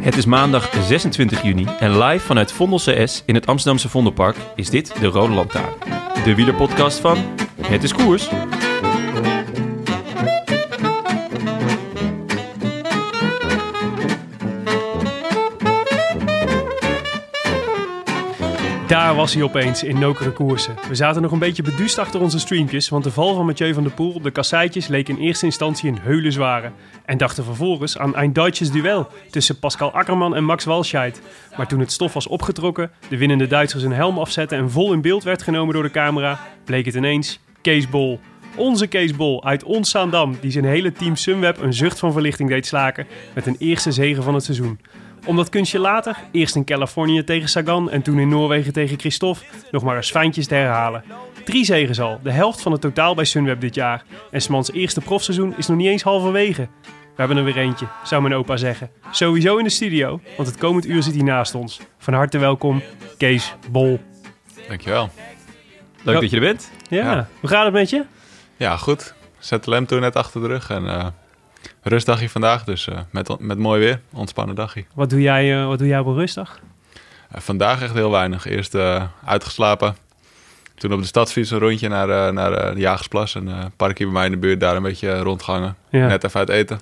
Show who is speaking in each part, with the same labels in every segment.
Speaker 1: Het is maandag 26 juni en live vanuit Vondel CS in het Amsterdamse Vondelpark is dit de Rode Lantaarn. De wielerpodcast van Het is Koers.
Speaker 2: Daar was hij opeens in nokere koersen. We zaten nog een beetje beduust achter onze streampjes, want de val van Mathieu van der Poel op de kasseitjes leek in eerste instantie een heulenzware. En dachten vervolgens aan een Duitsjes duel tussen Pascal Akkerman en Max Walscheid. Maar toen het stof was opgetrokken, de winnende Duitsers hun helm afzetten en vol in beeld werd genomen door de camera, bleek het ineens Kees Bol. Onze Kees Bol uit ons Zaandam, die zijn hele team Sunweb een zucht van verlichting deed slaken met een eerste zege van het seizoen. Om dat kunstje later, eerst in Californië tegen Sagan en toen in Noorwegen tegen Christophe, nog maar eens fijntjes te herhalen. Drie zegens al, de helft van het totaal bij Sunweb dit jaar. En Smans eerste profseizoen is nog niet eens halverwege. We hebben er weer eentje, zou mijn opa zeggen. Sowieso in de studio, want het komend uur zit hij naast ons. Van harte welkom, Kees Bol.
Speaker 3: Dankjewel.
Speaker 1: Leuk
Speaker 2: Ja.
Speaker 1: dat je er bent.
Speaker 2: Ja,
Speaker 3: Ja.
Speaker 2: hoe gaat het met je?
Speaker 3: Ja, goed. ZLM toen net achter de rug en eh, rustdagje vandaag, dus eh, met, met mooi weer. Ontspannen dagje.
Speaker 2: Wat doe jij, eh, wat doe jij op een rustdag?
Speaker 3: Eh, vandaag echt heel weinig. Eerst eh, uitgeslapen, toen op de stadsfiets een rondje naar, eh, naar eh, de Jagersplas, een eh, parkje bij mij in de buurt, daar een beetje eh, rondgangen.
Speaker 2: Ja.
Speaker 3: Net even uit eten.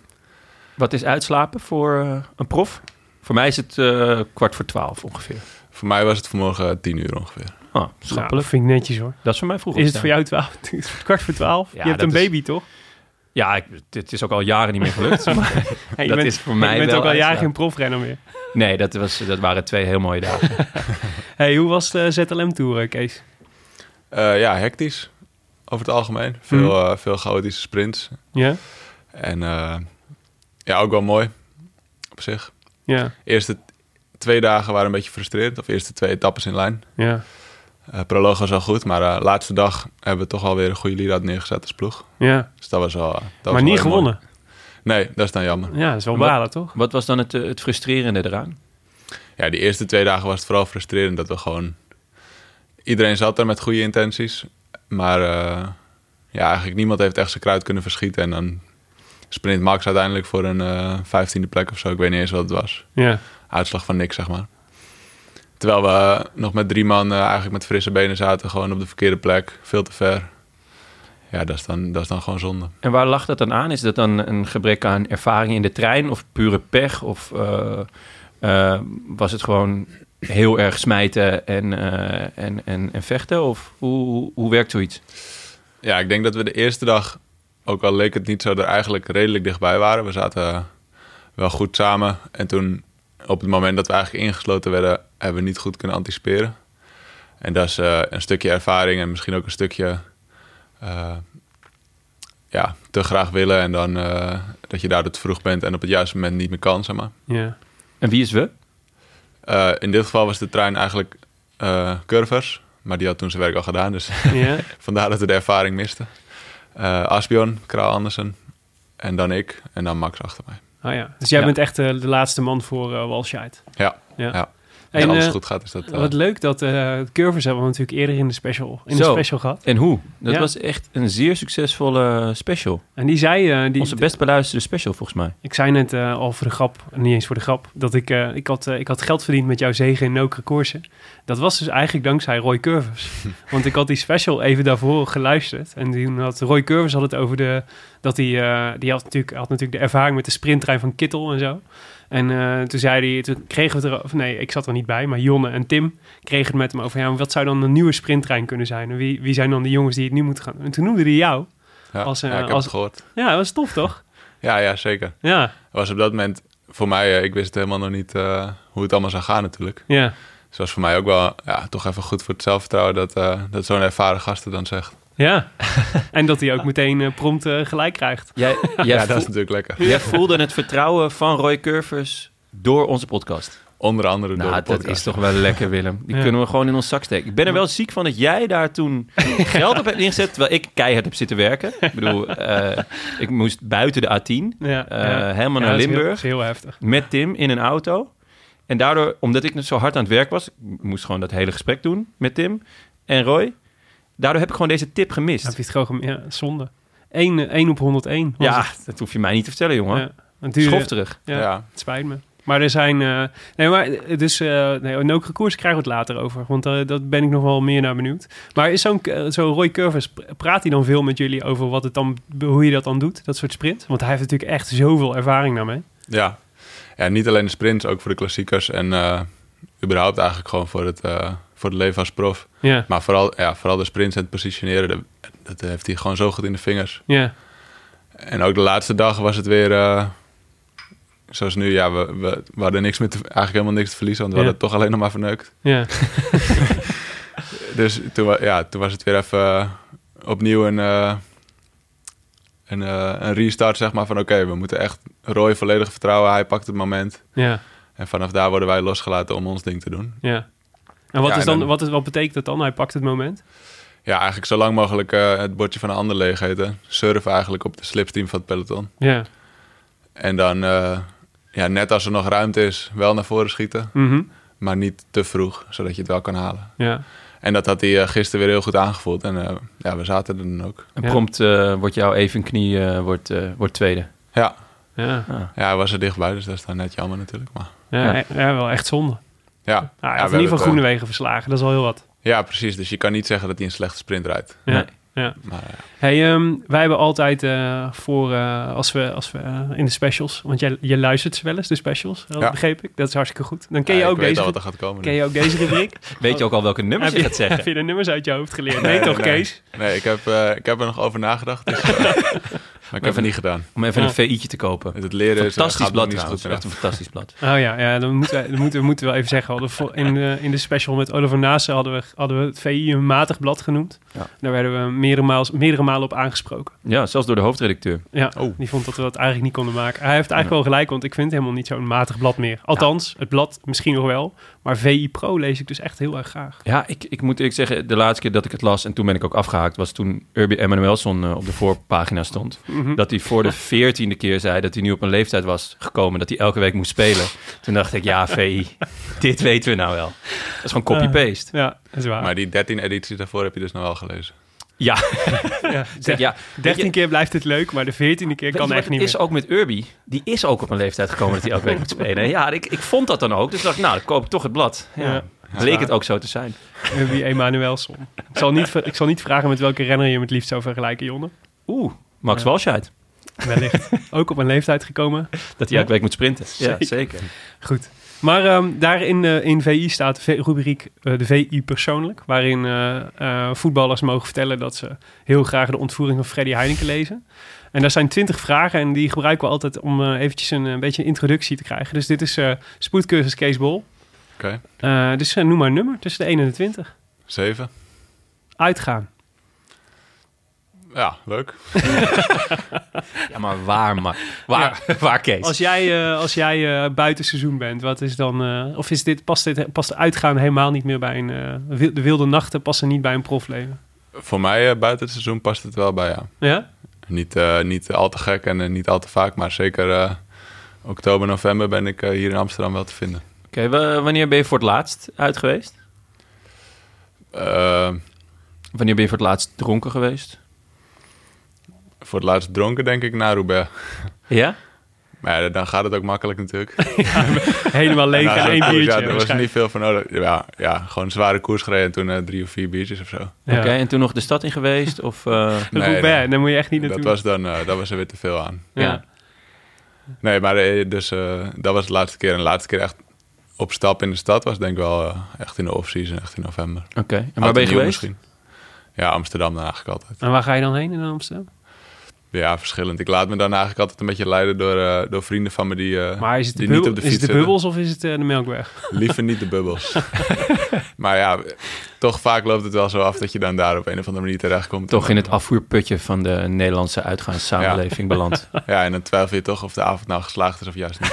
Speaker 1: Wat is uitslapen voor eh, een prof? Voor mij is het eh, kwart voor twaalf ongeveer.
Speaker 3: Voor mij was het vanmorgen eh, tien uur ongeveer.
Speaker 1: Ah,
Speaker 2: Nou,
Speaker 1: schappelijk.
Speaker 2: vind ik netjes hoor.
Speaker 1: Dat is voor mij vroeg.
Speaker 2: Is het voor
Speaker 1: opstaan.
Speaker 2: jou twaalf? Kwart voor twaalf?
Speaker 1: Ja,
Speaker 2: je hebt een
Speaker 1: dat is-
Speaker 2: baby toch?
Speaker 1: Ja, ik, dit is ook al jaren niet meer gelukt. maar
Speaker 2: Hey, je
Speaker 1: dat
Speaker 2: bent,
Speaker 1: is voor mij
Speaker 2: je bent
Speaker 1: wel
Speaker 2: ook al jaren
Speaker 1: uitslapen.
Speaker 2: geen profrenner meer.
Speaker 1: Nee, dat, was, dat waren twee heel mooie dagen.
Speaker 2: Hey, hoe was de ZLM-tour, eh, Kees?
Speaker 3: Eh, ja, hectisch over het algemeen. Veel,
Speaker 2: Mhm.
Speaker 3: eh, veel chaotische sprints.
Speaker 2: Ja?
Speaker 3: En eh, ja, ook wel mooi op zich.
Speaker 2: Ja,
Speaker 3: eerste t- twee dagen waren een beetje frustrerend. Of eerste twee etappes in lijn.
Speaker 2: ja,
Speaker 3: Eh proloog was al goed, maar eh laatste dag hebben we toch alweer een goede lead-out neergezet als ploeg.
Speaker 2: ja.
Speaker 3: Dus dat was al. dat was wel
Speaker 2: maar niet
Speaker 3: heel mooi.
Speaker 2: gewonnen.
Speaker 3: Nee, dat is dan jammer.
Speaker 2: Ja, dat is wel
Speaker 1: Wat-
Speaker 2: balen, toch?
Speaker 1: Wat was dan het, eh, het frustrerende eraan?
Speaker 3: Ja, die eerste twee dagen was het vooral frustrerend dat we gewoon. Iedereen zat er met goede intenties, maar eh, ja, eigenlijk niemand heeft echt zijn kruid kunnen verschieten. En dan sprint Max uiteindelijk voor een eh, vijftiende plek of zo. Ik weet niet eens wat het was.
Speaker 2: Ja,
Speaker 3: uitslag van niks, zeg maar. Terwijl we nog met drie man eh, eigenlijk met frisse benen zaten, gewoon op de verkeerde plek, veel te ver. Ja, dat is dan, dat is dan gewoon zonde.
Speaker 1: En waar lag dat dan aan? Is dat dan een gebrek aan ervaring in de trein of pure pech? Of eh, eh, was het gewoon heel erg smijten en, eh, en, en, en vechten? Of hoe, hoe, hoe werkt zoiets?
Speaker 3: Ja, ik denk dat we de eerste dag, ook al leek het niet zo, er eigenlijk redelijk dichtbij waren. We zaten wel goed samen. En toen, op het moment dat we eigenlijk ingesloten werden, hebben we niet goed kunnen anticiperen. En dat is eh, een stukje ervaring en misschien ook een stukje eh, ja, te graag willen. En dan eh, dat je daardoor te vroeg bent en op het juiste moment niet meer kan, zeg maar.
Speaker 2: ja,
Speaker 1: En wie is we?
Speaker 3: Eh, in dit geval was de trein eigenlijk eh Curvers. Maar die had toen zijn werk al gedaan, dus
Speaker 2: ja.
Speaker 3: vandaar dat we de ervaring misten. Eh Asbjorn, Kraal Andersen en dan ik en dan Max achter mij.
Speaker 2: Ah, ja. Dus jij
Speaker 1: Ja.
Speaker 2: bent echt eh, de laatste man voor eh Walscheid.
Speaker 3: Ja,
Speaker 2: Ja.
Speaker 3: ja.
Speaker 2: En,
Speaker 3: en als
Speaker 2: eh,
Speaker 3: het goed gaat is dat... eh,
Speaker 2: Wat leuk dat eh Curvers hebben we natuurlijk eerder in de special, in de
Speaker 1: Zo.
Speaker 2: special gehad.
Speaker 1: En hoe? Dat
Speaker 2: Ja.
Speaker 1: was echt een zeer succesvolle special.
Speaker 2: En die zei... eh, die,
Speaker 1: Onze best beluisterde special volgens mij.
Speaker 2: Ik zei net eh, al voor de grap, niet eens voor de grap, dat ik, eh, ik, had, eh, ik had geld verdiend met jouw zegen in Nokere Koersen. Dat was dus eigenlijk dankzij Roy Curvers. Want ik had die special even daarvoor geluisterd. En toen had Roy Curvers had het over de, dat hij, eh, die had natuurlijk, had natuurlijk de ervaring met de sprinttrein van Kittel en zo. En eh, toen zei hij, toen kregen we het er, of nee, ik zat er niet bij, maar Jonne en Tim kregen het met hem over, ja, wat zou dan een nieuwe sprinttrein kunnen zijn? En wie, wie zijn dan de jongens die het nu moeten gaan? En toen noemde hij jou.
Speaker 3: Ja,
Speaker 2: Als, eh,
Speaker 3: ja, ik heb
Speaker 2: als-
Speaker 3: het gehoord.
Speaker 2: Ja, dat was tof toch?
Speaker 3: Ja, ja, zeker.
Speaker 2: Ja,
Speaker 3: Het was op dat moment voor mij, eh, ik wist helemaal nog niet eh, hoe het allemaal zou gaan natuurlijk.
Speaker 2: ja.
Speaker 3: Dus het was voor mij ook wel ja, toch even goed voor het zelfvertrouwen dat, eh, dat zo'n ervaren gast het dan zegt.
Speaker 2: Ja, en dat hij ook meteen eh, prompt eh, gelijk krijgt.
Speaker 1: Jij, jij,
Speaker 3: Ja, dat is
Speaker 1: voel-
Speaker 3: natuurlijk lekker.
Speaker 1: jij voelde het vertrouwen van Roy Curvers door onze podcast.
Speaker 3: Onder andere door
Speaker 1: Nou,
Speaker 3: de
Speaker 1: dat
Speaker 3: podcast.
Speaker 1: is toch wel lekker, Willem. Die
Speaker 2: Ja.
Speaker 1: kunnen we gewoon in ons zak steken. Ik ben er wel ziek van dat jij daar toen geld op hebt ingezet, terwijl ik keihard heb zitten werken. Ik bedoel, eh, ik moest buiten de A10,
Speaker 2: Ja,
Speaker 1: eh,
Speaker 2: ja.
Speaker 1: helemaal
Speaker 2: Ja,
Speaker 1: naar
Speaker 2: dat is heel-
Speaker 1: Limburg.
Speaker 2: dat is heel heftig.
Speaker 1: met Tim in een auto. En daardoor, omdat ik zo hard aan het werk was, ik moest gewoon dat hele gesprek doen met Tim en Roy. Daardoor heb ik gewoon deze tip gemist.
Speaker 2: Heb je het gewoon gem- ja, zonde. 1 op 101. was
Speaker 1: ja,
Speaker 2: het.
Speaker 1: dat hoef je mij niet te vertellen, jongen.
Speaker 2: Ja, het duurde-
Speaker 1: Schof terug.
Speaker 2: Ja,
Speaker 3: Ja.
Speaker 2: het spijt me. Maar er zijn... eh, nee, maar eh, dus... eh nee, een ook koers krijgen we het later over. Want eh dat ben ik nog wel meer naar benieuwd. Maar is zo'n eh, zo'n Roy Curvers... pr- Praat hij dan veel met jullie over wat het dan, hoe je dat dan doet? Dat soort sprint? Want hij heeft natuurlijk echt zoveel ervaring daarmee.
Speaker 3: Ja. ja, niet alleen de sprints, ook voor de klassiekers en eh, überhaupt eigenlijk gewoon voor het, eh, voor het leven als prof.
Speaker 2: Ja,
Speaker 3: Maar vooral, ja, vooral de sprints en het positioneren, dat, dat heeft hij gewoon zo goed in de vingers.
Speaker 2: ja,
Speaker 3: En ook de laatste dag was het weer, eh, zoals nu, ja, we, we, we hadden niks meer te- eigenlijk helemaal niks te verliezen, want we
Speaker 2: Ja.
Speaker 3: hadden het toch alleen nog maar verneukt.
Speaker 2: ja.
Speaker 3: Dus toen, wa- ja, toen was het weer even eh, opnieuw een, eh, een, eh, een restart, zeg maar. Van oké, we moeten echt Roy volledig vertrouwen. Hij pakt het moment.
Speaker 2: ja.
Speaker 3: En vanaf daar worden wij losgelaten om ons ding te doen.
Speaker 2: Ja. En wat,
Speaker 3: Ja,
Speaker 2: is dan,
Speaker 3: dan-
Speaker 2: Wat, is, wat betekent dat dan? Hij pakt het moment.
Speaker 3: Ja, eigenlijk zo lang mogelijk eh, het bordje van een ander leeg eten. Surf eigenlijk op de slipstream van het peloton.
Speaker 2: Ja.
Speaker 3: En dan, eh, ja, net als er nog ruimte is, wel naar voren schieten.
Speaker 2: Mhm.
Speaker 3: Maar niet te vroeg, zodat je het wel kan halen.
Speaker 2: ja.
Speaker 3: En dat had hij eh, gisteren weer heel goed aangevoeld. En eh, ja, we zaten er dan ook.
Speaker 1: En
Speaker 2: Ja.
Speaker 1: prompt eh, wordt jouw even knie eh, wordt, eh, wordt tweede.
Speaker 3: Ja,
Speaker 2: Ja.
Speaker 1: Ah.
Speaker 3: ja, hij was er dichtbij, dus dat is dan net jammer natuurlijk. Maar...
Speaker 2: Ja, e-
Speaker 1: Ja.
Speaker 2: ja. wel echt zonde.
Speaker 3: Ja,
Speaker 2: Ah, hij
Speaker 3: ja,
Speaker 2: heeft
Speaker 3: we
Speaker 2: in
Speaker 3: hebben
Speaker 2: ieder geval
Speaker 3: het,
Speaker 2: groene wegen verslagen. Dat is al heel wat.
Speaker 3: eh, Ja, precies. Dus je kan niet zeggen dat hij een slechte sprint rijdt.
Speaker 2: Ja.
Speaker 1: Nee.
Speaker 2: Ja.
Speaker 3: Maar eh,
Speaker 2: Hey, ehm, wij hebben altijd eh, voor, eh, als we, als we eh, in de specials, want jij, je luistert ze wel eens, de specials, eh,
Speaker 3: Ja.
Speaker 2: begreep ik. Dat is hartstikke goed. Dan ken
Speaker 3: ja,
Speaker 2: je, ook
Speaker 3: ik weet
Speaker 2: deze,
Speaker 3: al wat er gaat komen.
Speaker 2: ken
Speaker 3: nu.
Speaker 2: je ook deze rubriek.
Speaker 1: Weet je ook al welke nummers
Speaker 2: Oh. heb,
Speaker 1: je
Speaker 2: je,
Speaker 1: gaat zeggen?
Speaker 2: heb je de nummers uit je hoofd geleerd? Nee,
Speaker 3: Nee, nee,
Speaker 2: toch,
Speaker 3: nee.
Speaker 2: Kees?
Speaker 3: Nee, ik heb, eh, ik heb er nog over nagedacht. Dus, eh, maar ik heb
Speaker 1: Even-
Speaker 3: het niet gedaan.
Speaker 1: Om even een
Speaker 2: Ja.
Speaker 1: VI'tje te kopen.
Speaker 3: Het leren is, eh,
Speaker 1: Fantastisch
Speaker 3: gaat nog
Speaker 1: blad
Speaker 3: niet zo goed
Speaker 1: trouwens. Echt een fantastisch blad.
Speaker 2: Oh ja, ja dan moeten we, dan moeten, we moeten wel even zeggen. we Hadden vo- in, de, in de special met Oliver Naassen hadden we, hadden we het VI een matig blad genoemd.
Speaker 1: Ja.
Speaker 2: Daar werden we meerdere, maals, meerdere malen op aangesproken.
Speaker 1: Ja, zelfs door de hoofdredacteur.
Speaker 2: Ja,
Speaker 3: Oh.
Speaker 2: die vond dat we dat eigenlijk niet konden maken. Hij heeft eigenlijk wel gelijk, want ik vind het helemaal niet zo'n matig blad meer. Althans, het blad misschien nog wel. Maar VI Pro lees ik dus echt heel erg graag.
Speaker 1: Ja, ik, ik moet eerlijk zeggen, de laatste keer dat ik het las... en toen ben ik ook afgehaakt, was toen Urbi Emanuelson eh, op de voorpagina stond.
Speaker 2: Mhm.
Speaker 1: Dat hij voor de veertiende keer zei dat hij nu op een leeftijd was gekomen... dat hij elke week moest spelen. Toen dacht ik, ja, VI, dit weten we nou wel. Dat is gewoon copy-paste.
Speaker 3: Eh.
Speaker 2: Ja, dat is waar.
Speaker 3: Maar die 13 edities daarvoor heb je dus nog wel gelezen.
Speaker 1: Ja,
Speaker 2: ja,
Speaker 1: ja, ja. Weet
Speaker 2: 13
Speaker 1: je-
Speaker 2: keer blijft het leuk, maar de 14e keer
Speaker 1: Weet je
Speaker 2: kan
Speaker 1: wat
Speaker 2: echt
Speaker 1: het
Speaker 2: niet
Speaker 1: is
Speaker 2: meer.
Speaker 1: ook met Urbi. Die is ook op een leeftijd gekomen dat hij elke week moet spelen. En Ja, ik, ik vond dat dan ook. Dus dacht ik, nou, dan koop ik toch het blad. Ja.
Speaker 2: Ja.
Speaker 1: Bleek het ook zo te zijn.
Speaker 2: Wie Emanuelson. Ik zal, niet, ver- ik zal niet vragen met welke renner je hem het liefst zou vergelijken, Jonne.
Speaker 1: Oeh, Max
Speaker 2: Ja.
Speaker 1: Walscheid.
Speaker 2: Wellicht. ook op een leeftijd gekomen.
Speaker 1: Dat hij elke week moet sprinten. Ja,
Speaker 2: Zeker.
Speaker 1: zeker.
Speaker 2: Goed. Maar ehm, daar in, eh, in VI staat de v- rubriek eh, de VI persoonlijk, waarin eh, eh, voetballers mogen vertellen dat ze heel graag de ontvoering van Freddy Heineken lezen. En daar zijn twintig vragen en die gebruiken we altijd om eh, eventjes een, eh, beetje een introductie te krijgen. Dus dit is eh spoedcursus Kees Bol.
Speaker 3: Oké,
Speaker 2: Eh, dus eh, noem maar een nummer tussen de 1 en de 20.
Speaker 3: 7.
Speaker 2: Uitgaan.
Speaker 3: Ja, leuk.
Speaker 1: Ja, maar waar, maar waar, waar Kees?
Speaker 2: Als jij, eh, als jij eh, buiten seizoen bent, wat is dan. eh, of is dit, past, dit, past uitgaan helemaal niet meer bij een. eh, wil- de wilde nachten passen niet bij een profleven?
Speaker 3: Voor mij eh, buiten het seizoen past het wel bij, ja.
Speaker 2: Ja?
Speaker 3: Niet, eh, niet al te gek en eh, niet al te vaak, maar zeker eh, oktober, november ben ik eh, hier in Amsterdam wel te vinden.
Speaker 1: Oké, wa- wanneer ben je voor het laatst uit geweest?
Speaker 3: Eh,
Speaker 1: Wanneer ben je voor het laatst dronken geweest?
Speaker 3: voor het laatst dronken denk ik na Roubaix.
Speaker 1: Ja?
Speaker 3: Maar ja, dan gaat het ook makkelijk natuurlijk.
Speaker 2: Helemaal leeg en
Speaker 3: Nou,
Speaker 2: één
Speaker 3: dat-
Speaker 2: biertje.
Speaker 3: Ja, er was
Speaker 2: waarschijnlijk.
Speaker 3: niet veel van nodig. Ja, ja gewoon een zware koers gereden en toen eh, drie of vier biertjes of zo.
Speaker 2: Ja.
Speaker 1: Oké, en toen nog de stad in geweest? Of, eh,
Speaker 2: Dat
Speaker 3: Nee,
Speaker 2: Roubaix,
Speaker 3: nee.
Speaker 2: daar moet je echt niet
Speaker 3: Dat
Speaker 2: naartoe.
Speaker 3: was dan, eh dat was er weer te veel aan.
Speaker 2: ja.
Speaker 1: ja.
Speaker 3: Nee, maar eh, dus, eh, dat was de laatste keer. En de laatste keer echt op stap in de stad was denk ik wel eh, echt in de off-season, echt in november.
Speaker 1: Oké, en waar ben je
Speaker 3: Oud en nieuw
Speaker 1: geweest?
Speaker 3: Ja, Amsterdam dan eigenlijk altijd.
Speaker 2: En waar ga je dan heen in Amsterdam?
Speaker 3: Ja, verschillend. Ik laat me dan eigenlijk altijd een beetje leiden door, eh, door vrienden van me die, eh,
Speaker 2: Maar is het de,
Speaker 3: die niet
Speaker 2: bubbel-
Speaker 3: op de
Speaker 2: is
Speaker 3: fiets
Speaker 2: het de
Speaker 3: zitten.
Speaker 2: bubbels of is het eh, de Melkweg?
Speaker 3: Liever niet de bubbels. maar ja, toch vaak loopt het wel zo af dat je dan daar op een of andere manier terechtkomt.
Speaker 1: Toch in het afvoerputje van de Nederlandse uitgaanssamenleving beland.
Speaker 3: Ja, en dan twijfel je toch of de avond nou geslaagd is of juist niet.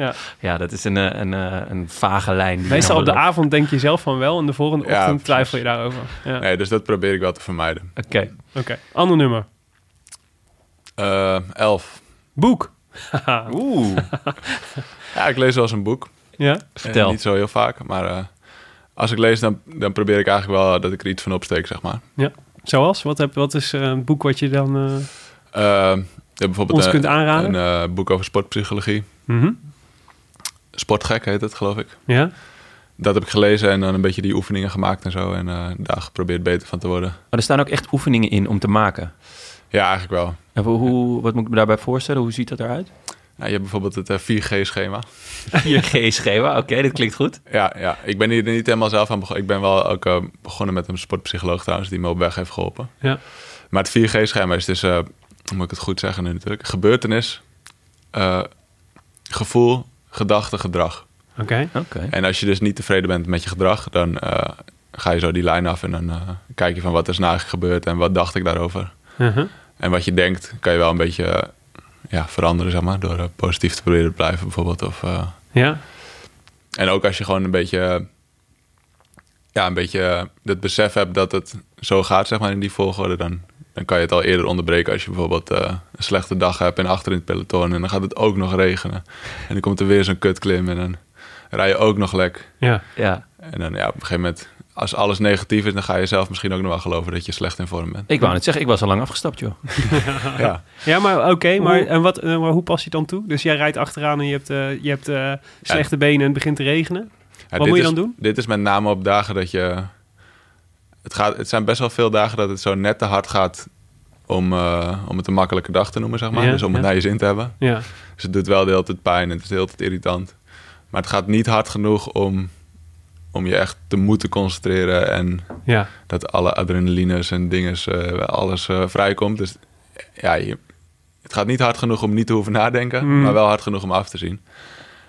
Speaker 1: Ja, dat is een, eh, een, eh, een vage lijn. die
Speaker 2: Meestal
Speaker 1: je
Speaker 2: op de
Speaker 1: dan beloopt.
Speaker 2: avond denk je zelf van wel en de volgende
Speaker 3: Ja,
Speaker 2: ochtend
Speaker 3: precies.
Speaker 2: twijfel je daarover. Ja.
Speaker 3: Nee, dus dat probeer ik wel te vermijden.
Speaker 1: Oké,
Speaker 2: Oké, ander nummer.
Speaker 3: Eh, elf.
Speaker 2: Boek.
Speaker 1: oeh.
Speaker 3: Ja, ik lees wel eens een boek.
Speaker 2: Ja?
Speaker 1: Vertel.
Speaker 3: Eh, niet zo heel vaak, maar eh, als ik lees, dan, dan probeer ik eigenlijk wel dat ik er iets van opsteek, zeg maar.
Speaker 2: ja. Zoals? Wat, heb, wat is eh, een boek wat je dan... eh,
Speaker 3: Eh, je hebt bijvoorbeeld
Speaker 2: Ons
Speaker 3: een,
Speaker 2: kunt aanraden?
Speaker 3: een eh, boek over sportpsychologie.
Speaker 2: mhm.
Speaker 3: Sportgek heet het, geloof ik.
Speaker 2: Ja?
Speaker 3: Dat heb ik gelezen en dan een beetje die oefeningen gemaakt en zo. En eh, daar geprobeerd beter van te worden.
Speaker 1: Maar er staan ook echt oefeningen in om te maken.
Speaker 3: Ja, eigenlijk wel.
Speaker 1: En hoe- hoe, wat moet ik me daarbij voorstellen? Hoe ziet dat eruit?
Speaker 3: Ja, je hebt bijvoorbeeld het eh, 4G-schema.
Speaker 1: Je G-schema, oké, dit klinkt goed.
Speaker 3: Ja, ja, ik ben hier niet helemaal zelf aan begonnen. Ik ben wel ook eh, begonnen met een sportpsycholoog trouwens, die me op weg heeft geholpen.
Speaker 2: Ja.
Speaker 3: Maar het 4G-schema is dus, eh, hoe moet ik het goed zeggen nu natuurlijk, gebeurtenis, eh, gevoel, gedachte, gedrag.
Speaker 2: Oké.
Speaker 1: Oké.
Speaker 3: En als je dus niet tevreden bent met je gedrag, dan eh, ga je zo die lijn af en dan eh, kijk je van wat is nou eigenlijk gebeurd en wat dacht ik daarover.
Speaker 2: Mhm.
Speaker 3: En wat je denkt, kan je wel een beetje eh, ja, veranderen, zeg maar, door eh, positief te proberen te blijven bijvoorbeeld. Of, eh,
Speaker 2: Ja?
Speaker 3: en ook als je gewoon een beetje, ja, een beetje het besef hebt dat het zo gaat, zeg maar, in die volgorde, dan, dan kan je het al eerder onderbreken. Als je bijvoorbeeld eh, een slechte dag hebt en achter in het peloton en dan gaat het ook nog regenen. En dan komt er weer zo'n kutklim en dan rij je ook nog lek.
Speaker 2: Ja.
Speaker 1: Ja,
Speaker 3: En dan ja, op een gegeven moment, als alles negatief is, dan ga je zelf misschien ook nog wel geloven dat je slecht in vorm bent.
Speaker 1: ik wou net zeggen, ik was al lang afgestapt, joh.
Speaker 3: Ja.
Speaker 2: Ja, maar oké, maar, en wat, eh, maar hoe pas je het dan toe? Dus jij rijdt achteraan en je hebt, eh, je hebt eh, slechte benen en het begint te regenen.
Speaker 3: Ja,
Speaker 2: Wat
Speaker 3: dit
Speaker 2: moet je dan
Speaker 3: is-
Speaker 2: doen?
Speaker 3: Dit is met name op dagen dat je... Het, gaat, het zijn best wel veel dagen dat het zo net te hard gaat om, eh, om het een makkelijke dag te noemen, zeg maar.
Speaker 2: Ja,
Speaker 3: dus om het
Speaker 2: ja.
Speaker 3: naar je zin te hebben.
Speaker 2: Ja,
Speaker 3: Dus het doet wel de hele tijd pijn en het is de hele tijd irritant. Maar het gaat niet hard genoeg om, om je echt te moeten concentreren... en
Speaker 2: ja.
Speaker 3: dat alle adrenalines en dinges, eh, alles eh, vrijkomt. Dus ja, je, het gaat niet hard genoeg om niet te hoeven nadenken,
Speaker 2: Mm.
Speaker 3: maar wel hard genoeg om af te zien.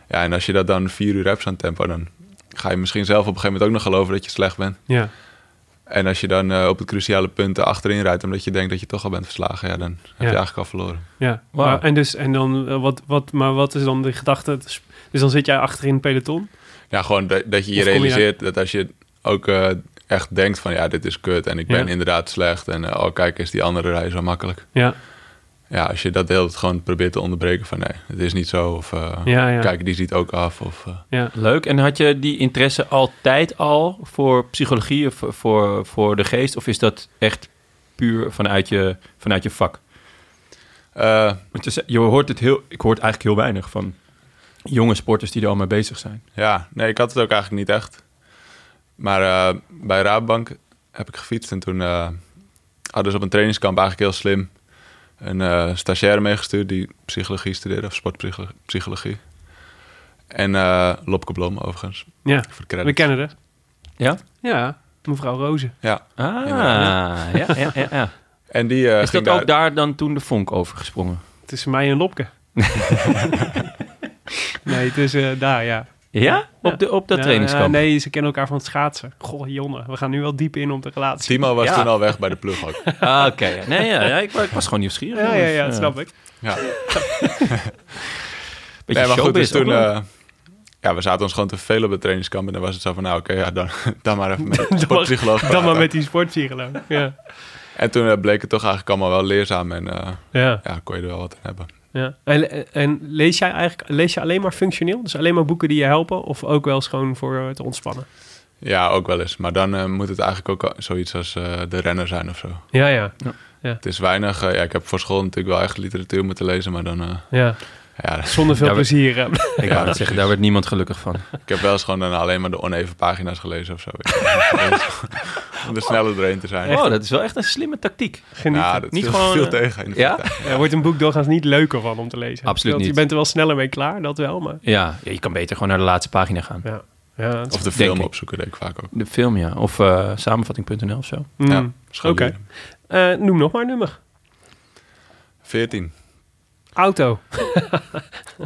Speaker 3: Ja, en als je dat dan vier uur hebt, zo'n tempo, dan ga je misschien zelf op een gegeven moment ook nog geloven dat je slecht bent.
Speaker 2: ja.
Speaker 3: En als je dan eh, op het cruciale punten achterin rijdt, omdat je denkt dat je toch al bent verslagen, ja, dan heb je
Speaker 2: Ja.
Speaker 3: eigenlijk al verloren.
Speaker 2: Ja,
Speaker 1: Wauw.
Speaker 2: maar, en, dus, en dan, eh, wat, wat, maar wat is dan de gedachte? Het is- Dus dan zit jij achterin het peloton?
Speaker 3: Ja, gewoon dat, dat je je
Speaker 2: Of kom je-
Speaker 3: realiseert dat als je ook eh, echt denkt van ja, dit is kut en ik ben
Speaker 2: Ja.
Speaker 3: inderdaad slecht en eh, oh kijk, is die andere rij zo makkelijk.
Speaker 2: Ja,
Speaker 3: ja, als je dat de hele tijd gewoon probeert te onderbreken van nee, het is niet zo. Of eh,
Speaker 2: Ja, ja.
Speaker 3: kijk, die ziet ook af. Of, eh,
Speaker 2: ja.
Speaker 1: Leuk. En had je die interesse altijd al voor psychologie of voor, voor de geest? Of is dat echt puur vanuit je, vanuit je vak?
Speaker 3: eh,
Speaker 1: Want je, ze- je hoort het heel, ik hoor het eigenlijk heel weinig van jonge sporters die er al mee bezig zijn.
Speaker 3: ja, nee, ik had het ook eigenlijk niet echt. Maar eh, bij Raadbank heb ik gefietst en toen eh hadden ze op een trainingskamp eigenlijk heel slim een eh, stagiaire meegestuurd die psychologie studeerde of sportpsychologie. En eh Lopke Blom overigens.
Speaker 2: ja.
Speaker 3: Voor de
Speaker 2: we
Speaker 3: credits.
Speaker 2: kennen haar.
Speaker 1: Ja?
Speaker 2: Ja, mevrouw Rozen.
Speaker 3: Ja.
Speaker 1: Ah, ja,
Speaker 3: Ja.
Speaker 1: ja, ja. ja.
Speaker 3: En die eh,
Speaker 1: Is
Speaker 3: ging
Speaker 1: dat ook daar dan toen de vonk over gesprongen?
Speaker 2: Tussen mij en Lopke. nee, het is eh, daar, ja.
Speaker 1: Ja? Op, de, op dat
Speaker 2: Ja,
Speaker 1: trainingskamp?
Speaker 2: ja, nee, ze kennen elkaar van het schaatsen. Goh, Jonne, we gaan nu wel diep in op de relatie.
Speaker 3: Timo was
Speaker 1: Ja.
Speaker 3: toen al weg bij de ploeg ook.
Speaker 1: Ah, oké. ja. Nee, ja, ja, ik, wa- ik was gewoon nieuwsgierig.
Speaker 2: Ja, ja,
Speaker 1: jongens.
Speaker 2: ja, dat snap ik.
Speaker 3: Ja.
Speaker 1: Beetje
Speaker 3: nee, maar goed,
Speaker 1: showbiz
Speaker 3: dus toen...
Speaker 1: ook wel.
Speaker 3: eh, ja, we zaten ons gewoon te veel op het trainingskamp. En dan was het zo van, nou oké, ja, dan, dan maar even met de sportpsycholoog
Speaker 2: Dan maar
Speaker 3: praten.
Speaker 2: met die sportpsycholoog. Ja,
Speaker 3: En toen eh, bleek het toch eigenlijk allemaal wel leerzaam. En eh,
Speaker 2: ja.
Speaker 3: ja, kon je er wel wat aan hebben.
Speaker 2: ja. En, en lees jij eigenlijk lees je alleen maar functioneel? Dus alleen maar boeken die je helpen? Of ook wel eens gewoon voor eh, te ontspannen?
Speaker 3: Ja, ook wel eens. Maar dan eh, moet het eigenlijk ook al- zoiets als eh, de renner zijn of zo.
Speaker 2: Ja, ja.
Speaker 3: Het is weinig. eh, ja, ik heb voor school natuurlijk wel echt literatuur moeten lezen. Maar dan... eh,
Speaker 2: ja.
Speaker 3: ja,
Speaker 2: Zonder veel
Speaker 1: Ja, we-
Speaker 2: plezier. hè.
Speaker 1: Ik wou dat
Speaker 3: precies.
Speaker 1: zeggen, daar werd niemand gelukkig van.
Speaker 3: ik heb wel eens gewoon dan alleen maar de oneven pagina's gelezen of zo. om er sneller doorheen te zijn.
Speaker 1: Oh, dat is wel echt een slimme tactiek.
Speaker 2: Geniet.
Speaker 3: Ja, dat
Speaker 1: Niet
Speaker 3: viel,
Speaker 1: gewoon,
Speaker 3: viel
Speaker 1: eh,
Speaker 3: tegen in de
Speaker 1: ja?
Speaker 3: vliegtuig.
Speaker 2: Er wordt een boek doorgaans niet leuker van om te lezen.
Speaker 1: Absoluut
Speaker 2: Want
Speaker 1: niet.
Speaker 2: Je bent er wel sneller mee klaar, dat wel, maar...
Speaker 1: Ja, ja, je kan beter gewoon naar de laatste pagina gaan.
Speaker 2: Ja, ja dat is-
Speaker 3: Of de
Speaker 1: Denk
Speaker 3: film
Speaker 1: ik.
Speaker 3: opzoeken deed ik vaak ook.
Speaker 1: De film, ja. Of eh, samenvatting.nl of zo.
Speaker 2: Mm.
Speaker 3: Ja,
Speaker 2: Oké.
Speaker 3: scholieren.
Speaker 2: Eh, noem nog maar een nummer.
Speaker 3: 14.
Speaker 2: Auto.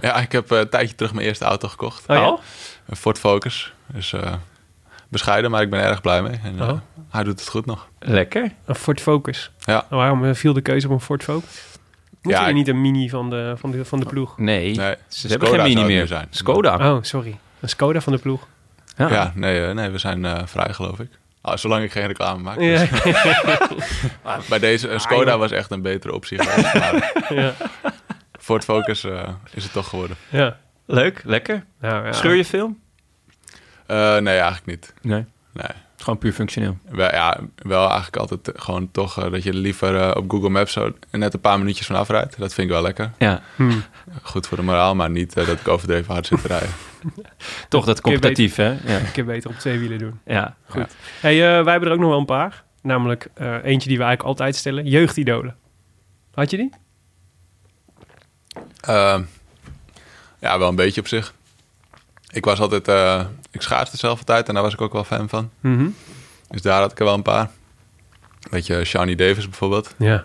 Speaker 3: Ja, ik heb eh, een tijdje terug mijn eerste auto gekocht.
Speaker 2: Oh, ja?
Speaker 1: Oh?
Speaker 3: Een Ford Focus. Dus eh, bescheiden, maar ik ben er erg blij mee. En, eh,
Speaker 2: Oh.
Speaker 3: Hij doet het goed nog.
Speaker 1: Lekker.
Speaker 2: Een Ford Focus.
Speaker 3: Ja.
Speaker 2: En waarom eh, viel de keuze op een Ford Focus? Moet
Speaker 3: Ja,
Speaker 2: je
Speaker 3: ik-
Speaker 2: niet een mini van de, van de, van de ploeg?
Speaker 1: Nee, Ah.
Speaker 3: Nee,
Speaker 1: ze
Speaker 3: Skoda
Speaker 1: hebben geen
Speaker 3: zou
Speaker 1: mini
Speaker 3: het
Speaker 1: meer.
Speaker 3: nu zijn.
Speaker 1: Skoda.
Speaker 2: Oh, sorry. Een Skoda van de ploeg.
Speaker 1: Ja.
Speaker 3: Ja, nee, eh, nee we zijn eh, vrij, geloof ik. Ah, zolang ik geen reclame maak.
Speaker 2: Ja.
Speaker 3: Dus bij deze eh,
Speaker 1: Ah,
Speaker 3: Skoda was echt een betere optie. geweest, maar
Speaker 2: ja.
Speaker 3: Ford Focus eh, is het toch geworden.
Speaker 2: ja.
Speaker 1: Leuk, lekker.
Speaker 2: Nou, ja.
Speaker 1: Scheur je film?
Speaker 3: Eh, nee, eigenlijk niet.
Speaker 1: Nee.
Speaker 3: Nee.
Speaker 1: Gewoon puur functioneel.
Speaker 3: Wel, ja, wel eigenlijk altijd eh, gewoon toch eh, dat je liever eh, op Google Maps zo net een paar minuutjes vanaf rijdt. Dat vind ik wel lekker.
Speaker 1: Ja,
Speaker 2: Hmm.
Speaker 3: Goed voor de moraal, maar niet eh, dat ik overdreven hard zit te rijden.
Speaker 1: toch dat
Speaker 2: Kun je
Speaker 1: competitief, hè? Ja.
Speaker 2: Ik heb beter op twee wielen doen.
Speaker 1: ja.
Speaker 2: Hey, eh, wij hebben er ook nog wel een paar. Namelijk eh, eentje die we eigenlijk altijd stellen. Jeugdidolen. Had je die?
Speaker 3: Ehm, ja, wel een beetje op zich. Ik was altijd, eh, ik schaatste zelf altijd en daar was ik ook wel fan van.
Speaker 2: Mhm.
Speaker 3: Dus daar had ik er wel een paar. Weet je, Shawnee Davis bijvoorbeeld.
Speaker 2: Ja.
Speaker 3: Dat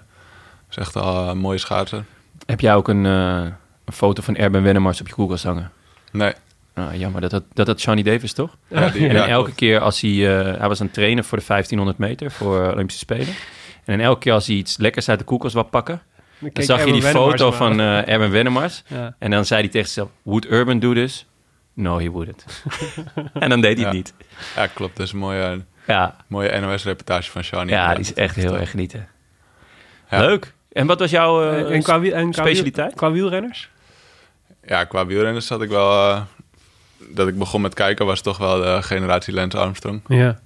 Speaker 3: is echt al een mooie schaatser.
Speaker 1: Heb jij ook een, eh, een foto van Erben Wennemars op je koelkast hangen?
Speaker 3: Nee.
Speaker 1: Nou, jammer, dat dat, dat, dat Johnny Davis, toch?
Speaker 3: Ja, die,
Speaker 1: en
Speaker 3: ja,
Speaker 1: elke
Speaker 3: klopt.
Speaker 1: keer als hij... eh, hij was aan het trainen voor de 1500 meter voor eh, Olympische Spelen. En elke keer als hij iets lekkers uit de koelkast wou pakken... Dan zag je die foto van eh Erben Wennemars.
Speaker 2: Ja.
Speaker 1: En dan zei hij tegen zichzelf, would Urban do this? No, he wouldn't. en dan deed hij het
Speaker 3: Ja.
Speaker 1: niet.
Speaker 3: Ja, klopt. Dat is een mooie,
Speaker 1: Ja,
Speaker 3: mooie NOS-reportage van Shawnee.
Speaker 1: ja die is echt heel
Speaker 3: toch-
Speaker 1: erg genieten.
Speaker 3: Ja.
Speaker 1: Leuk. En wat was jouw eh,
Speaker 2: en qua, wiel- en qua wiel-
Speaker 1: specialiteit?
Speaker 2: qua wielrenners?
Speaker 3: Ja, qua wielrenners zat ik wel... eh, dat ik begon met kijken was toch wel de generatie Lance Armstrong.
Speaker 2: Ja.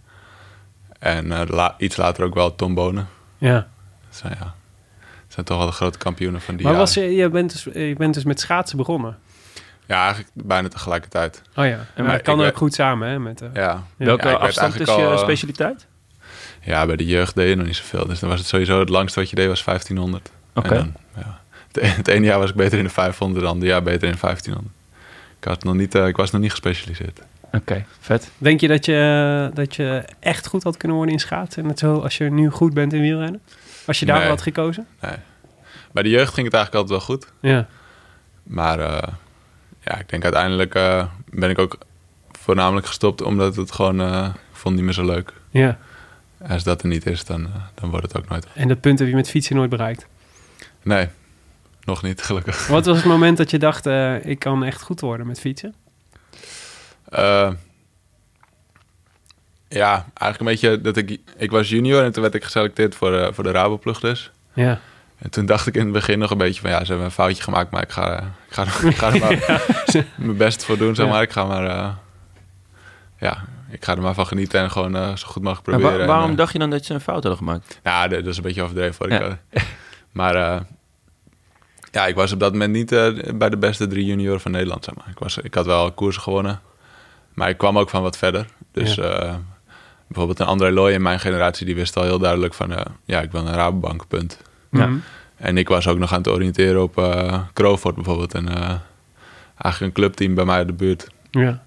Speaker 3: En eh, la- iets later ook wel Tom Bonen.
Speaker 2: ja.
Speaker 3: Dat zijn, ja, dat zijn toch wel de grote kampioenen van die
Speaker 2: Maar
Speaker 3: jaren.
Speaker 2: was, je, je, bent dus, je bent dus met schaatsen begonnen.
Speaker 3: Ja, eigenlijk bijna tegelijkertijd.
Speaker 2: Oh ja. En
Speaker 3: maar
Speaker 2: dat kan
Speaker 3: ik
Speaker 2: ook
Speaker 3: ben-
Speaker 2: goed samen, hè? Met, eh,
Speaker 3: Ja.
Speaker 1: Welke
Speaker 3: Ja, ik werd
Speaker 1: afstand is
Speaker 3: eigenlijk
Speaker 1: je
Speaker 3: al, eh,
Speaker 1: specialiteit?
Speaker 3: Ja, bij de jeugd deed je nog niet zoveel. Dus dan was het sowieso het langste wat je deed was 1500.
Speaker 1: Oké.
Speaker 3: En dan, ja. Het e- Het ene jaar was ik beter in de 500, dan het andere jaar beter in de 1500. Ik, had nog niet, eh, ik was nog niet gespecialiseerd.
Speaker 1: Oké, vet.
Speaker 2: Denk je dat, je dat je echt goed had kunnen worden in schaatsen? En net zo als je nu goed bent in wielrennen? Als je daarvoor
Speaker 3: Nee.
Speaker 2: had gekozen?
Speaker 3: Bij de jeugd ging het eigenlijk altijd wel goed.
Speaker 2: Ja.
Speaker 3: Maar eh, ja, ik denk uiteindelijk eh, ben ik ook voornamelijk gestopt omdat het gewoon, eh, ik vond het niet meer zo leuk.
Speaker 2: ja.
Speaker 3: Als dat er niet is, dan, eh, dan wordt het ook nooit.
Speaker 2: En dat punt heb je met fietsen nooit bereikt.
Speaker 3: Nee, nog niet, gelukkig.
Speaker 2: Wat was het moment dat je dacht, eh, ik kan echt goed worden met fietsen?
Speaker 3: Eh, ja, eigenlijk een beetje dat ik... Ik was junior en toen werd ik geselecteerd voor, eh, voor de Raboplug dus.
Speaker 2: Ja.
Speaker 3: En toen dacht ik in het begin nog een beetje van... Ja, ze hebben een foutje gemaakt, maar ik ga, eh, ik ga, er- ik ga er maar mijn best voor doen, zeg
Speaker 2: Ja.
Speaker 3: maar. Ik ga maar... eh, ja, ik ga er maar van genieten en gewoon eh, zo goed mogelijk
Speaker 1: Maar
Speaker 3: proberen.
Speaker 1: wa-
Speaker 3: En,
Speaker 1: waarom
Speaker 3: eh,
Speaker 1: dacht je dan dat ze een fout hadden gemaakt?
Speaker 3: nou, dat dat is een beetje overdreven hoor. Ik,
Speaker 1: Ja.
Speaker 3: eh, maar eh, ja, ik was op dat moment niet eh, bij de beste drie junioren van Nederland. Zeg maar. ik, was, ik had wel koersen gewonnen, maar ik kwam ook van wat verder. Dus
Speaker 2: Ja.
Speaker 3: eh, bijvoorbeeld een André Looy in mijn generatie, die wist al heel duidelijk van... eh, ja, ik wil een Rabobank, punt.
Speaker 1: Ja.
Speaker 2: Mhm.
Speaker 3: En ik was ook nog aan het oriënteren op eh Crawford bijvoorbeeld. En eh, eigenlijk een clubteam bij mij uit de buurt.
Speaker 2: ja.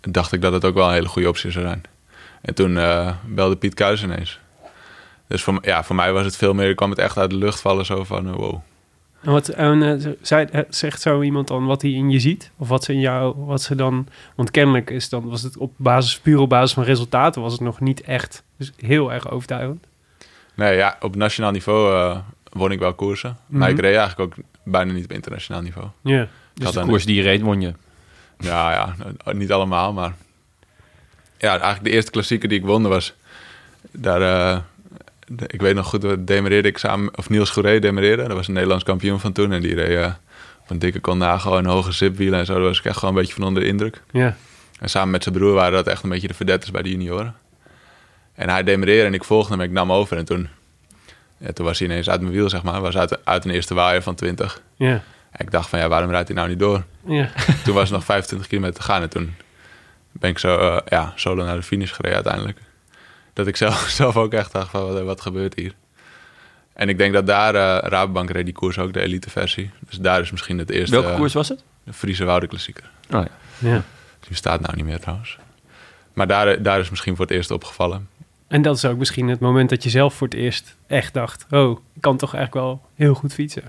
Speaker 3: En dacht ik dat het ook wel een hele goede optie zou zijn. En toen eh, belde Piet Kuijs ineens. Dus voor, m- ja, voor mij was het veel meer, ik kwam het echt uit de lucht vallen zo van eh, wow.
Speaker 2: En, wat, en eh, zei- eh, zegt zo iemand dan wat hij in je ziet? Of wat ze in jou, wat ze dan... Want kennelijk is dan, was het op basis, puur op basis van resultaten... was het nog niet echt dus heel erg overtuigend.
Speaker 3: Nee, ja, op nationaal niveau eh, won ik wel koersen. Maar
Speaker 2: Mhm.
Speaker 3: ik reed eigenlijk ook bijna niet op internationaal niveau.
Speaker 2: Ja.
Speaker 3: Ik had
Speaker 1: Dus de
Speaker 3: dan-
Speaker 1: koers die je reed, won je.
Speaker 3: Ja, ja, eh, niet allemaal, maar... Ja, eigenlijk de eerste klassieker die ik won was... Daar, eh, de- ik weet nog goed, we demereerde ik samen... Of Niels Goeree demereerde. Dat was een Nederlands kampioen van toen. En die reed eh, op een dikke Colnago en hoge zipwielen en zo. Daar was ik echt gewoon een beetje van onder de indruk.
Speaker 2: Ja.
Speaker 3: En samen met zijn broer waren dat echt een beetje de verdetters bij de junioren. En hij demereerde en ik volgde hem en ik nam over. En toen, ja, toen was hij ineens uit mijn wiel, zeg maar. Was uit, uit een eerste waaier van 20.
Speaker 2: Ja.
Speaker 3: En ik dacht van, ja, waarom rijdt hij nou niet door?
Speaker 2: Ja.
Speaker 3: Toen was het nog 25 kilometer te gaan en toen ben ik zo, eh, ja, solo naar de finish gereden uiteindelijk. dat ik zelf, zelf ook echt dacht van wat, wat gebeurt hier. En ik denk dat daar eh Rabobank reed die koers ook de elite versie. Dus daar is misschien het eerste
Speaker 1: Welke
Speaker 3: eh,
Speaker 1: koers was het?
Speaker 3: de Friese Wouden klassieker.
Speaker 1: Oh, ja.
Speaker 2: Ja.
Speaker 3: Die staat nou niet meer trouwens. Maar daar, daar is misschien voor het eerst opgevallen.
Speaker 2: En dat is ook misschien het moment dat je zelf voor het eerst echt dacht... oh, ik kan toch eigenlijk wel heel goed fietsen.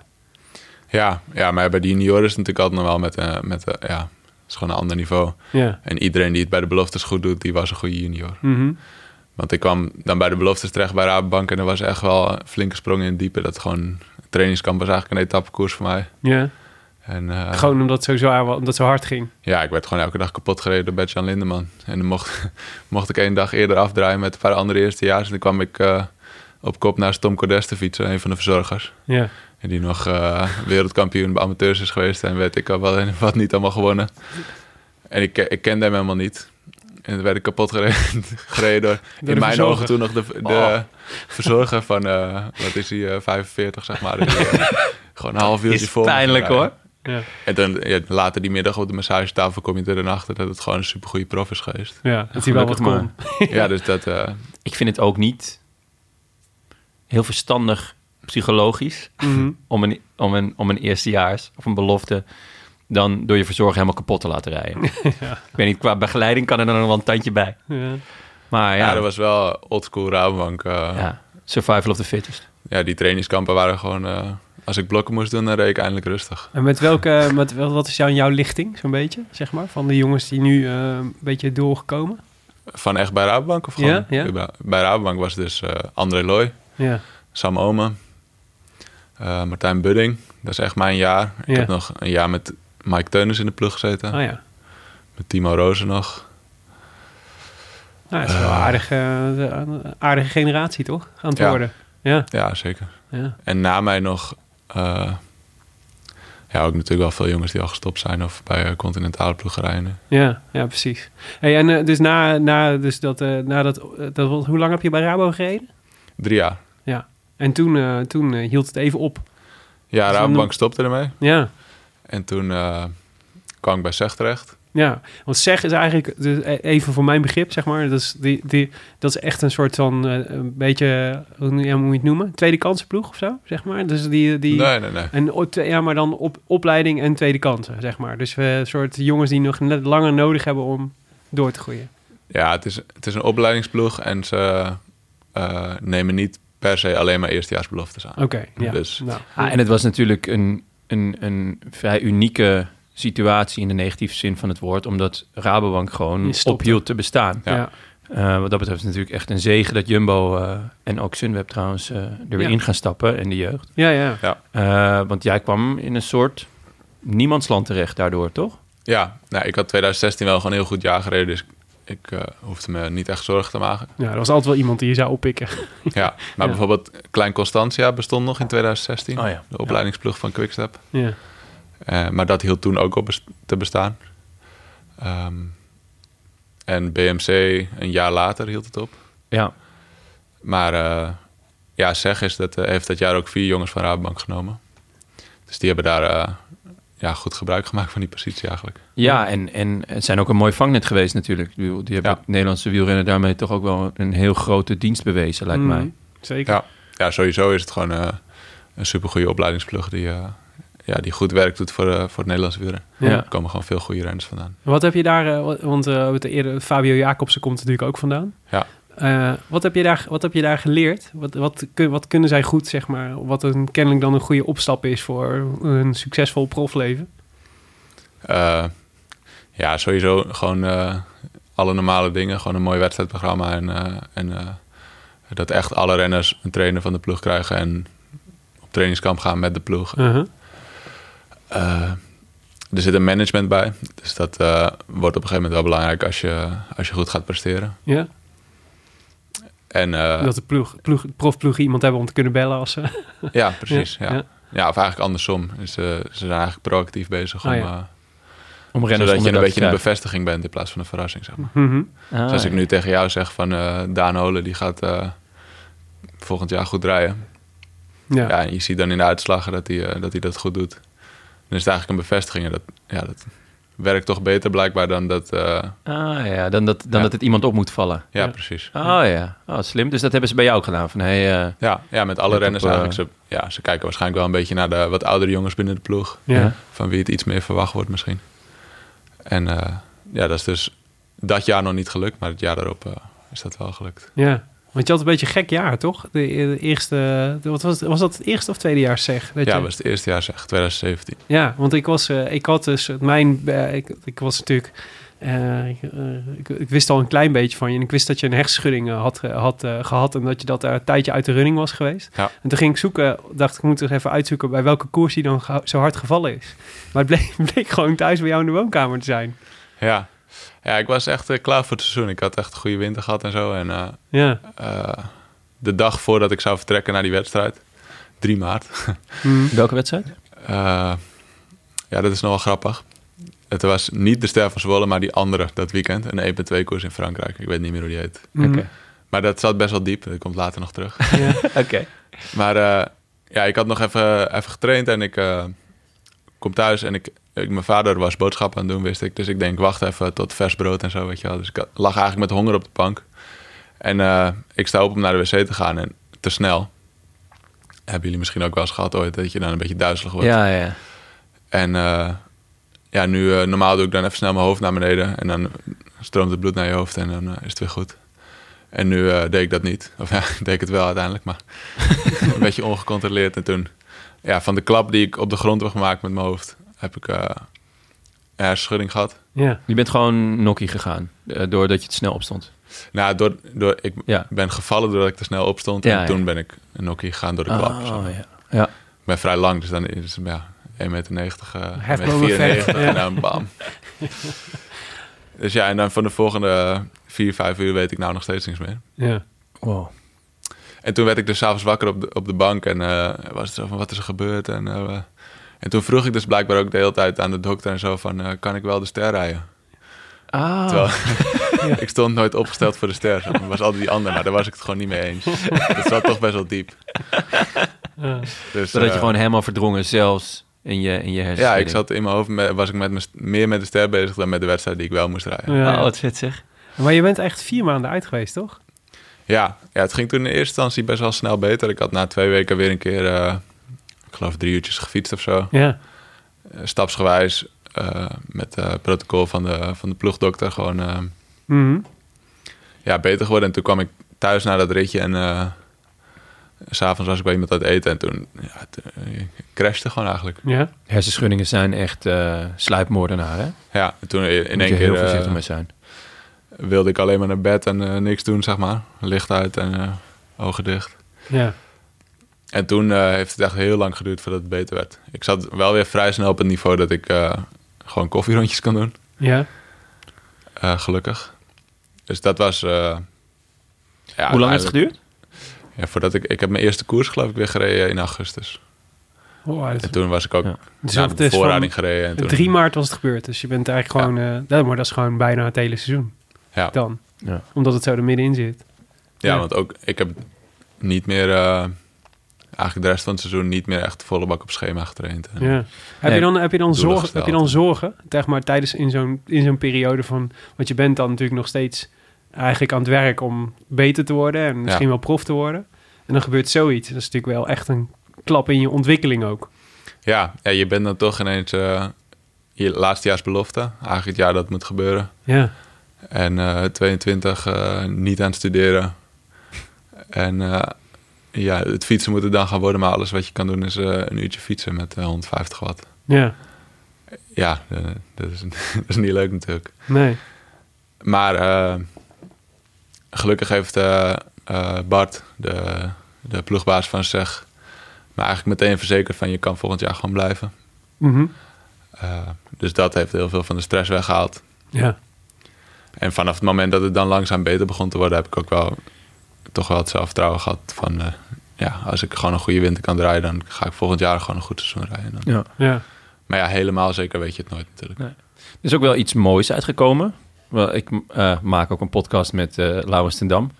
Speaker 3: Ja, ja maar bij de junioren is het natuurlijk altijd nog wel met... eh, met eh, ja, het is gewoon een ander niveau.
Speaker 2: Ja.
Speaker 3: En iedereen die het bij de beloftes goed doet, die was een goede junior.
Speaker 2: Mhm.
Speaker 3: Want ik kwam dan bij de beloftes terecht bij Rabobank... en er was echt wel een flinke sprong in het diepe. Dat gewoon... het trainingskamp was eigenlijk een etappekoers voor mij.
Speaker 2: ja.
Speaker 3: En, eh,
Speaker 2: Gewoon omdat het zo zwaar was, omdat het zo hard ging.
Speaker 3: Ja, ik werd gewoon elke dag kapot gereden door Bertjan Lindeman. En dan mocht, mocht ik één dag eerder afdraaien met een paar andere eerstejaars. En dan kwam ik eh, op kop naast Tom Cordes te fietsen, een van de verzorgers.
Speaker 2: Ja.
Speaker 3: En die nog eh, wereldkampioen bij amateurs is geweest en weet ik al wat, wat niet allemaal gewonnen. En ik, ik kende hem helemaal niet. En dan werd ik kapot gereden, gereden door,
Speaker 2: de
Speaker 3: in mijn
Speaker 2: verzorger.
Speaker 3: ogen toen nog de, de
Speaker 1: Oh.
Speaker 3: verzorger van, eh, wat is hij, eh, 45 zeg maar. Dus, eh, gewoon een half uurtje
Speaker 1: Is
Speaker 3: voor me
Speaker 1: pijnlijk
Speaker 3: gereden.
Speaker 1: hoor.
Speaker 2: Ja.
Speaker 3: En dan ja, later die middag op de massagetafel kom je er dan achter dat het gewoon een supergoeie prof is geweest.
Speaker 2: Ja, dat hij wel wat
Speaker 1: Gelukkig
Speaker 2: kon.
Speaker 1: maar.
Speaker 3: ja, dus dat... eh,
Speaker 1: Ik vind het ook niet heel verstandig psychologisch
Speaker 2: Mhm.
Speaker 1: om een, om, een, om een eerstejaars of een belofte dan door je verzorger helemaal kapot te laten rijden. Ik weet niet, qua begeleiding kan er dan nog wel een tandje bij.
Speaker 2: Ja.
Speaker 1: Maar
Speaker 3: ja.
Speaker 1: ja,
Speaker 3: dat was wel oldschool Rabobank. eh, ja.
Speaker 1: ja, survival of the fittest.
Speaker 3: die trainingskampen waren gewoon... eh, als ik blokken moest doen, dan reed ik eindelijk rustig.
Speaker 2: En met welke, met, wel- wat is jou, jouw lichting, zo'n beetje, zeg maar, van de jongens die nu eh, een beetje doorgekomen?
Speaker 3: Van echt bij Rabobank of gewoon?
Speaker 2: Ja, ja.
Speaker 3: überhaupt? Bij Rabobank was dus eh, André Looy,
Speaker 2: Ja,
Speaker 3: Sam Omen, eh, Martijn Budding. Dat is echt mijn jaar. Ik
Speaker 2: Ja.
Speaker 3: heb nog een jaar met Mike Teunis in de ploeg gezeten.
Speaker 2: ah ja.
Speaker 3: Met Timo Rozen nog.
Speaker 2: Nou, het is wel een aardige, eh, een aardige generatie, toch? Aan het
Speaker 3: Ja.
Speaker 2: worden. Ja,
Speaker 3: Ja, zeker.
Speaker 2: ja.
Speaker 3: En na mij nog... eh, ja, ook natuurlijk wel veel jongens die al gestopt zijn... of bij eh, continentale ploegerijen.
Speaker 2: Ja, ja, precies. Hey, en eh, dus na, na dus dat, eh, na dat, eh, dat, hoe lang heb je bij Rabo gereden?
Speaker 3: Drie jaar.
Speaker 2: Ja. En toen, eh, toen eh, hield het even op.
Speaker 3: Ja,
Speaker 2: Dus dan-
Speaker 3: Rabobank stopte ermee.
Speaker 2: Ja,
Speaker 3: En toen eh, kwam ik bij SEG terecht.
Speaker 2: ja. Want zeg is eigenlijk, dus e- even voor mijn begrip, zeg maar, dat is, die, die, dat is echt een soort van, eh, een beetje, hoe noem- ja, hoe moet je het noemen? Tweede kansenploeg of zo, zeg maar. Dus die, die,
Speaker 3: Nee, nee, nee.
Speaker 2: En, op- ja, maar dan op, opleiding en tweede kansen, zeg maar. Dus eh, een soort jongens die nog net langer nodig hebben om door te groeien.
Speaker 3: Ja, het is, het is een opleidingsploeg en ze eh, nemen niet per se alleen maar eerstejaarsbeloftes aan.
Speaker 2: Oké, ja.
Speaker 3: Dus-
Speaker 2: Nou,
Speaker 1: Ah, en het was natuurlijk een, een, een vrij unieke situatie in de negatieve zin van het woord, omdat Rabobank gewoon
Speaker 2: Die stopte.
Speaker 1: ophield te bestaan.
Speaker 2: ja.
Speaker 3: ja.
Speaker 1: Eh, wat dat betreft is het natuurlijk echt een zegen dat Jumbo eh, en ook Sunweb trouwens eh, er weer
Speaker 2: Ja.
Speaker 1: in gaan stappen in de jeugd.
Speaker 2: Ja, ja.
Speaker 1: Eh, want jij kwam in een soort niemandsland terecht daardoor, toch?
Speaker 3: Ja, nou, ik had 2016 wel gewoon een heel goed jaar gereden, dus ik eh, hoefde me niet echt zorgen te maken.
Speaker 2: Ja, er was altijd wel iemand die je zou oppikken.
Speaker 3: Ja,
Speaker 2: Ja.
Speaker 3: maar bijvoorbeeld Klein Constantia bestond nog in 2016,
Speaker 1: Oh ja.
Speaker 3: de opleidingsploeg van Quickstep.
Speaker 2: Ja.
Speaker 3: Eh, maar dat hield toen ook op bes- te bestaan. Ehm, en BMC een jaar later hield het op.
Speaker 1: Ja.
Speaker 3: Maar eh, ja, zeg is dat eh, heeft dat jaar ook vier jongens van Rabobank genomen. Dus die hebben daar eh, ja, goed gebruik gemaakt van die positie eigenlijk.
Speaker 1: Ja, en, en het zijn ook een mooi vangnet geweest natuurlijk. Ik bedoel, Die hebben
Speaker 3: Ja.
Speaker 1: het Nederlandse wielrennen daarmee toch ook wel een heel grote dienst bewezen, lijkt
Speaker 2: Mm,
Speaker 1: mij.
Speaker 2: Zeker.
Speaker 3: Ja, ja sowieso is het gewoon eh, een supergoeie opleidingsplug die, eh, ja, die goed werk doet voor, eh, voor het Nederlandse wielrennen.
Speaker 2: Ja.
Speaker 3: Er komen gewoon veel goede renners vandaan.
Speaker 2: Wat heb je daar, eh, wa- want eh, we hebben het eerder, Fabio Jacobsen komt natuurlijk ook vandaan.
Speaker 3: Ja.
Speaker 2: Eh, wat, heb je daar, wat heb je daar geleerd? Wat, wat, kun- wat kunnen zij goed, zeg maar? Wat een, kennelijk dan een goede opstap is voor een succesvol profleven.
Speaker 3: Eh, ja, sowieso gewoon eh, alle normale dingen. Gewoon een mooi wedstrijdprogramma. En, eh, en eh, dat echt alle renners een trainer van de ploeg krijgen. En op trainingskamp gaan met de ploeg.
Speaker 2: Uh-huh.
Speaker 3: Eh, er zit een management bij. Dus dat eh, wordt op een gegeven moment wel belangrijk als je, als je goed gaat presteren.
Speaker 2: Ja,
Speaker 3: En eh,
Speaker 2: dat de ploeg, ploeg, profploeg iemand hebben om te kunnen bellen als ze...
Speaker 3: ja, precies. Ja,
Speaker 2: Ja,
Speaker 3: ja.
Speaker 2: ja.
Speaker 3: of eigenlijk andersom. Dus, eh, ze zijn eigenlijk proactief bezig om,
Speaker 2: Ah, ja.
Speaker 3: eh,
Speaker 1: Om renners
Speaker 3: zodat je
Speaker 1: onder
Speaker 3: een
Speaker 1: dak
Speaker 3: beetje
Speaker 1: te
Speaker 3: een
Speaker 1: krijgen.
Speaker 3: bevestiging bent in plaats van een verrassing. Zeg maar.
Speaker 2: Mhm.
Speaker 1: Ah,
Speaker 3: Dus als ik nu tegen jou zeg van eh, Daan Holen, die gaat eh, volgend jaar goed rijden. Ja.
Speaker 2: ja.
Speaker 3: en je ziet dan in de uitslagen dat hij, eh, dat hij dat goed doet. Dan is het eigenlijk een bevestiging. En dat, ja, dat werkt toch beter blijkbaar dan dat... eh,
Speaker 1: Ah ja, dan dat, dan
Speaker 3: Ja.
Speaker 1: dat het iemand op moet vallen.
Speaker 3: ja,
Speaker 2: Ja.
Speaker 3: precies.
Speaker 1: Oh ja, oh, slim. Dus dat hebben ze bij jou ook gedaan. Van, hey, eh,
Speaker 3: Ja, ja, met alle
Speaker 1: Let
Speaker 3: renners
Speaker 1: op, eh,
Speaker 3: eigenlijk. Ze, ja, ze kijken waarschijnlijk wel een beetje naar de wat oudere jongens binnen de ploeg.
Speaker 2: Ja.
Speaker 1: Ja.
Speaker 3: Van wie het iets meer verwacht wordt misschien. En eh, ja, dat is dus dat jaar nog niet gelukt. Maar het jaar daarop eh, is dat wel gelukt.
Speaker 2: Ja, want je had een beetje een gek jaar, toch? De, de eerste, de- wat was, het- was dat het eerste of tweede jaar zeg? Dat
Speaker 3: ja,
Speaker 2: je-
Speaker 3: was het eerste jaar zeg, 2017.
Speaker 2: ja, want ik was, eh, ik had dus, mijn, eh, ik, ik was natuurlijk, eh, ik, eh, ik, ik wist al een klein beetje van je en ik wist dat je een hersenschudding eh, had, eh, had eh, gehad en dat je dat eh, een tijdje uit de running was geweest.
Speaker 3: Ja.
Speaker 2: En toen ging ik zoeken, dacht ik moet toch even uitzoeken bij welke koers die dan ge- zo hard gevallen is. Maar het bleek, bleek gewoon thuis bij jou in de woonkamer te zijn.
Speaker 3: Ja. ja, ik was echt eh, klaar voor het seizoen. Ik had echt een goede winter gehad en zo. En eh,
Speaker 2: Ja.
Speaker 3: eh, de dag voordat ik zou vertrekken naar die wedstrijd, 3 maart,
Speaker 2: Hm.
Speaker 1: welke wedstrijd?
Speaker 3: Eh, ja, dat is nogal grappig. Het was niet de Ster van Zwolle, maar die andere dat weekend. Een 1.2 koers in Frankrijk. Ik weet niet meer hoe die heet.
Speaker 2: Hm.
Speaker 1: Oké.
Speaker 3: Maar dat zat best wel diep. Dat komt later nog terug.
Speaker 2: Ja.
Speaker 1: Oké.
Speaker 3: maar eh, ja, ik had nog even, even getraind en ik eh, kom thuis en ik, ik, mijn vader was boodschappen aan het doen, wist ik. Dus ik denk, wacht even tot vers brood en zo, weet je wel. Dus ik had- lag eigenlijk met honger op de bank. En eh, ik sta op om naar de wc te gaan en te snel. Hebben jullie misschien ook wel eens gehad ooit dat je dan een beetje duizelig wordt?
Speaker 1: Ja, ja.
Speaker 3: En eh, ja, nu eh, normaal doe ik dan even snel mijn hoofd naar beneden. En dan stroomt het bloed naar je hoofd en dan eh, is het weer goed. En nu eh, deed ik dat niet. Of ja, deed ik het wel uiteindelijk, maar een beetje ongecontroleerd. En toen, ja, van de klap die ik op de grond heb gemaakt met mijn hoofd, heb ik eh een hersenschudding gehad.
Speaker 2: Mm-hmm. Ja.
Speaker 1: Je bent gewoon nokkie gegaan, eh, doordat je het snel opstond.
Speaker 3: Nou, door, door, ik
Speaker 1: Ja.
Speaker 3: ben gevallen doordat ik te snel opstond.
Speaker 1: Ja,
Speaker 3: en toen ben ik een nokkie gegaan door de klap.
Speaker 1: Ah,
Speaker 3: zeg maar.
Speaker 1: ja. ja.
Speaker 3: Ik ben vrij lang, dus dan is het ja, 1,90 meter, 90, eh, 1,94
Speaker 2: Hefbomen
Speaker 3: meter
Speaker 2: verder, ja.
Speaker 3: en dan bam. dus ja, en dan van de volgende 4, 5 uur weet ik nou nog steeds niks meer.
Speaker 2: Ja.
Speaker 1: Wow.
Speaker 3: En toen werd ik dus s'avonds wakker op de, op de bank en eh, was het zo van wat is er gebeurd? En, eh, en toen vroeg ik dus blijkbaar ook de hele tijd aan de dokter en zo van eh, kan ik wel de ster rijden?
Speaker 2: Oh.
Speaker 1: Ah,
Speaker 3: Terwijl ik stond nooit opgesteld voor de ster. zeg maar. Het was altijd die ander, maar daar was ik het gewoon niet mee eens. Het zat toch best wel diep.
Speaker 2: Ja.
Speaker 3: Dus,
Speaker 1: zodat je
Speaker 3: eh,
Speaker 1: gewoon helemaal verdrongen, zelfs in je, in je
Speaker 3: Ja,
Speaker 1: hersenen.
Speaker 3: ik zat in mijn hoofd, met- was ik met mijn st- meer met de ster bezig dan met de wedstrijd die ik wel moest rijden.
Speaker 2: Ja.
Speaker 1: Oh, wat zit zeg.
Speaker 2: Maar je bent echt vier maanden uit geweest, toch?
Speaker 3: Ja, ja, het ging toen in eerste instantie best wel snel beter. Ik had na twee weken weer een keer, eh, ik geloof drie uurtjes gefietst of zo.
Speaker 2: Ja.
Speaker 3: Eh, Stapsgewijs, eh, met eh, het protocol van de, van de ploegdokter gewoon eh,
Speaker 2: Mhm.
Speaker 3: ja, beter geworden. En toen kwam ik thuis na dat ritje en eh, s s'avonds was ik bij iemand aan het eten. En toen, ja, toen, eh, ik crashte gewoon eigenlijk.
Speaker 2: Ja.
Speaker 1: Hersenschuddingen zijn echt eh sluipmoordenaar, hè?
Speaker 3: Ja, en toen in
Speaker 1: Moet
Speaker 3: één
Speaker 1: je
Speaker 3: keer
Speaker 1: heel voorzichtig
Speaker 3: eh,
Speaker 1: mee zijn.
Speaker 3: wilde ik alleen maar naar bed en eh, niks doen, zeg maar. Licht uit en eh, ogen dicht.
Speaker 2: Ja.
Speaker 3: En toen eh, heeft het echt heel lang geduurd voordat het beter werd. Ik zat wel weer vrij snel op het niveau dat ik eh, gewoon koffierondjes kan doen.
Speaker 2: Ja.
Speaker 3: Eh, gelukkig. Dus dat was. eh, ja,
Speaker 1: Hoe lang heeft het
Speaker 3: eigenlijk-
Speaker 1: geduurd?
Speaker 3: Ja, voordat ik, ik heb mijn eerste koers geloof ik weer gereden in augustus.
Speaker 2: Oh,
Speaker 3: En
Speaker 2: het,
Speaker 3: toen was ik ook
Speaker 1: Ja.
Speaker 2: dus
Speaker 3: naar
Speaker 2: het
Speaker 3: de
Speaker 2: is van
Speaker 3: voorrading gereden. En toen,
Speaker 2: 3 maart was het gebeurd. Dus je bent eigenlijk gewoon... eh, dat, maar dat is gewoon bijna het hele seizoen
Speaker 3: Ja, ja,
Speaker 2: dan.
Speaker 1: Ja.
Speaker 2: Omdat het zo er middenin zit. ja.
Speaker 3: want ook ik heb niet meer. eh, eigenlijk de rest van het seizoen niet meer echt volle bak op schema getraind. En-
Speaker 2: Ja. Heb,
Speaker 1: Nee,
Speaker 2: je dan, heb, je dan
Speaker 3: doelen
Speaker 2: zorgen,
Speaker 3: gesteld.
Speaker 2: heb je dan zorgen, zeg maar, tijdens in zo'n, in zo'n periode van... Want je bent dan natuurlijk nog steeds eigenlijk aan het werk om beter te worden. En misschien wel prof te worden. En dan gebeurt zoiets. Dat is natuurlijk wel echt een klap in je ontwikkeling ook.
Speaker 3: Ja, ja, je bent dan toch ineens eh, je laatstejaarsbelofte. Eigenlijk het jaar dat het moet gebeuren.
Speaker 2: Ja.
Speaker 3: En eh, 22 eh, niet aan het studeren. En eh, ja, het fietsen moet het dan gaan worden. Maar alles wat je kan doen is eh, een uurtje fietsen met eh, 150 watt.
Speaker 2: Ja.
Speaker 3: Ja, eh, dat, is, dat is niet leuk natuurlijk.
Speaker 2: Nee.
Speaker 3: Maar eh, gelukkig heeft eh, eh, Bart, de, de ploegbaas van SEG... me eigenlijk meteen verzekerd van je kan volgend jaar gewoon blijven.
Speaker 2: Mhm.
Speaker 3: Eh, dus dat heeft heel veel van de stress weggehaald.
Speaker 2: Ja.
Speaker 3: En vanaf het moment dat het dan langzaam beter begon te worden, heb ik ook wel toch wel het zelfvertrouwen gehad van eh, ja, als ik gewoon een goede winter kan draaien, dan ga ik volgend jaar gewoon een goed seizoen rijden. Dan-
Speaker 1: Ja.
Speaker 2: Ja.
Speaker 3: Maar ja, helemaal zeker weet je het nooit natuurlijk.
Speaker 1: Er is ook wel iets moois uitgekomen. Wel, ik eh, maak ook een podcast met eh Laurens ten Dam.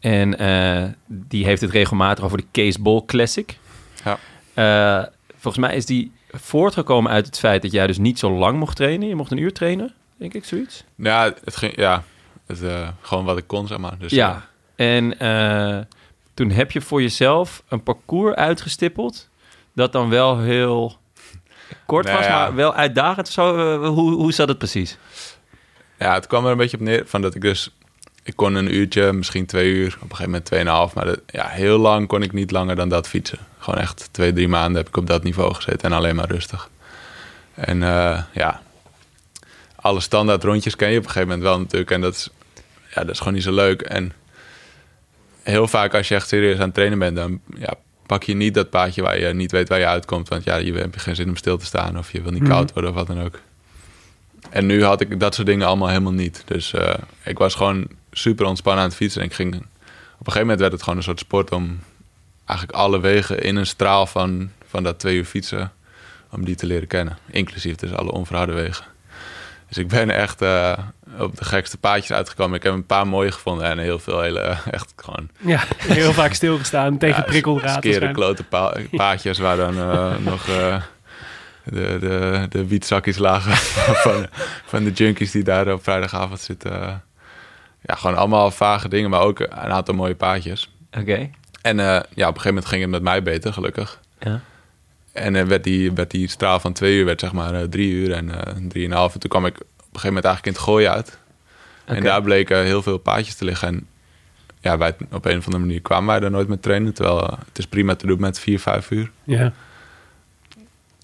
Speaker 1: En eh, die heeft het regelmatig over de Caseball Classic.
Speaker 3: Ja.
Speaker 1: Eh, Volgens mij is die voortgekomen uit het feit dat jij dus niet zo lang mocht trainen. Je mocht een uur trainen, denk ik, zoiets.
Speaker 3: Nou Ja, het ging, ja het, eh, gewoon wat ik kon, zeg maar. Dus, eh,
Speaker 1: Ja. En eh, toen heb je voor jezelf een parcours uitgestippeld dat dan wel heel kort
Speaker 3: Nou
Speaker 1: was,
Speaker 3: ja.
Speaker 1: maar wel uitdagend. Zo, eh, hoe, hoe zat het precies?
Speaker 3: Ja, het kwam er een beetje op neer van dat ik dus... Ik kon een uurtje, misschien twee uur, op een gegeven moment tweeënhalf. Maar dat- ja, heel lang kon ik niet langer dan dat fietsen. Gewoon echt twee, drie maanden heb ik op dat niveau gezeten en alleen maar rustig. En eh, ja, alle standaard rondjes ken je op een gegeven moment wel natuurlijk. En dat is, ja, dat is gewoon niet zo leuk. En heel vaak als je echt serieus aan het trainen bent, dan ja, pak je niet dat paadje waar je niet weet waar je uitkomt. Want ja, je hebt geen zin om stil te staan of je wil niet koud worden of wat dan ook. En nu had ik dat soort dingen allemaal helemaal niet. Dus eh, ik was gewoon super ontspannen aan het fietsen. En ik ging, op een gegeven moment werd het gewoon een soort sport om eigenlijk alle wegen in een straal van, van dat twee uur fietsen, om die te leren kennen. Inclusief dus alle onverharde wegen. Dus ik ben echt eh, op de gekste paadjes uitgekomen. Ik heb een paar mooie gevonden en heel veel hele, eh, echt gewoon
Speaker 2: Ja, heel vaak stilgestaan tegen
Speaker 3: ja,
Speaker 2: prikkeldraad.
Speaker 3: Skere
Speaker 2: waarschijnlijk.
Speaker 3: klote pa- paadjes waar dan eh, nog eh, de, de, de wietzakjes lagen van, van de junkies die daar op vrijdagavond zitten. Ja, gewoon allemaal vage dingen, maar ook een aantal mooie paadjes.
Speaker 1: Oké.
Speaker 3: En eh, ja, op een gegeven moment ging het met mij beter, gelukkig.
Speaker 1: Ja.
Speaker 3: En eh, werd, die, werd die straal van twee uur, werd zeg maar eh, drie uur en eh drieënhalf. En toen kwam ik op een gegeven moment eigenlijk in het gooi uit. En
Speaker 1: Oké.
Speaker 3: daar bleken heel veel paadjes te liggen. En ja, wij, op een of andere manier kwamen wij daar nooit met trainen. Terwijl eh, het is prima te doen met vier, vijf uur.
Speaker 2: Ja.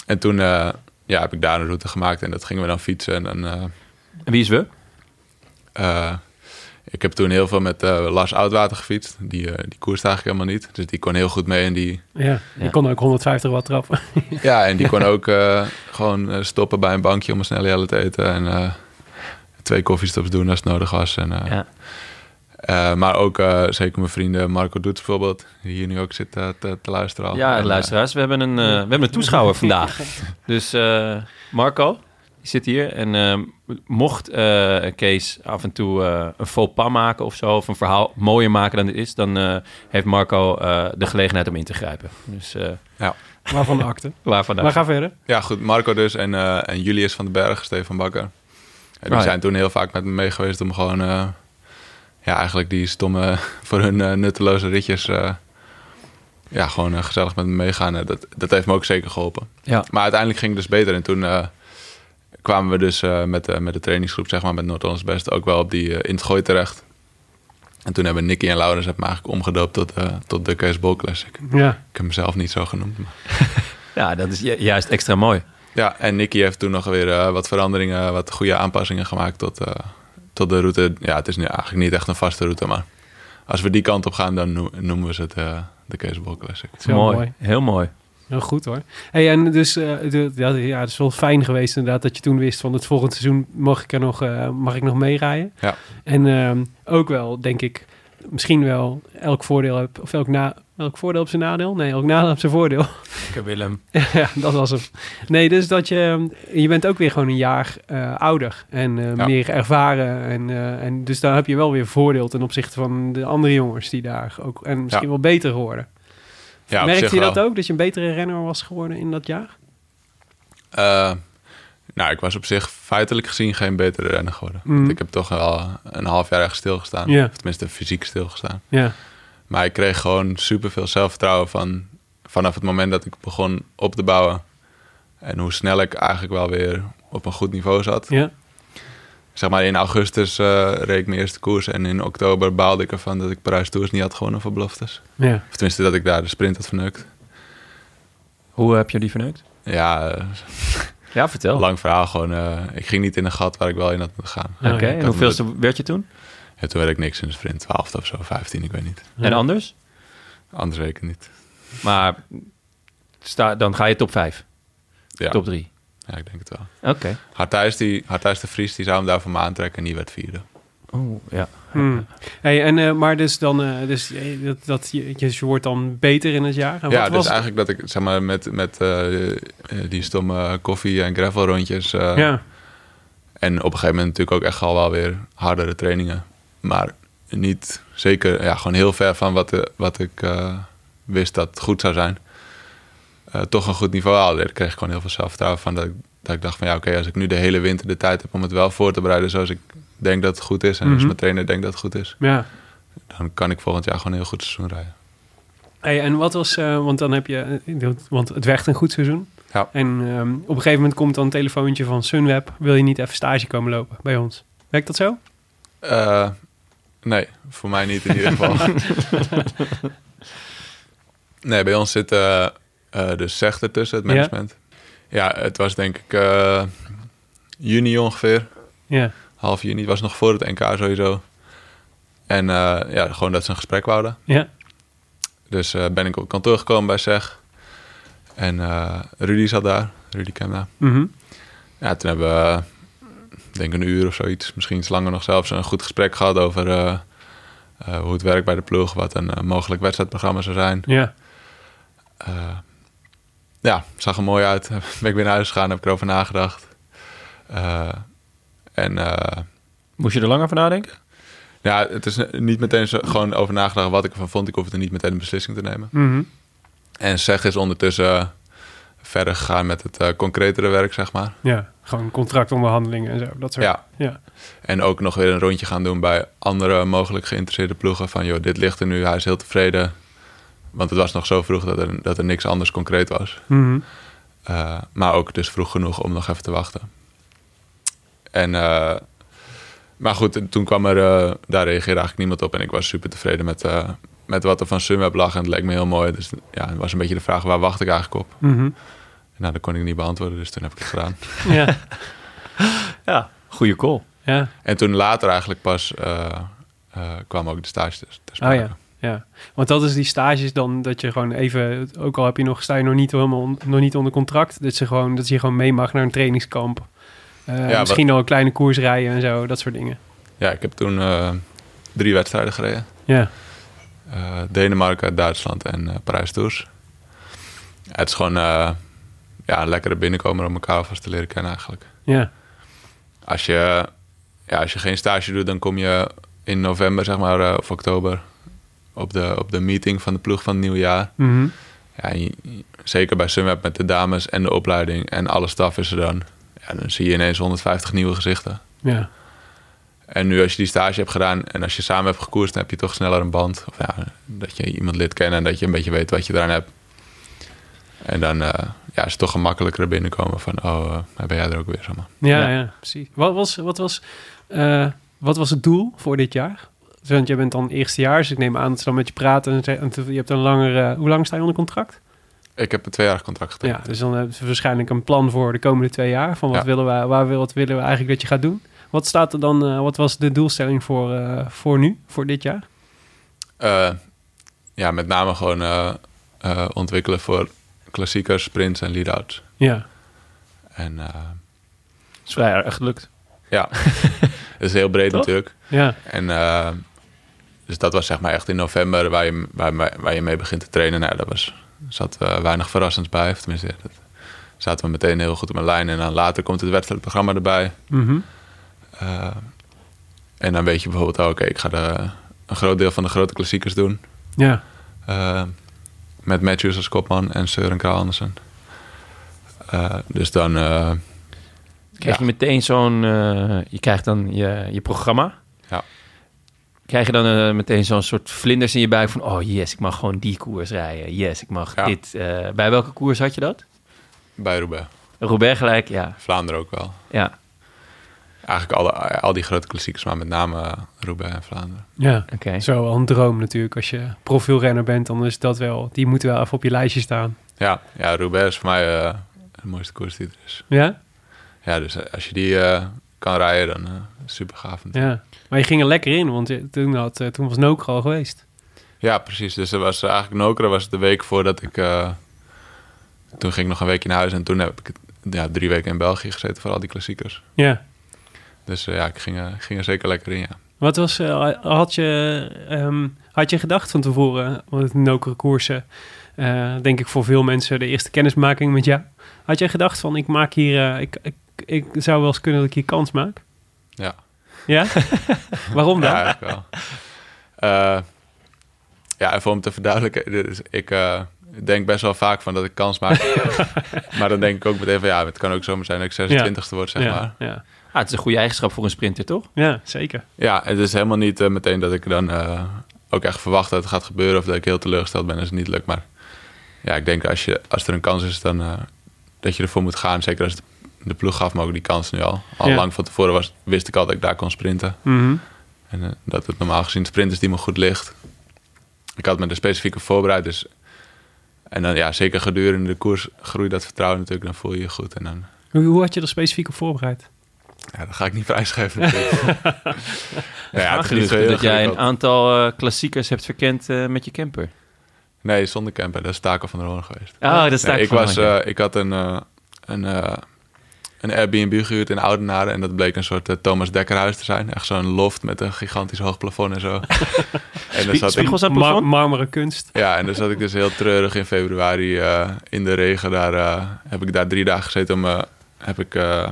Speaker 3: En toen eh, ja, heb ik daar een route gemaakt en dat gingen we dan fietsen. En, dan, eh,
Speaker 1: En wie is we?
Speaker 3: eh, ik heb toen heel veel met eh, Lars Oudwater gefietst. Die, eh, die koerst eigenlijk helemaal niet. Dus die kon heel goed mee en die,
Speaker 2: Ja,
Speaker 1: Ja.
Speaker 2: je kon ook 150 watt trappen.
Speaker 3: Ja, en die kon ook eh, gewoon eh, stoppen bij een bankje om een snelle jelle te eten. En eh, twee koffiestops doen als het nodig was. En, eh,
Speaker 1: Ja.
Speaker 3: eh, maar ook eh, zeker mijn vrienden Marco Doets bijvoorbeeld, die hier nu ook zit eh, te, te luisteren. Al.
Speaker 1: Ja,
Speaker 3: En,
Speaker 1: luisteraars, we hebben een, eh, we hebben een toeschouwer vandaag. Dus eh, Marco, die zit hier. En eh, mocht eh, Kees af en toe eh, een faux pas maken of zo... of een verhaal mooier maken dan dit is... dan eh, heeft Marco eh, de gelegenheid om in te grijpen. Dus eh
Speaker 2: Waarvan de akte.
Speaker 1: klaar vandaag.
Speaker 2: Maar ga verder.
Speaker 3: eh, ja, goed, Marco dus en, eh, en Julius van den Berg, Stefan Bakker. En die
Speaker 1: Right.
Speaker 3: zijn toen heel vaak met me mee geweest om gewoon... eh, ja, eigenlijk die stomme, voor hun eh, nutteloze ritjes... eh, ja, gewoon eh, gezellig met me meegaan. Eh, dat, dat heeft me ook zeker geholpen.
Speaker 1: Ja,
Speaker 3: Maar uiteindelijk ging het dus beter. En toen eh, kwamen we dus eh, met, eh, met de trainingsgroep, zeg maar, met Noord-Hollands Best, ook wel op die eh, in het gooi terecht. En toen hebben Nicky en Laurens het me eigenlijk omgedoopt tot, eh, tot de Kees Bol Classic.
Speaker 2: Ja.
Speaker 3: Ik heb hem zelf niet zo genoemd. maar-
Speaker 1: ja dat is ju- juist extra mooi.
Speaker 3: Ja, en Nicky heeft toen nog weer eh, wat veranderingen, wat goede aanpassingen gemaakt tot, eh, tot de route. Ja, het is nu eigenlijk niet echt een vaste route, maar als we die kant op gaan, dan noem- noemen we ze het eh, de Kees Bol Classic.
Speaker 2: is wel
Speaker 1: mooi.
Speaker 2: mooi.
Speaker 1: Heel mooi.
Speaker 2: Heel goed hoor. Hey, en dus eh, de- ja, de- ja, het is wel fijn geweest inderdaad dat je toen wist van het volgende seizoen mag ik er nog, eh, mag ik nog meerijden.
Speaker 3: Ja.
Speaker 2: En ehm, ook wel, denk ik, misschien wel elk voordeel heb, of elk, na, elk voordeel op zijn nadeel. Nee, elk nadeel op zijn voordeel.
Speaker 1: Willem.
Speaker 2: ja, dat was hem. Nee, dus dat je, je bent ook weer gewoon een jaar eh, ouder en eh,
Speaker 3: Ja.
Speaker 2: meer ervaren. En, eh, en dus daar heb je wel weer voordeel ten opzichte van de andere jongens die daar ook, en misschien
Speaker 3: Ja.
Speaker 2: wel beter worden.
Speaker 3: Ja, op zich
Speaker 2: Merkte je
Speaker 3: wel.
Speaker 2: dat ook, dat je een betere renner was geworden in dat jaar?
Speaker 3: Eh, nou, ik was op zich feitelijk gezien geen betere renner geworden.
Speaker 2: Mm.
Speaker 3: Want ik heb toch wel een half jaar echt stilgestaan.
Speaker 2: Ja.
Speaker 3: Of tenminste fysiek stilgestaan.
Speaker 2: Ja,
Speaker 3: Maar ik kreeg gewoon superveel zelfvertrouwen van, vanaf het moment dat ik begon op te bouwen. En hoe snel ik eigenlijk wel weer op een goed niveau zat.
Speaker 2: ja.
Speaker 3: Zeg maar in augustus eh, reed ik mijn eerste koers. En in oktober baalde ik ervan dat ik Parijs Tours niet had gewonnen voor beloftes.
Speaker 2: ja.
Speaker 3: Of tenminste dat ik daar de sprint had verneukt.
Speaker 1: Hoe heb je die verneukt?
Speaker 3: Ja, eh,
Speaker 1: Ja,
Speaker 2: Oh.
Speaker 1: vertel.
Speaker 3: lang verhaal gewoon. eh, ik ging niet in een gat waar ik wel in had moeten gaan.
Speaker 1: Oké,
Speaker 2: Ja,
Speaker 1: en hoeveelste werd je toen?
Speaker 3: Ja, toen werd ik niks in de sprint. 12 of zo, 15, ik weet niet.
Speaker 1: En anders?
Speaker 3: Anders weet ik het niet.
Speaker 1: Maar sta, dan ga je top 5,
Speaker 3: Ja,
Speaker 1: top 3.
Speaker 3: ja ik denk het wel.
Speaker 1: Oké.
Speaker 3: Harthuis, die, Harthuis de Vries die zou hem daarvoor me aantrekken en die werd vierde.
Speaker 1: Oh, ja.
Speaker 2: Hmm. Hey, en, eh, maar dus dan, eh, dus, eh, dat, dat, je, je wordt dan beter in het jaar. En
Speaker 3: ja,
Speaker 2: wat
Speaker 3: dus
Speaker 2: was het?
Speaker 3: eigenlijk dat ik zeg maar, met, met eh, eh, die stomme koffie- en gravelrondjes... eh,
Speaker 2: Ja,
Speaker 3: en op een gegeven moment natuurlijk ook echt al wel weer hardere trainingen. Maar niet zeker, ja, gewoon heel ver van wat, eh, wat ik eh, wist dat goed zou zijn. eh, toch een goed niveau haalde. Daar kreeg ik gewoon heel veel zelfvertrouwen van. Dat ik, dat ik dacht van ja, oké, als ik nu de hele winter de tijd heb om het wel voor te bereiden zoals ik denk dat het goed is. En
Speaker 2: Mhm.
Speaker 3: als mijn trainer denkt dat het goed is,
Speaker 2: Ja.
Speaker 3: dan kan ik volgend jaar gewoon een heel goed seizoen rijden.
Speaker 2: Hey, en wat was, eh, want dan heb je, want het werd een goed seizoen.
Speaker 3: Ja.
Speaker 2: En ehm, op een gegeven moment komt dan een telefoontje van Sunweb, wil je niet even stage komen lopen bij ons? Werkt dat zo?
Speaker 3: Eh, nee, voor mij niet in ieder geval. nee, bij ons zit eh eh, de SEG ertussen, het
Speaker 2: Ja.
Speaker 3: management. Ja, het was denk ik eh, juni ongeveer.
Speaker 2: Ja.
Speaker 3: Half juni, het was nog voor het NK sowieso. En eh, ja, gewoon dat ze een gesprek wouden.
Speaker 2: Ja.
Speaker 3: Dus eh, ben ik op kantoor gekomen bij SEG. En eh, Rudy zat daar, Rudy Kemna.
Speaker 2: Mhm.
Speaker 3: Ja, toen hebben we, eh, denk een uur of zoiets, misschien iets langer nog zelfs, een goed gesprek gehad over eh, eh, hoe het werkt bij de ploeg, wat een eh, mogelijk wedstrijdprogramma zou zijn.
Speaker 2: Ja.
Speaker 3: Eh, ja, zag er mooi uit. ben ik weer naar huis gegaan, heb ik erover nagedacht. Eh, en eh,
Speaker 1: Moest je er langer van nadenken?
Speaker 3: ja, het is niet meteen zo, gewoon over nagedacht wat ik ervan vond. Ik hoefde niet meteen een beslissing te nemen.
Speaker 2: Mhm.
Speaker 3: En zeg is ondertussen eh, verder gegaan met het eh, concretere werk, zeg maar.
Speaker 2: Ja. Gewoon contractonderhandelingen en zo. Dat soort.
Speaker 3: Ja.
Speaker 2: Ja.
Speaker 3: En ook nog weer een rondje gaan doen bij andere mogelijk geïnteresseerde ploegen. Van joh, dit ligt er nu, hij is heel tevreden. Want het was nog zo vroeg dat er, dat er niks anders concreet was.
Speaker 2: Mhm.
Speaker 3: Eh, maar ook dus vroeg genoeg om nog even te wachten. En, eh, maar goed, toen kwam er, eh, daar reageerde eigenlijk niemand op. En ik was super tevreden met, eh, met wat er van Sunweb lag. En het leek me heel mooi. Dus ja, het was een beetje de vraag, waar wacht ik eigenlijk op?
Speaker 2: Mhm.
Speaker 3: Nou, dat kon ik niet beantwoorden, dus toen heb ik het gedaan.
Speaker 2: Ja.
Speaker 1: Ja. Goeie call.
Speaker 2: Ja.
Speaker 3: En toen later eigenlijk pas eh, eh, kwam ook de stage dus. te
Speaker 2: Oh
Speaker 3: sprake.
Speaker 2: ja. Ja. Want dat is die stages dan dat je gewoon even, ook al heb je nog, sta je nog niet helemaal on- nog niet onder contract, dat, ze gewoon, dat je gewoon mee mag naar een trainingskamp. Eh,
Speaker 3: Ja,
Speaker 2: misschien al een kleine koers rijden en zo, dat soort dingen.
Speaker 3: Ja, ik heb toen eh, drie wedstrijden gereden.
Speaker 2: Ja.
Speaker 3: Eh, Denemarken, Duitsland en eh, Parijs-Tours. Ja, het is gewoon eh, ja, een lekkere binnenkomer om elkaar vast te leren kennen eigenlijk.
Speaker 2: Ja.
Speaker 3: Als je, ja, als je geen stage doet, dan kom je in november zeg maar, eh, of oktober... Op de, op de meeting van de ploeg van het nieuwe jaar.
Speaker 2: Mhm.
Speaker 3: Ja, en je- je- zeker bij Sunweb met de dames en de opleiding en alle staf is er dan. Ja, dan zie je ineens 150 nieuwe gezichten.
Speaker 2: Ja.
Speaker 3: En nu als je die stage hebt gedaan en als je samen hebt gekoerst, dan heb je toch sneller een band. Of ja, dat je iemand lid kent en dat je een beetje weet wat je eraan hebt. En dan eh, ja, is het toch gemakkelijker binnenkomen van, oh, eh, daar ben jij er ook weer, zeg maar.
Speaker 2: Ja, ja.
Speaker 1: Ja.
Speaker 2: precies. Wat was, wat, was, eh, wat was het doel voor dit jaar? Want jij bent dan eerstejaars, dus ik neem aan dat ze dan met je praten. En, ze- en te- je hebt een langere... hoe lang sta je onder contract?
Speaker 3: Ik heb een tweejarig contract
Speaker 2: Ja,
Speaker 3: getekend.
Speaker 2: dus dan hebben ze waarschijnlijk een plan voor de komende twee jaar. Van wat,
Speaker 3: Ja.
Speaker 2: willen, we, waar, wil- wat willen we eigenlijk dat je gaat doen? Wat, staat er dan, eh, wat was de doelstelling voor, eh, voor nu, voor dit jaar?
Speaker 3: Eh, ja, met name gewoon eh, eh, ontwikkelen voor klassiekers, sprints en lead-outs.
Speaker 2: Ja,
Speaker 3: En eh,
Speaker 1: Dat is vrij erg gelukt.
Speaker 3: ja, het is heel breed
Speaker 1: Toch?
Speaker 3: natuurlijk.
Speaker 2: ja,
Speaker 3: En eh, dus dat was zeg maar echt in november waar je, waar, waar je mee begint te trainen. Nou, daar was, zat eh, weinig verrassends bij. Of tenminste, dat zaten we meteen heel goed op een lijn. En dan later komt het wedstrijdprogramma erbij.
Speaker 2: Mhm.
Speaker 3: Eh, en dan weet je bijvoorbeeld, oh, oké, ik ga de, een groot deel van de grote klassiekers doen.
Speaker 2: ja,
Speaker 3: Eh, met Matthews als kopman en Søren Kraal Andersen. Eh, dus dan, eh,
Speaker 1: Krijg je meteen zo'n... eh, je krijgt dan je, je programma.
Speaker 3: Ja.
Speaker 1: Krijg je dan eh, meteen zo'n soort vlinders in je buik van... Oh yes, ik mag gewoon die koers rijden. Yes, ik mag
Speaker 3: Ja.
Speaker 1: dit. eh, bij welke koers had je dat?
Speaker 3: bij Roubaix,
Speaker 1: Robert gelijk, ja.
Speaker 3: Vlaanderen ook wel.
Speaker 1: Ja,
Speaker 3: Eigenlijk alle, al die grote klassiekers, maar met name eh, Roubaix en Vlaanderen.
Speaker 2: ja.
Speaker 1: oké.
Speaker 2: Zo wel een droom natuurlijk. Als je profielrenner bent, dan is dat wel... Die moet wel even op je lijstje staan.
Speaker 3: Ja, ja Roubaix is voor mij eh, de mooiste koers die er is.
Speaker 2: Ja?
Speaker 3: Ja, dus eh, als je die eh, kan rijden, dan eh super gaaf. Ja.
Speaker 2: Ja, maar je ging er lekker in, want je- toen, had, eh, toen was Noker al geweest.
Speaker 3: precies. Dus er was eh, eigenlijk Nokere was de week voordat ik... eh, toen ging ik nog een weekje naar huis en toen heb ik ja, drie weken in België gezeten voor al die klassiekers.
Speaker 2: Ja.
Speaker 3: Dus eh, ja, ik ging, eh, ging er zeker lekker in, ja.
Speaker 2: Wat was, eh, had, je, ehm, had je gedacht van tevoren, want het Nokere koersen, eh, denk ik voor veel mensen de eerste kennismaking met jou. Had jij gedacht van, ik maak hier, eh, ik, ik, ik zou wel eens kunnen dat ik hier kans maak?
Speaker 3: Ja.
Speaker 2: Ja? Waarom dan?
Speaker 3: Ja, eigenlijk wel. Eh, ja, even om te verduidelijken. Dus ik, eh, denk best wel vaak van dat ik kans maak. maar dan denk ik ook meteen van ja, het kan ook zomaar zijn dat ik 26e word, zeg
Speaker 2: ja,
Speaker 3: maar.
Speaker 2: ja.
Speaker 1: Ah, het is een goede eigenschap voor een sprinter, toch?
Speaker 2: ja, zeker.
Speaker 3: Ja, het is helemaal niet eh, meteen dat ik dan eh, ook echt verwacht dat het gaat gebeuren of dat ik heel teleurgesteld ben als het niet lukt. Maar ja, ik denk als, je, als er een kans is, dan eh, dat je ervoor moet gaan. Zeker als de, de ploeg gaf me ook die kans nu al. Al
Speaker 2: Ja.
Speaker 3: lang van tevoren was, wist ik al dat ik daar kon sprinten.
Speaker 2: Mhm.
Speaker 3: En eh, dat het normaal gezien sprint is die me goed ligt. Ik had me er specifieke voorbereid. Dus... En dan ja, zeker gedurende de koers groeit dat vertrouwen natuurlijk. Dan voel je je goed. En dan,
Speaker 2: Hoe, hoe had je er specifiek op voorbereid?
Speaker 3: ja, dat ga ik niet prijsgeven natuurlijk. Nou ja, het is niet zo
Speaker 1: Aangeruchten
Speaker 3: heel
Speaker 1: dat jij
Speaker 3: ingewikkeld.
Speaker 1: een aantal eh, klassiekers hebt verkend eh, met je camper.
Speaker 3: Nee, zonder camper. Dat is Taco van der Hoorn geweest.
Speaker 1: Ah, dat sta
Speaker 3: Nee,
Speaker 1: ik
Speaker 3: ik,
Speaker 1: voor.
Speaker 3: was, eh, ik had een, eh, een, eh, een Airbnb gehuurd in Oudenaren. En dat bleek een soort eh, Thomas Dekkerhuis te zijn. Echt zo'n loft met een gigantisch hoog plafond en zo. en daar zat ik,
Speaker 1: Spiegels aan het
Speaker 2: Mar-
Speaker 1: plafond?
Speaker 2: marmeren kunst.
Speaker 3: ja, en daar zat ik dus heel treurig in februari eh, in de regen. Daar eh, heb ik daar drie dagen gezeten om... eh, heb ik, eh,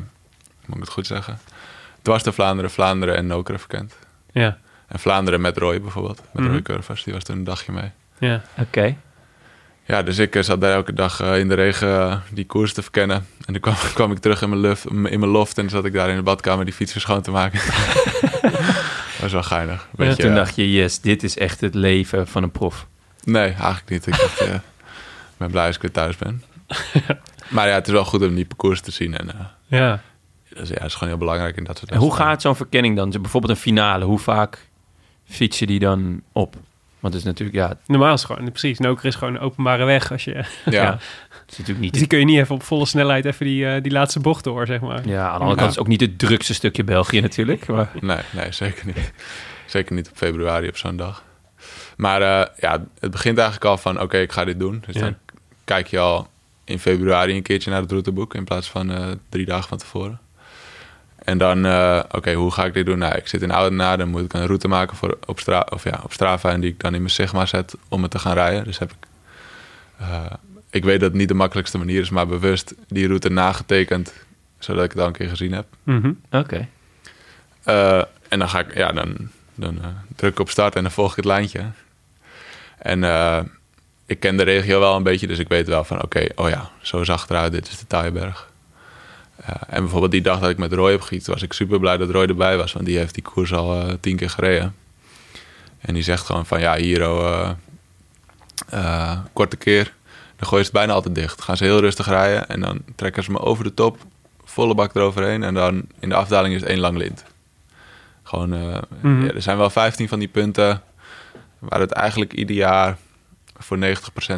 Speaker 3: moet ik het goed zeggen? Dwars de Vlaanderen, Vlaanderen en Nokere verkend.
Speaker 2: Ja,
Speaker 3: En Vlaanderen met Roy bijvoorbeeld. Met
Speaker 2: Mhm.
Speaker 3: Roy Curvers, die was toen een dagje mee.
Speaker 2: ja.
Speaker 3: eh,
Speaker 1: Oké.
Speaker 3: Ja, dus ik eh, zat daar elke dag eh, in de regen eh, die koers te verkennen. En toen kwam, kwam ik terug in mijn, luf, in mijn loft en zat ik daar in de badkamer die fietsen schoon te maken. Dat was wel geinig.
Speaker 1: En
Speaker 3: Beetje,
Speaker 1: toen
Speaker 3: eh,
Speaker 1: dacht je, yes, dit is echt het leven van een prof.
Speaker 3: Nee, eigenlijk niet. Ik dacht, eh, ik ben blij als ik weer thuis ben. maar ja, het is wel goed om die parcours te zien. En, eh,
Speaker 2: ja.
Speaker 3: dat, is, ja, dat is gewoon heel belangrijk in dat soort
Speaker 1: En hoe
Speaker 3: wedstrijden.
Speaker 1: gaat zo'n verkenning dan? Bijvoorbeeld een finale, hoe vaak fiets je die dan op? Want het is natuurlijk, ja, het
Speaker 2: Normaal is het gewoon, precies. Noker is gewoon een openbare weg. Als je,
Speaker 3: Ja.
Speaker 1: ja. is natuurlijk niet...
Speaker 2: dus die kun je niet even op volle snelheid even die, eh, die laatste bocht door, zeg maar.
Speaker 1: Ja, aan de andere kant is het ook niet het drukste stukje België natuurlijk. Maar
Speaker 3: Nee, nee, zeker niet. Zeker niet op februari op zo'n dag. Maar eh, ja, het begint eigenlijk al van... oké, ik ga dit doen. Dus
Speaker 2: Ja.
Speaker 3: dan kijk je al in februari een keertje naar het routeboek... in plaats van eh, drie dagen van tevoren. En dan, eh, oké, hoe ga ik dit doen? Nou, ik zit in Oudenaarde, dan moet ik een route maken voor op, Stra of ja, op Strava... en die ik dan in mijn Sigma zet om het te gaan rijden. Dus heb ik... eh, ik weet dat het niet de makkelijkste manier is... maar bewust die route nagetekend... zodat ik het al een keer gezien heb.
Speaker 2: Mhm.
Speaker 1: oké.
Speaker 3: Eh, en dan ga ik, ja, dan, dan eh, druk ik op start en dan volg ik het lijntje. En eh, ik ken de regio wel een beetje, dus ik weet wel van, oké, oh ja, zo zag het eruit, dit is de Taaienberg. Eh, en bijvoorbeeld die dag dat ik met Roy heb gegiet, was ik super blij dat Roy erbij was, want die heeft die koers al eh, tien keer gereden. En die zegt gewoon van, ja, hier, oh, eh, eh, korte keer, dan gooien ze het bijna altijd dicht. Gaan ze heel rustig rijden en dan trekken ze me over de top, volle bak eroverheen. En dan in de afdaling is het één lang lint. Gewoon, eh,
Speaker 2: Mhm.
Speaker 3: ja, er zijn wel 15 van die punten waar het eigenlijk ieder jaar voor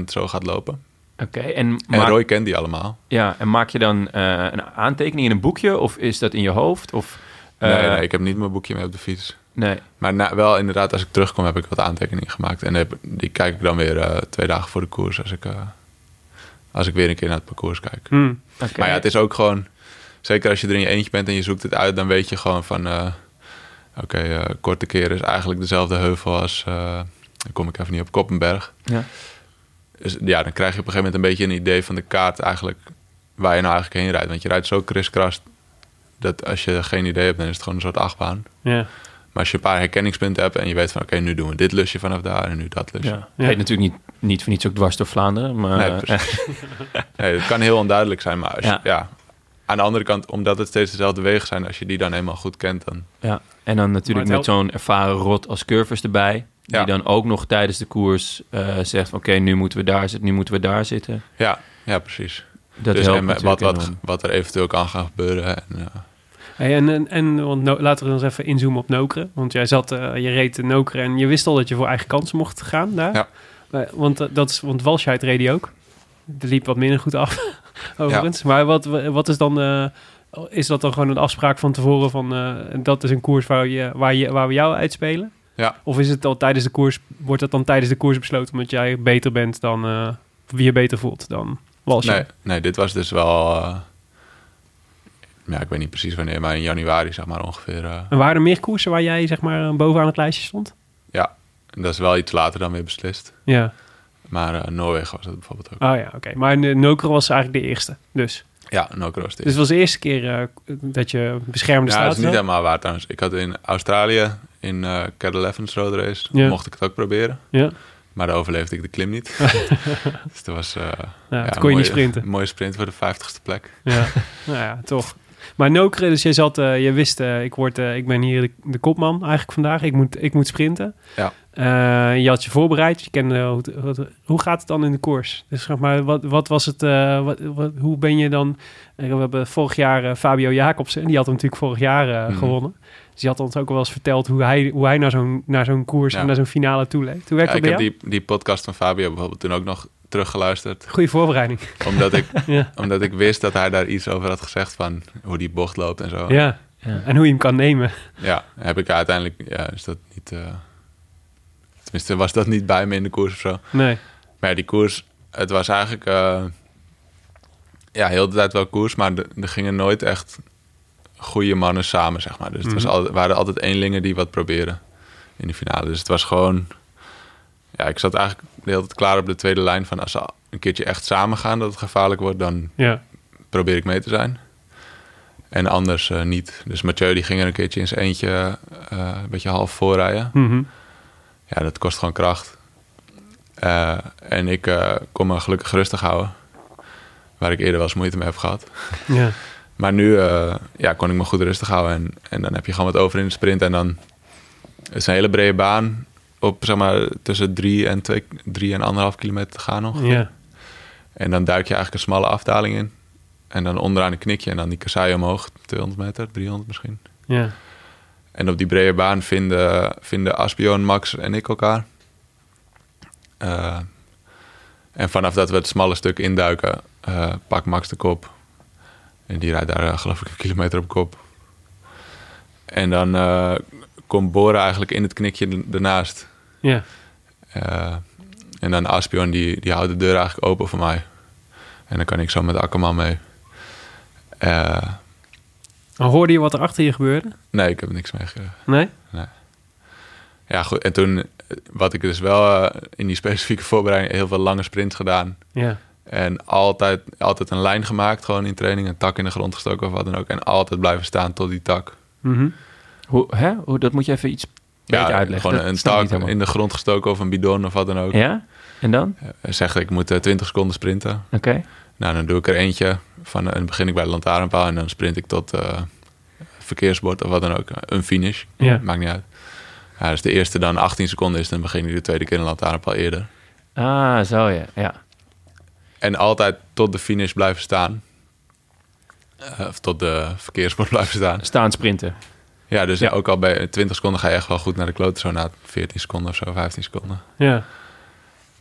Speaker 3: 90% zo gaat lopen.
Speaker 1: Oké, en,
Speaker 3: En
Speaker 1: maak-
Speaker 3: Roy kent die allemaal.
Speaker 1: ja, en maak je dan eh, een aantekening in een boekje? Of is dat in je hoofd? Of, eh,
Speaker 3: nee, nee, ik heb niet mijn boekje mee op de fiets.
Speaker 1: nee.
Speaker 3: Maar na- wel inderdaad, als ik terugkom heb ik wat aantekeningen gemaakt. En heb- die kijk ik dan weer eh, twee dagen voor de koers als ik, eh, als ik weer een keer naar het parcours kijk.
Speaker 2: Mhm.
Speaker 1: Hm, Oké.
Speaker 3: Maar ja, het is ook gewoon... Zeker als je er in je eentje bent en je zoekt het uit... dan weet je gewoon van... eh, Oké, eh, korte keer is eigenlijk dezelfde heuvel als... eh, dan kom ik even niet op Koppenberg.
Speaker 1: Ja.
Speaker 3: Dus ja, dan krijg je op een gegeven moment een beetje een idee van de kaart... eigenlijk waar je nou eigenlijk heen rijdt. Want je rijdt zo kriskras dat als je geen idee hebt... dan is het gewoon een soort achtbaan.
Speaker 2: ja.
Speaker 3: Maar als je een paar herkenningspunten hebt en je weet van... oké, nu doen we dit lusje vanaf daar en nu dat lusje.
Speaker 1: Ja. Heet natuurlijk niet, niet voor niets ook dwars door Vlaanderen. Maar,
Speaker 3: Nee, precies. Nee, het kan heel onduidelijk zijn, maar als je-
Speaker 1: Ja.
Speaker 3: ja. aan de andere kant, omdat het steeds dezelfde wegen zijn, als je die dan eenmaal goed kent, dan
Speaker 1: eh, ja. En dan natuurlijk
Speaker 2: Maar
Speaker 1: met
Speaker 2: het
Speaker 1: zo'n ervaren rot als curvers erbij.
Speaker 3: nou- Ja.
Speaker 1: Die dan ook nog tijdens de koers eh, zegt... oké, nu moeten we daar zitten, nu moeten we daar zitten.
Speaker 3: ja, ja precies.
Speaker 1: Dat
Speaker 3: dus
Speaker 1: helpt
Speaker 3: en met wat,
Speaker 1: natuurlijk
Speaker 3: wat,
Speaker 1: enorm.
Speaker 3: wat er eventueel kan gaan gebeuren. En, eh,
Speaker 2: Hey, en, en, en want no- laten we dan eens even inzoomen op Nokeren. Want jij zat, eh, je reed in Nokeren en je wist al dat je voor eigen kans mocht gaan daar.
Speaker 3: Ja.
Speaker 2: Eh, want, eh, dat is, want Walscheid reed die ook. Die liep wat minder goed af, overigens. Maar wat, wat is dan... eh, is dat dan gewoon een afspraak van tevoren van... eh, dat is een koers waar, je, waar, je, waar we jou uitspelen?
Speaker 3: Ja.
Speaker 2: Of is het al tijdens de koers... Wordt dat dan tijdens de koers besloten omdat jij beter bent dan... eh, wie je beter voelt dan
Speaker 3: nee,
Speaker 2: Walscheid?
Speaker 3: nee, dit was dus wel, eh, ja, ik weet niet precies wanneer, maar in januari zeg maar ongeveer. eh,
Speaker 2: En waren er meer koersen waar jij zeg maar eh, bovenaan het lijstje stond?
Speaker 3: ja, En dat is wel iets later dan weer beslist.
Speaker 2: Ja.
Speaker 3: Maar eh, Noorwegen was dat bijvoorbeeld ook.
Speaker 2: Oh ja, oké. Maar N- Nokere was eigenlijk de eerste. Dus,
Speaker 3: Ja, Nokroos.
Speaker 2: dus het was de eerste keer eh, dat je beschermde
Speaker 3: Ja, dat
Speaker 2: staat.
Speaker 3: is niet helemaal waar trouwens. Ik had in Australië, in eh Cadel Evans Road Race,
Speaker 2: Ja.
Speaker 3: mocht ik het ook proberen.
Speaker 2: Ja.
Speaker 3: Maar daar overleefde ik de klim niet. dus dat was... eh,
Speaker 2: Ja, Nou, dat
Speaker 3: een
Speaker 2: kon je niet
Speaker 3: mooie-
Speaker 2: sprinten.
Speaker 3: Mooie sprint voor de vijftigste plek.
Speaker 2: Ja, nou ja, toch. Maar Nokere, dus jij zat, eh, je wist, eh, ik, word, eh, ik ben hier de, de kopman eigenlijk vandaag. Ik moet, ik moet sprinten.
Speaker 3: Ja.
Speaker 2: Eh, je had je voorbereid. Je kende, eh, hoe, het- hoe het- hoe gaat het dan in de koers? Dus zeg maar, wat, wat was het, eh, wat, wat, hoe ben je dan... eh, we hebben vorig jaar eh, Fabio Jacobsen, die had hem natuurlijk vorig jaar eh,
Speaker 3: Mhm.
Speaker 2: gewonnen. Dus die had ons ook al wel eens verteld hoe hij, hoe hij naar zo'n naar zo'n koers
Speaker 3: Ja.
Speaker 2: en naar zo'n finale toe leeft. Hoe werkt
Speaker 3: Ja, ik
Speaker 2: dat
Speaker 3: heb
Speaker 2: bij jou?
Speaker 3: die, die podcast van Fabio bijvoorbeeld toen ook nog teruggeluisterd.
Speaker 2: Goede voorbereiding.
Speaker 3: Omdat ik,
Speaker 2: ja.
Speaker 3: omdat ik wist dat hij daar iets over had gezegd van hoe die bocht loopt en zo.
Speaker 2: ja,
Speaker 1: Ja.
Speaker 2: en hoe je hem kan nemen.
Speaker 3: Ja, heb ik uiteindelijk... Ja, is dat niet... eh, tenminste, was dat niet bij me in de koers of zo.
Speaker 2: Nee,
Speaker 3: Maar ja, die koers, het was eigenlijk... eh, ja, heel de tijd wel koers, maar de- er gingen nooit echt goede mannen samen, zeg maar. Dus het was
Speaker 2: Mhm.
Speaker 3: altijd, waren altijd eenlingen die wat probeerden in de finale. Dus het was gewoon... Ja, ik zat eigenlijk de hele tijd klaar op de tweede lijn van... als ze een keertje echt samen gaan dat het gevaarlijk wordt, dan
Speaker 2: ja.
Speaker 3: probeer ik mee te zijn. En anders eh, niet. Dus Mathieu die ging er een keertje in zijn eentje eh, een beetje half voorrijden.
Speaker 2: Mhm.
Speaker 3: Ja, dat kost gewoon kracht. Eh, en ik eh, kon me gelukkig rustig houden. Waar ik eerder wel eens moeite mee heb gehad.
Speaker 2: ja.
Speaker 3: Maar nu eh, ja, kon ik me goed rustig houden. En, en dan heb je gewoon wat over in de sprint. En dan het is een hele brede baan. Op zeg maar tussen drie en, twee, drie en anderhalf kilometer te gaan nog.
Speaker 2: Ja,
Speaker 3: En dan duik je eigenlijk een smalle afdaling in. En dan onderaan een knikje en dan die kassei omhoog. 200 meter, 300 misschien.
Speaker 2: ja.
Speaker 3: En op die brede baan vinden, vinden Aspion, Max en ik elkaar. Eh, en vanaf dat we het smalle stuk induiken, eh pakt Max de kop. En die rijdt daar eh, geloof ik een kilometer op kop. En dan eh, komt Bora eigenlijk in het knikje d- ernaast.
Speaker 2: Ja,
Speaker 3: Eh, en dan Aspion, die, die houdt de deur eigenlijk open voor mij. En dan kan ik zo met Akkerman mee. Eh,
Speaker 2: dan hoorde je wat er achter je gebeurde?
Speaker 3: nee, ik heb niks meegekregen.
Speaker 2: Nee?
Speaker 3: Ja, goed. En toen, eh, wat ik dus wel eh, in die specifieke voorbereiding, heel veel lange sprints gedaan.
Speaker 2: Ja,
Speaker 3: En altijd, altijd een lijn gemaakt, gewoon in training. Een tak in de grond gestoken of wat dan ook. En altijd blijven staan tot die tak.
Speaker 2: Mhm.
Speaker 1: Hoe, hè? Hoe, dat moet je even iets beter uitleggen.
Speaker 3: gewoon
Speaker 1: Dat
Speaker 3: een
Speaker 1: snap ik niet
Speaker 3: tak
Speaker 1: helemaal.
Speaker 3: in de grond gestoken of een bidon of wat dan ook.
Speaker 1: Ja? En dan?
Speaker 3: Eh, Zegt, ik moet eh, 20 seconden sprinten.
Speaker 1: Oké.
Speaker 3: Nou, dan doe ik er eentje. Van, eh, dan begin ik bij de lantaarnpaal en dan sprint ik tot eh, verkeersbord of wat dan ook. Een finish,
Speaker 2: Ja.
Speaker 3: maakt niet uit. Ja, dus de eerste dan 18 seconden is, dan begin ik de tweede keer een lantaarnpaal eerder.
Speaker 1: Ah, zo ja. Ja.
Speaker 3: En altijd tot de finish blijven staan. Eh, of tot de verkeersbord blijven staan.
Speaker 1: Staan sprinten.
Speaker 3: Ja, dus
Speaker 1: Ja.
Speaker 3: ook al bij 20 seconden ga je echt wel goed naar de klote. Zo na 14 seconden of zo, 15 seconden.
Speaker 2: ja.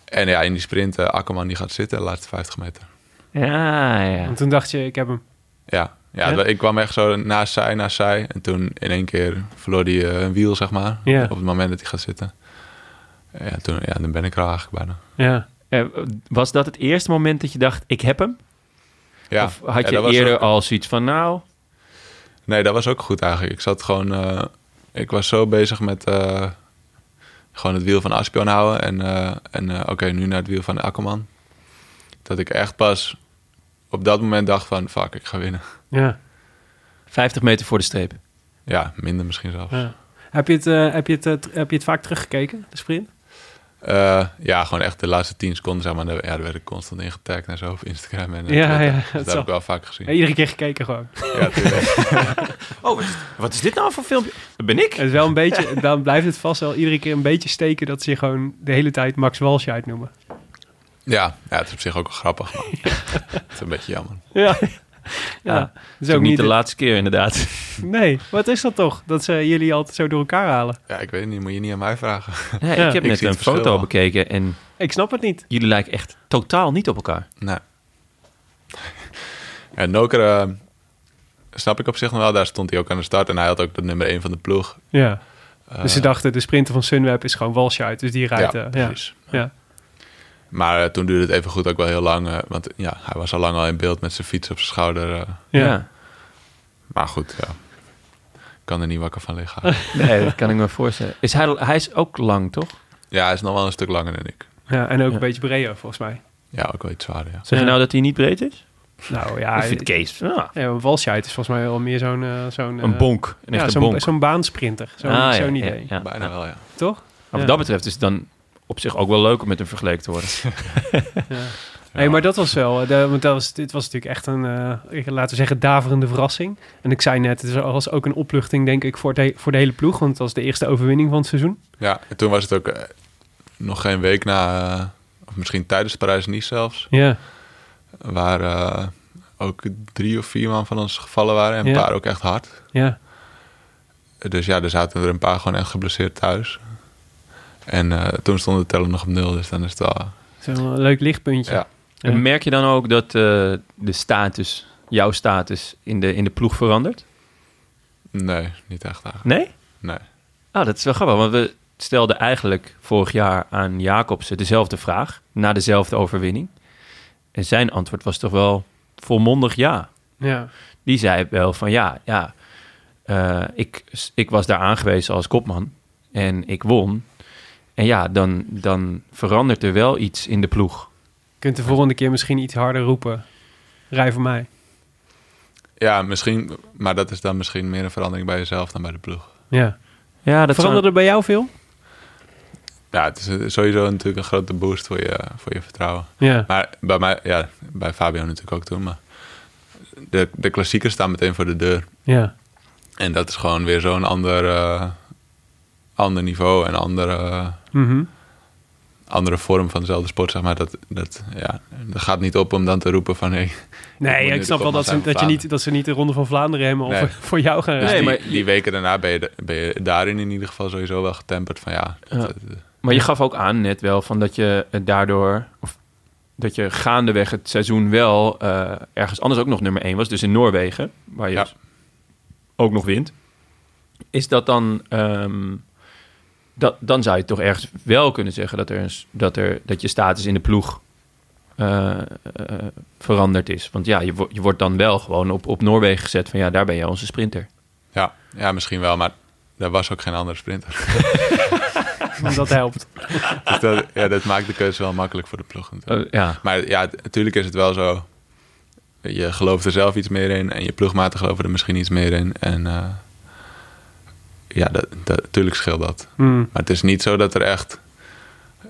Speaker 3: En ja, in die sprint, eh, Akkerman die gaat zitten de laatste 50 meter.
Speaker 1: Ja, ja.
Speaker 2: En toen dacht je, ik heb hem.
Speaker 3: Ja, ja,
Speaker 2: Ja?
Speaker 3: ik kwam echt zo naast zij, naast zij. En toen in één keer verloor hij eh, een wiel, zeg maar.
Speaker 2: Ja.
Speaker 3: Op het moment dat hij gaat zitten. Ja, toen, ja, dan ben ik er al eigenlijk bijna.
Speaker 2: Ja,
Speaker 1: Eh, Was dat het eerste moment dat je dacht, ik heb hem?
Speaker 3: Ja,
Speaker 1: Of had
Speaker 3: Ja,
Speaker 1: je
Speaker 3: dat was
Speaker 1: eerder
Speaker 3: ook-
Speaker 1: al zoiets van, nou...
Speaker 3: nee, dat was ook goed eigenlijk. Ik zat gewoon... eh, ik was zo bezig met eh, gewoon het wiel van Aspion houden. En, eh, en eh, oké, nu naar het wiel van Akkerman. Dat ik echt pas op dat moment dacht van... Fuck, ik ga winnen.
Speaker 2: ja.
Speaker 1: 50 meter voor de streep.
Speaker 3: Ja, minder misschien zelfs.
Speaker 2: ja. Heb, je het, eh, heb, je het, eh, tr- heb je het vaak teruggekeken, de sprint?
Speaker 3: Eh, ja, gewoon echt de laatste 10 seconden, zeg maar. daar- Ja, daar werd ik constant in getagd en zo op Instagram en eh,
Speaker 2: Ja,
Speaker 3: Twitter.
Speaker 2: ja,
Speaker 3: Dus
Speaker 2: dat
Speaker 3: dat
Speaker 2: zal-
Speaker 3: heb ik wel vaak gezien.
Speaker 2: Ja, iedere keer gekeken gewoon.
Speaker 3: Ja, tuurlijk.
Speaker 1: Oh, wat is, wat is dit nou voor filmpje? Dat ben ik.
Speaker 2: Het is wel een beetje, dan blijft het vast wel iedere keer een beetje steken dat ze je gewoon de hele tijd Max Walsh uitnoemen.
Speaker 3: ja, ja, het is op zich ook wel grappig, maar het is een beetje jammer.
Speaker 2: Ja.
Speaker 1: Ja.
Speaker 2: Ja,
Speaker 1: Dat
Speaker 2: is ook niet
Speaker 1: de laatste keer inderdaad.
Speaker 2: Nee, wat is dat toch? Dat ze jullie altijd zo door elkaar halen.
Speaker 3: Ja, ik weet het niet, moet je niet aan mij vragen.
Speaker 1: Nee,
Speaker 2: Ja.
Speaker 1: ik heb
Speaker 3: Ik
Speaker 1: net
Speaker 3: zie
Speaker 1: een
Speaker 3: het verschil
Speaker 1: foto
Speaker 3: wel.
Speaker 1: bekeken en
Speaker 2: Ik snap het niet.
Speaker 1: jullie lijken echt totaal niet op elkaar.
Speaker 3: Nou. En Noker eh, snap ik op zich nog wel, daar stond hij ook aan de start en hij had ook de nummer 1 van de ploeg.
Speaker 2: Ja.
Speaker 3: Eh,
Speaker 2: dus ze dachten, de sprinter van Sunweb is gewoon Walsh uit, dus die rijdt.
Speaker 3: ja,
Speaker 2: eh, ja.
Speaker 3: precies.
Speaker 2: Ja.
Speaker 3: Maar eh, toen duurde het even goed ook wel heel lang, eh, want ja, hij was al lang al in beeld met zijn fiets op zijn schouder. eh.
Speaker 2: Ja.
Speaker 3: maar goed, ja. Ik kan er niet wakker van liggen.
Speaker 1: Nee, dat kan ik me voorstellen. Is hij, hij is ook lang, toch?
Speaker 3: Ja, hij is nog wel een stuk langer dan ik.
Speaker 2: Ja, en ook
Speaker 1: Ja.
Speaker 2: een beetje Breo volgens mij.
Speaker 3: Ja, ook wel iets zwaarder, ja.
Speaker 1: Zeg je
Speaker 2: Ja.
Speaker 1: nou dat hij niet breed is?
Speaker 2: Nou
Speaker 1: ik
Speaker 2: ja,
Speaker 1: vind Kees ja,
Speaker 2: ja maar Walscheid is volgens mij wel meer zo'n... eh, zo'n
Speaker 1: een
Speaker 2: eh,
Speaker 1: bonk. Een
Speaker 2: ja,
Speaker 1: echte
Speaker 2: zo'n
Speaker 1: bonk.
Speaker 2: zo'n baansprinter. Zo'n
Speaker 1: Ah, ja,
Speaker 2: zo'n
Speaker 1: ja,
Speaker 2: idee.
Speaker 1: ja.
Speaker 3: Bijna wel, ja.
Speaker 2: Toch?
Speaker 1: Maar
Speaker 2: Ja.
Speaker 1: Wat dat betreft is het dan op zich ook wel leuk om met hem vergeleken te worden.
Speaker 2: Nee, maar dat was wel. eh, De, want dat was, dit was natuurlijk echt een, eh, ik- laten we zeggen, daverende verrassing. En ik zei net, het was ook een opluchting, denk ik, voor de, voor de hele ploeg. Want het was de eerste overwinning van het seizoen.
Speaker 3: Ja, en toen was het ook eh, nog geen week na, eh, of misschien tijdens Parijs-Nice zelfs,
Speaker 2: Ja,
Speaker 3: waar eh, ook drie of vier man van ons gevallen waren en een
Speaker 2: Ja.
Speaker 3: paar ook echt hard.
Speaker 2: ja.
Speaker 3: Dus ja, er zaten er een paar gewoon echt geblesseerd thuis. En eh, toen stond de teller nog op nul, dus dan is het wel...
Speaker 2: Het is wel een leuk lichtpuntje.
Speaker 3: Ja.
Speaker 2: Ja.
Speaker 1: En merk je dan ook dat eh, de status, jouw status, in de, in de ploeg verandert?
Speaker 3: Nee, niet echt eigenlijk.
Speaker 1: Nee?
Speaker 3: Nee.
Speaker 1: Ah, dat is wel grappig, want we stelden eigenlijk vorig jaar aan Jacobsen dezelfde vraag, na dezelfde overwinning. En zijn antwoord was toch wel volmondig ja.
Speaker 2: Ja.
Speaker 1: Die zei wel van ja, ja, eh, ik, ik was daar aangewezen als kopman en ik won. En ja, dan, dan verandert er wel iets in de ploeg.
Speaker 2: Je kunt de volgende keer misschien iets harder roepen. Rij voor mij.
Speaker 3: Ja, misschien, maar dat is dan misschien meer een verandering bij jezelf dan bij de ploeg.
Speaker 2: Ja.
Speaker 1: Ja, dat
Speaker 2: Veranderde er bij jou veel?
Speaker 3: Ja, het is sowieso natuurlijk een grote boost voor je, voor je vertrouwen.
Speaker 2: Ja.
Speaker 3: Maar bij mij, ja, bij Fabio natuurlijk ook toen, maar de, de klassiekers staan meteen voor de deur.
Speaker 2: Ja.
Speaker 3: En dat is gewoon weer zo'n ander, eh, ander niveau en andere,
Speaker 2: Mhm.
Speaker 3: andere vorm van dezelfde sport, zeg maar. Dat, dat, ja, dat gaat niet op om dan te roepen van, hey,
Speaker 2: Nee,
Speaker 3: moet
Speaker 2: ik, snap
Speaker 3: nu de
Speaker 2: wel
Speaker 3: kopman
Speaker 2: dat ze,
Speaker 3: zijn van
Speaker 2: dat, je
Speaker 3: Vlaanderen.
Speaker 2: niet, dat ze niet de Ronde van Vlaanderen helemaal
Speaker 3: Nee.
Speaker 2: voor, voor jou gaan
Speaker 3: Dus
Speaker 2: rijden.
Speaker 3: die,
Speaker 1: maar je-
Speaker 3: die weken daarna ben je, da- ben je daarin in ieder geval sowieso wel getemperd van ja. dat-
Speaker 1: Ja.
Speaker 3: dat-
Speaker 1: Maar je gaf ook aan net wel van dat je het daardoor... Of dat je gaandeweg het seizoen wel eh, ergens anders ook nog nummer 1 was. Dus in Noorwegen, waar je dus
Speaker 3: Ja.
Speaker 1: ook nog wint. Is dat dan... ehm, dat, dan zou je toch ergens wel kunnen zeggen dat, er een, s- dat, er, dat je status in de ploeg eh, eh, veranderd is. Want ja, je, wo- je wordt dan wel gewoon op, op Noorwegen gezet van ja, daar ben je onze sprinter.
Speaker 3: ja, ja, misschien wel, maar daar was ook geen andere sprinter.
Speaker 2: Dat helpt.
Speaker 3: dus dat, ja, dat maakt de keuze wel makkelijk voor de ploeg natuurlijk.
Speaker 1: Eh, ja,
Speaker 3: Maar ja, t- natuurlijk is het wel zo. Je gelooft er zelf iets meer in en je ploegmaten geloven er misschien iets meer in. En eh, ja, dat, dat, natuurlijk scheelt dat.
Speaker 2: Mhm.
Speaker 3: Maar het is niet zo dat er echt,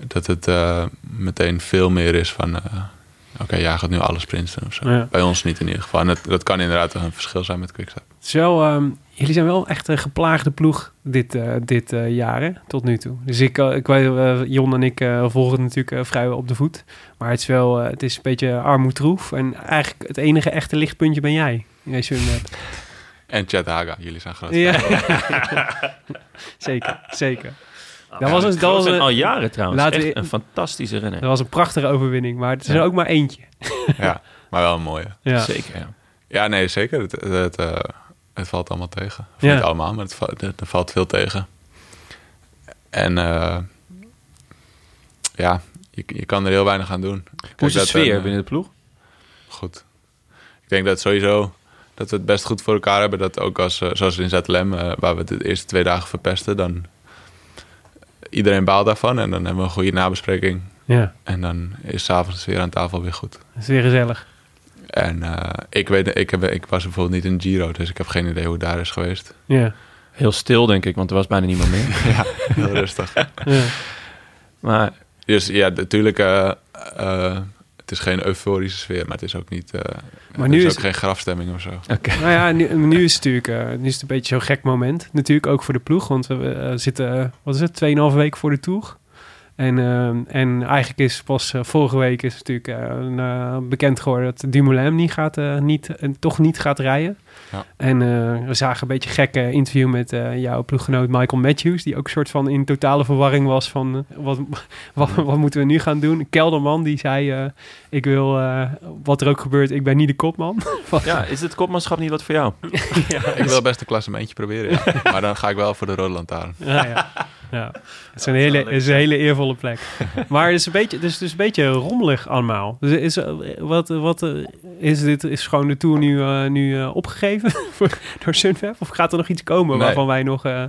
Speaker 3: dat het eh, meteen veel meer is van, eh, oké, jij gaat nu alle sprints doen of zo.
Speaker 2: Ja.
Speaker 3: Bij ons niet in ieder geval. En dat, dat kan inderdaad wel een verschil zijn met Quickstep.
Speaker 2: Het is wel, ehm, jullie zijn wel echt een geplaagde ploeg dit, eh, dit eh, jaar, hè, tot nu toe. Dus ik, eh, ik weet, eh, Jon en ik eh, volgen het natuurlijk eh, vrij op de voet. Maar het is wel, eh, het is een beetje armoedroef. En eigenlijk het enige echte lichtpuntje ben jij. in deze Sunweb.
Speaker 3: En Chad Haga, jullie zijn groot.
Speaker 2: Ja. zeker, zeker.
Speaker 3: Ah,
Speaker 2: Dat was, een, dat,
Speaker 1: dat
Speaker 2: was
Speaker 1: zijn al
Speaker 3: Oh,
Speaker 2: een,
Speaker 1: jaren trouwens.
Speaker 2: Laten we-
Speaker 1: Echt een fantastische renner.
Speaker 2: dat was een prachtige overwinning, maar het is
Speaker 1: Ja.
Speaker 2: er ook maar eentje.
Speaker 3: Ja, maar wel een mooie.
Speaker 2: Ja.
Speaker 1: Zeker, ja.
Speaker 3: Ja, nee, zeker. Het, het, eh, het valt allemaal tegen. Of
Speaker 2: Ja.
Speaker 3: Niet allemaal, maar het, va- het- er valt veel tegen. En eh, ja, je, je kan er heel weinig aan doen. Kijk,
Speaker 1: Hoe is de
Speaker 3: dat
Speaker 1: sfeer
Speaker 3: een-
Speaker 1: binnen de ploeg?
Speaker 3: Goed. Ik denk dat sowieso dat we het best goed voor elkaar hebben. Dat ook als, eh, zoals in ZLM, eh, waar we de eerste twee dagen verpesten, dan iedereen baalt daarvan. En dan hebben we een goede nabespreking.
Speaker 2: ja,
Speaker 3: En dan is s'avonds weer aan tafel weer goed.
Speaker 2: dat is weer gezellig.
Speaker 3: En eh, ik, weet, ik, heb, ik was bijvoorbeeld niet in Giro, dus ik heb geen idee hoe het daar is geweest.
Speaker 2: Ja,
Speaker 1: Heel stil, denk ik, want er was bijna niemand meer.
Speaker 3: Heel rustig.
Speaker 2: ja.
Speaker 1: Maar
Speaker 3: Dus ja, natuurlijk, eh, eh, het is geen euforische sfeer, maar het is ook niet. eh,
Speaker 2: Maar
Speaker 3: er
Speaker 2: nu
Speaker 3: is
Speaker 2: is-
Speaker 3: ook geen grafstemming of zo.
Speaker 2: Nou ja, nu, nu is het natuurlijk eh, nu is het een beetje zo'n gek moment. Natuurlijk ook voor de ploeg, want we eh, zitten, eh, wat is het, 2,5 week voor de Tour. En, eh, en eigenlijk is pas eh, vorige week is natuurlijk eh, een, eh, bekend geworden dat Dumoulin niet gaat, eh, niet, en toch niet gaat rijden.
Speaker 3: Ja.
Speaker 2: En eh, we zagen een beetje een gekke interview met eh, jouw ploeggenoot Michael Matthews, die ook een soort van in totale verwarring was van eh, wat, wat, wat moeten we nu gaan doen. Kelderman die zei, eh, ik wil, eh, wat er ook gebeurt, ik ben niet de kopman.
Speaker 1: ja, is het kopmanschap niet wat voor jou?
Speaker 3: ik wil best een klassementje proberen, ja. maar dan ga ik wel voor de Rode Lantaarn.
Speaker 2: Ja, ja. ja. Het is een hele, het is een hele eervolle plek. Maar het is een beetje, het is, dus een beetje rommelig allemaal. Dus is, eh, wat, wat, eh, is, dit, is gewoon de tour nu, eh, nu eh, opgegeven voor- door Sunweb? Of gaat er nog iets komen
Speaker 3: Nee.
Speaker 2: waarvan wij nog... eh,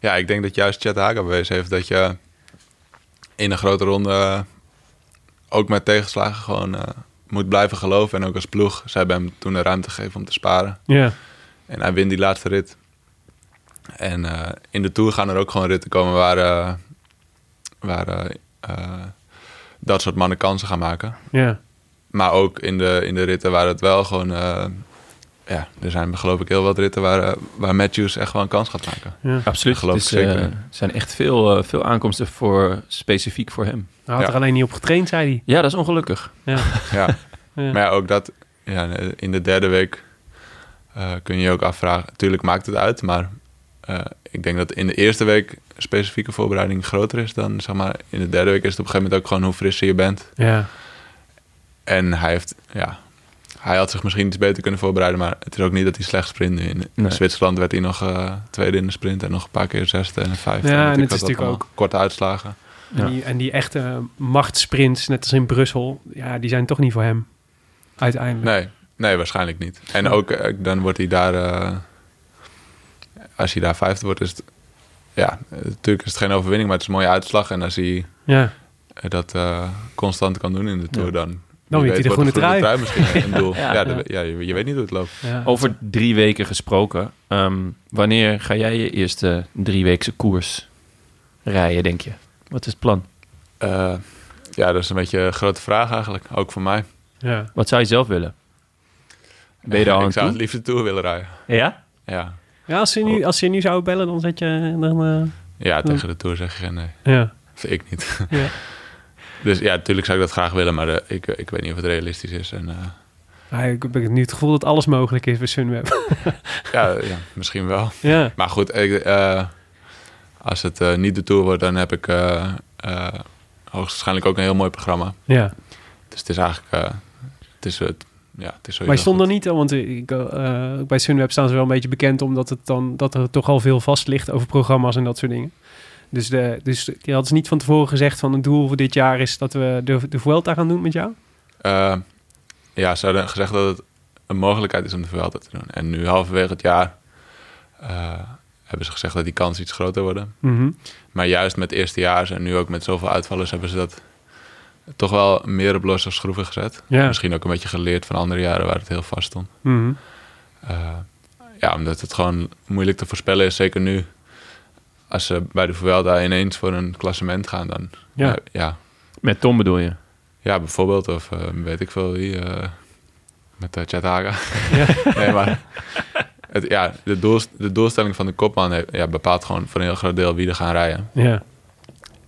Speaker 3: Ja, ik denk dat juist Chet Haga bewezen heeft dat je in een grote ronde eh, ook met tegenslagen gewoon eh, moet blijven geloven. En ook als ploeg, ze hebben hem toen de ruimte gegeven om te sparen.
Speaker 2: ja,
Speaker 3: En hij wint die laatste rit. En eh, in de Tour gaan er ook gewoon ritten komen waar, eh, waar eh, eh, dat soort mannen kansen gaan maken.
Speaker 2: Ja.
Speaker 3: Maar ook in de, in de ritten waar het wel gewoon... eh, ja, er zijn geloof ik heel wat ritten waar, eh, waar Matthews echt wel een kans gaat maken.
Speaker 1: Absoluut.
Speaker 3: Geloof
Speaker 1: Het is,
Speaker 3: ik zeker.
Speaker 1: eh, er zijn echt veel, eh, veel aankomsten voor, specifiek voor hem.
Speaker 2: Hij had
Speaker 3: Ja.
Speaker 2: er alleen niet op getraind, zei hij.
Speaker 1: Ja, dat is ongelukkig.
Speaker 3: Ja.
Speaker 2: Ja.
Speaker 3: Maar ja, ook dat... Ja, in de derde week eh, kun je je ook afvragen... Tuurlijk maakt het uit, maar... eh, ik denk dat in de eerste week specifieke voorbereiding groter is dan zeg maar in de derde week is het op een gegeven moment ook gewoon hoe frisser je bent.
Speaker 2: Ja.
Speaker 3: En hij heeft, ja, hij had zich misschien iets beter kunnen voorbereiden, maar het is ook niet dat hij slecht sprint nu. In
Speaker 1: Nee.
Speaker 3: Zwitserland werd hij nog eh, tweede in de sprint en nog een paar keer zesde en vijfde.
Speaker 2: Ja,
Speaker 3: En
Speaker 2: en
Speaker 3: natuurlijk
Speaker 2: het is
Speaker 3: had dat
Speaker 2: natuurlijk
Speaker 3: allemaal korte uitslagen.
Speaker 2: En, die, en die echte machtsprints, net als in Brussel, ja, die zijn toch niet voor hem. Uiteindelijk.
Speaker 3: Nee, nee, waarschijnlijk niet. En ook eh, dan wordt hij daar, eh, als hij daar vijfde wordt, is het, ja, eh, natuurlijk is het geen overwinning, maar het is een mooie uitslag. En als hij
Speaker 2: Ja.
Speaker 3: eh, dat eh, constant kan doen in de Tour, dan...
Speaker 2: Dan
Speaker 3: wie
Speaker 2: wint hij de
Speaker 3: weet
Speaker 2: groene
Speaker 3: wordt
Speaker 2: trui.
Speaker 3: misschien een doel.
Speaker 1: Ja,
Speaker 3: Ja, dat- ja, je, je weet niet hoe het loopt.
Speaker 2: ja.
Speaker 1: Over drie weken gesproken. ehm, wanneer ga jij je eerste drieweekse koers rijden, denk je? Wat is het plan?
Speaker 3: Eh, ja, dat is een beetje een grote vraag eigenlijk, ook voor mij.
Speaker 2: Ja.
Speaker 1: Wat zou je zelf willen? Ben je daar al aan
Speaker 3: Ik zou
Speaker 1: toe?
Speaker 3: het liefst de Tour willen rijden.
Speaker 1: Ja?
Speaker 3: Ja,
Speaker 2: Ja, als, je
Speaker 3: Oh.
Speaker 2: nu, als je nu zou bellen, dan zet je... Dan, eh,
Speaker 3: ja tegen de Tour zeg je geen nee.
Speaker 2: ja.
Speaker 3: Of ik niet.
Speaker 2: Ja.
Speaker 3: Dus ja, natuurlijk zou ik dat graag willen, maar eh, ik, ik weet niet of het realistisch is. En, eh,
Speaker 2: Ah, ik heb nu het gevoel dat alles mogelijk is bij Sunweb.
Speaker 3: ja, ja, misschien wel.
Speaker 2: ja.
Speaker 3: Maar goed, ik, eh, als het eh, niet de Tour wordt, dan heb ik eh, eh, hoogstwaarschijnlijk ook een heel mooi programma.
Speaker 2: ja.
Speaker 3: Dus het is eigenlijk... eh, het is, het ja, het is sowieso
Speaker 2: Maar je stond
Speaker 3: goed.
Speaker 2: er niet, eh, want ik, eh, bij Sunweb staan ze wel een beetje bekend omdat het dan, dat er toch al veel vast ligt over programma's en dat soort dingen. Dus, de, dus je had ze niet van tevoren gezegd van het doel voor dit jaar is dat we de, de Vuelta gaan doen met jou?
Speaker 3: Eh, ja, ze hadden gezegd dat het een mogelijkheid is om de Vuelta te doen. En nu halverwege het jaar eh, hebben ze gezegd dat die kans iets groter worden.
Speaker 2: Mhm.
Speaker 3: Maar juist met eerstejaars en nu ook met zoveel uitvallers hebben ze dat toch wel meer op losse schroeven gezet.
Speaker 2: Ja.
Speaker 3: Misschien ook een beetje geleerd van andere jaren waar het heel vast stond.
Speaker 2: Mhm.
Speaker 3: Eh, ja, omdat het gewoon moeilijk te voorspellen is, zeker nu. Als ze bij de Vuelta ineens voor een klassement gaan, dan...
Speaker 2: Ja.
Speaker 3: eh, ja,
Speaker 1: Met Tom bedoel je?
Speaker 3: ja, bijvoorbeeld, of eh, weet ik veel wie, eh, met eh, Chet Haga.
Speaker 2: Ja.
Speaker 3: nee, maar het, ja, de, doelst- de doelstelling van de kopman heeft- ja, bepaalt gewoon voor een heel groot deel wie er gaan rijden.
Speaker 2: ja.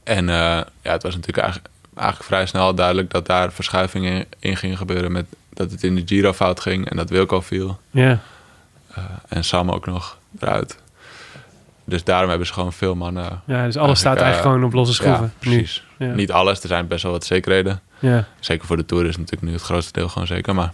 Speaker 3: En eh, ja, het was natuurlijk eigenlijk, eigenlijk vrij snel duidelijk dat daar verschuivingen in, in ging gebeuren. Met, dat het in de Giro fout ging en dat Wilco viel.
Speaker 2: Ja.
Speaker 3: En Sam ook nog eruit. Dus daarom hebben ze gewoon veel mannen...
Speaker 2: Ja, dus alles staat
Speaker 3: eh,
Speaker 2: eigenlijk gewoon op losse schroeven.
Speaker 3: Ja, precies.
Speaker 2: Nu. Ja.
Speaker 3: Niet alles, er zijn best wel wat zekerheden.
Speaker 2: Ja.
Speaker 3: Zeker voor de Tour is natuurlijk nu het grootste deel gewoon zeker. Maar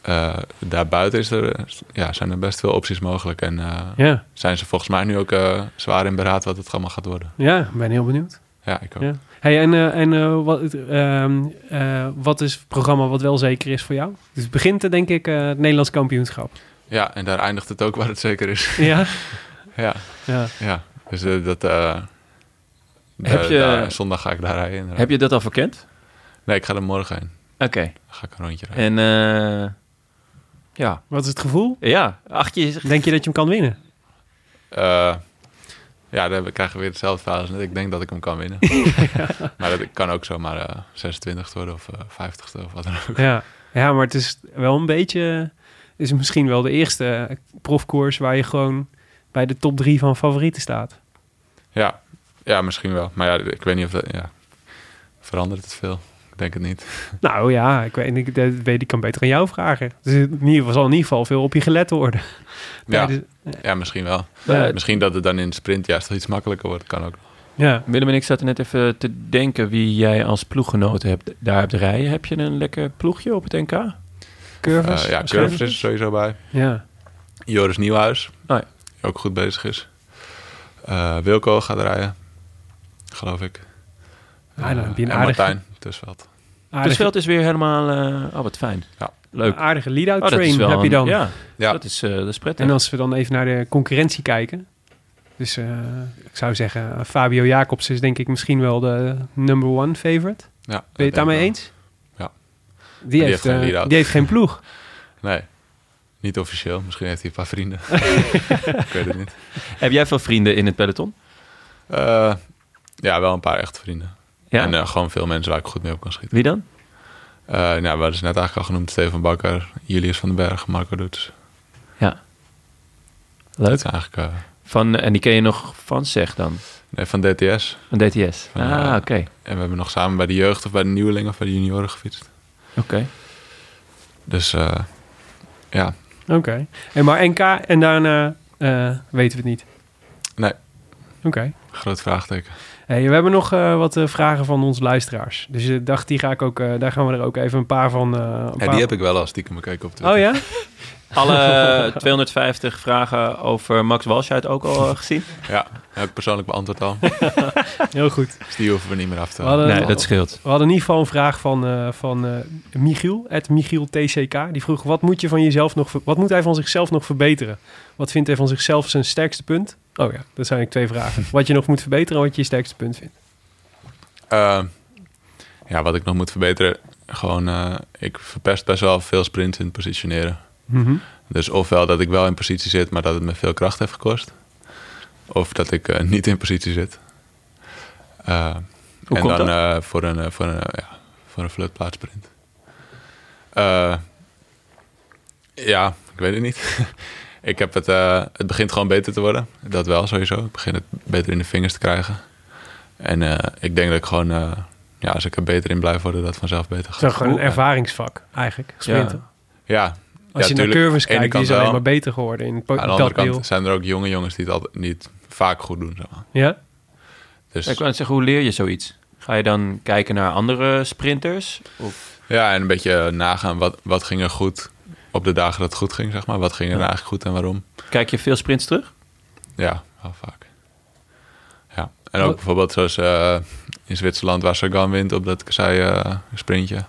Speaker 3: eh, daarbuiten is er, eh, ja, zijn er best veel opties mogelijk. En eh,
Speaker 2: Ja.
Speaker 3: zijn ze volgens mij nu ook eh, zwaar in beraad wat het allemaal gaat worden.
Speaker 2: ja, ik ben heel benieuwd.
Speaker 3: Ja, ik ook.
Speaker 2: Ja. Hey, en eh, en eh, wat, ehm, eh, wat is het programma wat wel zeker is voor jou? Dus het begint eh, denk ik eh, het Nederlands kampioenschap.
Speaker 3: Ja, en daar eindigt het ook waar het zeker is.
Speaker 2: ja.
Speaker 3: ja,
Speaker 2: ja.
Speaker 3: ja. Dus eh, dat... eh,
Speaker 1: Heb
Speaker 3: eh,
Speaker 1: je-
Speaker 3: daar- zondag ga ik daar rijden. inderdaad.
Speaker 1: Heb je dat al verkend?
Speaker 3: Nee, ik ga er morgen heen.
Speaker 1: Oké.
Speaker 3: Dan ga ik een rondje rijden.
Speaker 1: En eh, ja.
Speaker 2: Wat is het gevoel?
Speaker 1: Ja, ach, je zegt-
Speaker 2: Denk je dat je hem kan winnen?
Speaker 3: Eh, ja, dan krijgen we weer hetzelfde verhaal als net. Ik denk dat ik hem kan winnen. Maar dat kan ook zomaar eh 26 worden of eh 50 of wat dan ook.
Speaker 2: Ja. ja, maar het is wel een beetje... eh, is het misschien wel de eerste eh, profkoers waar je gewoon bij de top drie van favorieten staat.
Speaker 3: Ja, ja misschien wel. Maar ja, ik weet niet of dat... Ja. Verandert het veel? Ik denk het niet.
Speaker 2: Nou ja, ik weet, ik, dat weet, ik kan beter aan jou vragen. Dus in ieder geval zal in ieder geval veel op je gelet worden.
Speaker 3: Ja,
Speaker 2: Tijdens-
Speaker 3: ja dus- misschien wel.
Speaker 1: Eh,
Speaker 3: Misschien dat het dan in de sprint juist wel iets makkelijker wordt. Kan ook.
Speaker 2: ja.
Speaker 1: Willem en ik zaten net even te denken wie jij als ploeggenoten hebt, daar hebt rijden. Heb je een lekker ploegje op het NK?
Speaker 2: curves.
Speaker 3: Eh ja,
Speaker 2: waarschijnlijk.
Speaker 3: Curves is er sowieso bij.
Speaker 2: Ja,
Speaker 3: Joris Nieuwhuis.
Speaker 2: Oh
Speaker 1: ja.
Speaker 3: die ook goed bezig is. Eh, Wilco gaat rijden. Geloof ik. Eh,
Speaker 2: Ah, dan heb je een
Speaker 3: en
Speaker 2: aardige,
Speaker 3: Martijn Dus Tussveld.
Speaker 1: Het
Speaker 2: aardige,
Speaker 1: veld is weer helemaal... eh, oh, wat fijn.
Speaker 3: Ja.
Speaker 1: Leuk.
Speaker 2: aardige lead-out
Speaker 1: Oh, dat is
Speaker 2: train
Speaker 1: wel
Speaker 2: heb je
Speaker 1: een-
Speaker 2: dan.
Speaker 1: Ja,
Speaker 3: Ja.
Speaker 1: Dat, is, eh dat is prettig.
Speaker 2: En als we dan even naar de concurrentie kijken. Dus eh, ik zou zeggen, eh, Fabio Jacobs is denk ik misschien wel de number one favorite. Ben je
Speaker 3: Ja, dat denk
Speaker 2: het
Speaker 3: ik
Speaker 2: daarmee
Speaker 3: wel.
Speaker 2: eens?
Speaker 3: Ja.
Speaker 2: Die, heeft,
Speaker 3: heeft geen
Speaker 2: eh,
Speaker 3: lead-out.
Speaker 2: die heeft geen ploeg.
Speaker 3: Nee. Niet officieel. Misschien heeft hij een paar vrienden. ik weet het niet.
Speaker 1: Heb jij veel vrienden in het peloton?
Speaker 3: Eh, Ja, wel een paar echte vrienden.
Speaker 1: Ja?
Speaker 3: En eh, gewoon veel mensen waar ik goed mee op kan schieten.
Speaker 1: Wie dan?
Speaker 3: Eh nou, we hadden ze net eigenlijk al genoemd. Steven Bakker, Julius van den Berg, Marco Doets.
Speaker 1: Ja.
Speaker 3: Dat
Speaker 1: Leuk.
Speaker 3: is eigenlijk eh,
Speaker 1: Van, eh, en die ken je nog van zeg dan?
Speaker 3: nee, van DTS.
Speaker 1: Van DTS?
Speaker 3: Van,
Speaker 1: ah,
Speaker 3: eh,
Speaker 1: oké.
Speaker 3: En we hebben nog samen bij de jeugd of bij de nieuwelingen of bij de junioren gefietst.
Speaker 1: Oké.
Speaker 3: Dus eh, ja,
Speaker 2: Oké. En maar NK en daarna eh, weten we het niet.
Speaker 3: Nee.
Speaker 2: Oké.
Speaker 3: groot vraagteken.
Speaker 2: Hey, we hebben nog eh, wat eh, vragen van onze luisteraars. Dus ik dacht, die ga ik ook, eh, daar gaan we er ook even een paar van... eh, een
Speaker 3: Ja,
Speaker 2: paar-
Speaker 3: die heb ik wel als stiekem bekeken op Twitter.
Speaker 2: Oh ja?
Speaker 1: Alle 250 vragen over Max Walsh uit ook al eh, gezien?
Speaker 3: Ja, heb ik persoonlijk beantwoord al.
Speaker 2: Heel goed.
Speaker 3: Dus die hoeven we niet meer af te
Speaker 2: We hadden,
Speaker 1: Nee, dat scheelt.
Speaker 2: we hadden in ieder geval een vraag van, eh, van eh, Michiel, at Michiel TCK. Die vroeg, wat moet, je van jezelf nog, ver- wat moet hij van zichzelf nog verbeteren? Wat vindt hij van zichzelf zijn sterkste punt? Oh ja, dat zijn eigenlijk twee vragen. Wat je nog moet verbeteren en wat je je sterkste punt vindt.
Speaker 3: Eh, ja, wat ik nog moet verbeteren. Gewoon, eh, ik verpest best wel veel sprints in het positioneren. Dus ofwel dat ik wel in positie zit, maar dat het me veel kracht heeft gekost. Of dat ik eh, niet in positie zit. Eh,
Speaker 1: Hoe
Speaker 3: en
Speaker 1: komt
Speaker 3: dan
Speaker 1: dat?
Speaker 3: eh, voor een, eh, voor een, eh, ja, voor een flutplaatsprint. Eh, ja, ik weet het niet. ik heb het, eh, het begint gewoon beter te worden. Dat wel sowieso. Ik begin het beter in de vingers te krijgen. En eh, ik denk dat ik gewoon, eh, ja, als ik er beter in blijf worden, dat vanzelf beter
Speaker 2: Het is
Speaker 3: gaat.
Speaker 2: gewoon een ervaringsvak eigenlijk, sprinten.
Speaker 1: Ja.
Speaker 3: Ja,
Speaker 2: Als
Speaker 3: Ja,
Speaker 2: je naar
Speaker 3: tuurlijk.
Speaker 2: curves
Speaker 3: Aan de ene
Speaker 2: kijkt, die
Speaker 3: kant
Speaker 2: is alleen
Speaker 3: wel.
Speaker 2: maar beter geworden in po-
Speaker 3: Aan de andere
Speaker 2: dat deel.
Speaker 3: kant zijn er ook jonge jongens die het altijd niet vaak goed doen. Zeg maar.
Speaker 2: Ja?
Speaker 3: Dus,
Speaker 1: Ik wou net zeggen, hoe leer je zoiets? Ga je dan kijken naar andere sprinters? Of,
Speaker 3: ja, en een beetje nagaan wat, wat ging er goed op de dagen dat het goed ging, zeg maar. Wat ging er nou
Speaker 1: Ja.
Speaker 3: eigenlijk goed en waarom?
Speaker 1: kijk je veel sprints terug?
Speaker 3: Ja, wel vaak. Ja. En ook
Speaker 2: Wat-
Speaker 3: bijvoorbeeld zoals eh, in Zwitserland waar Sagan wint op dat Kassai eh, sprintje.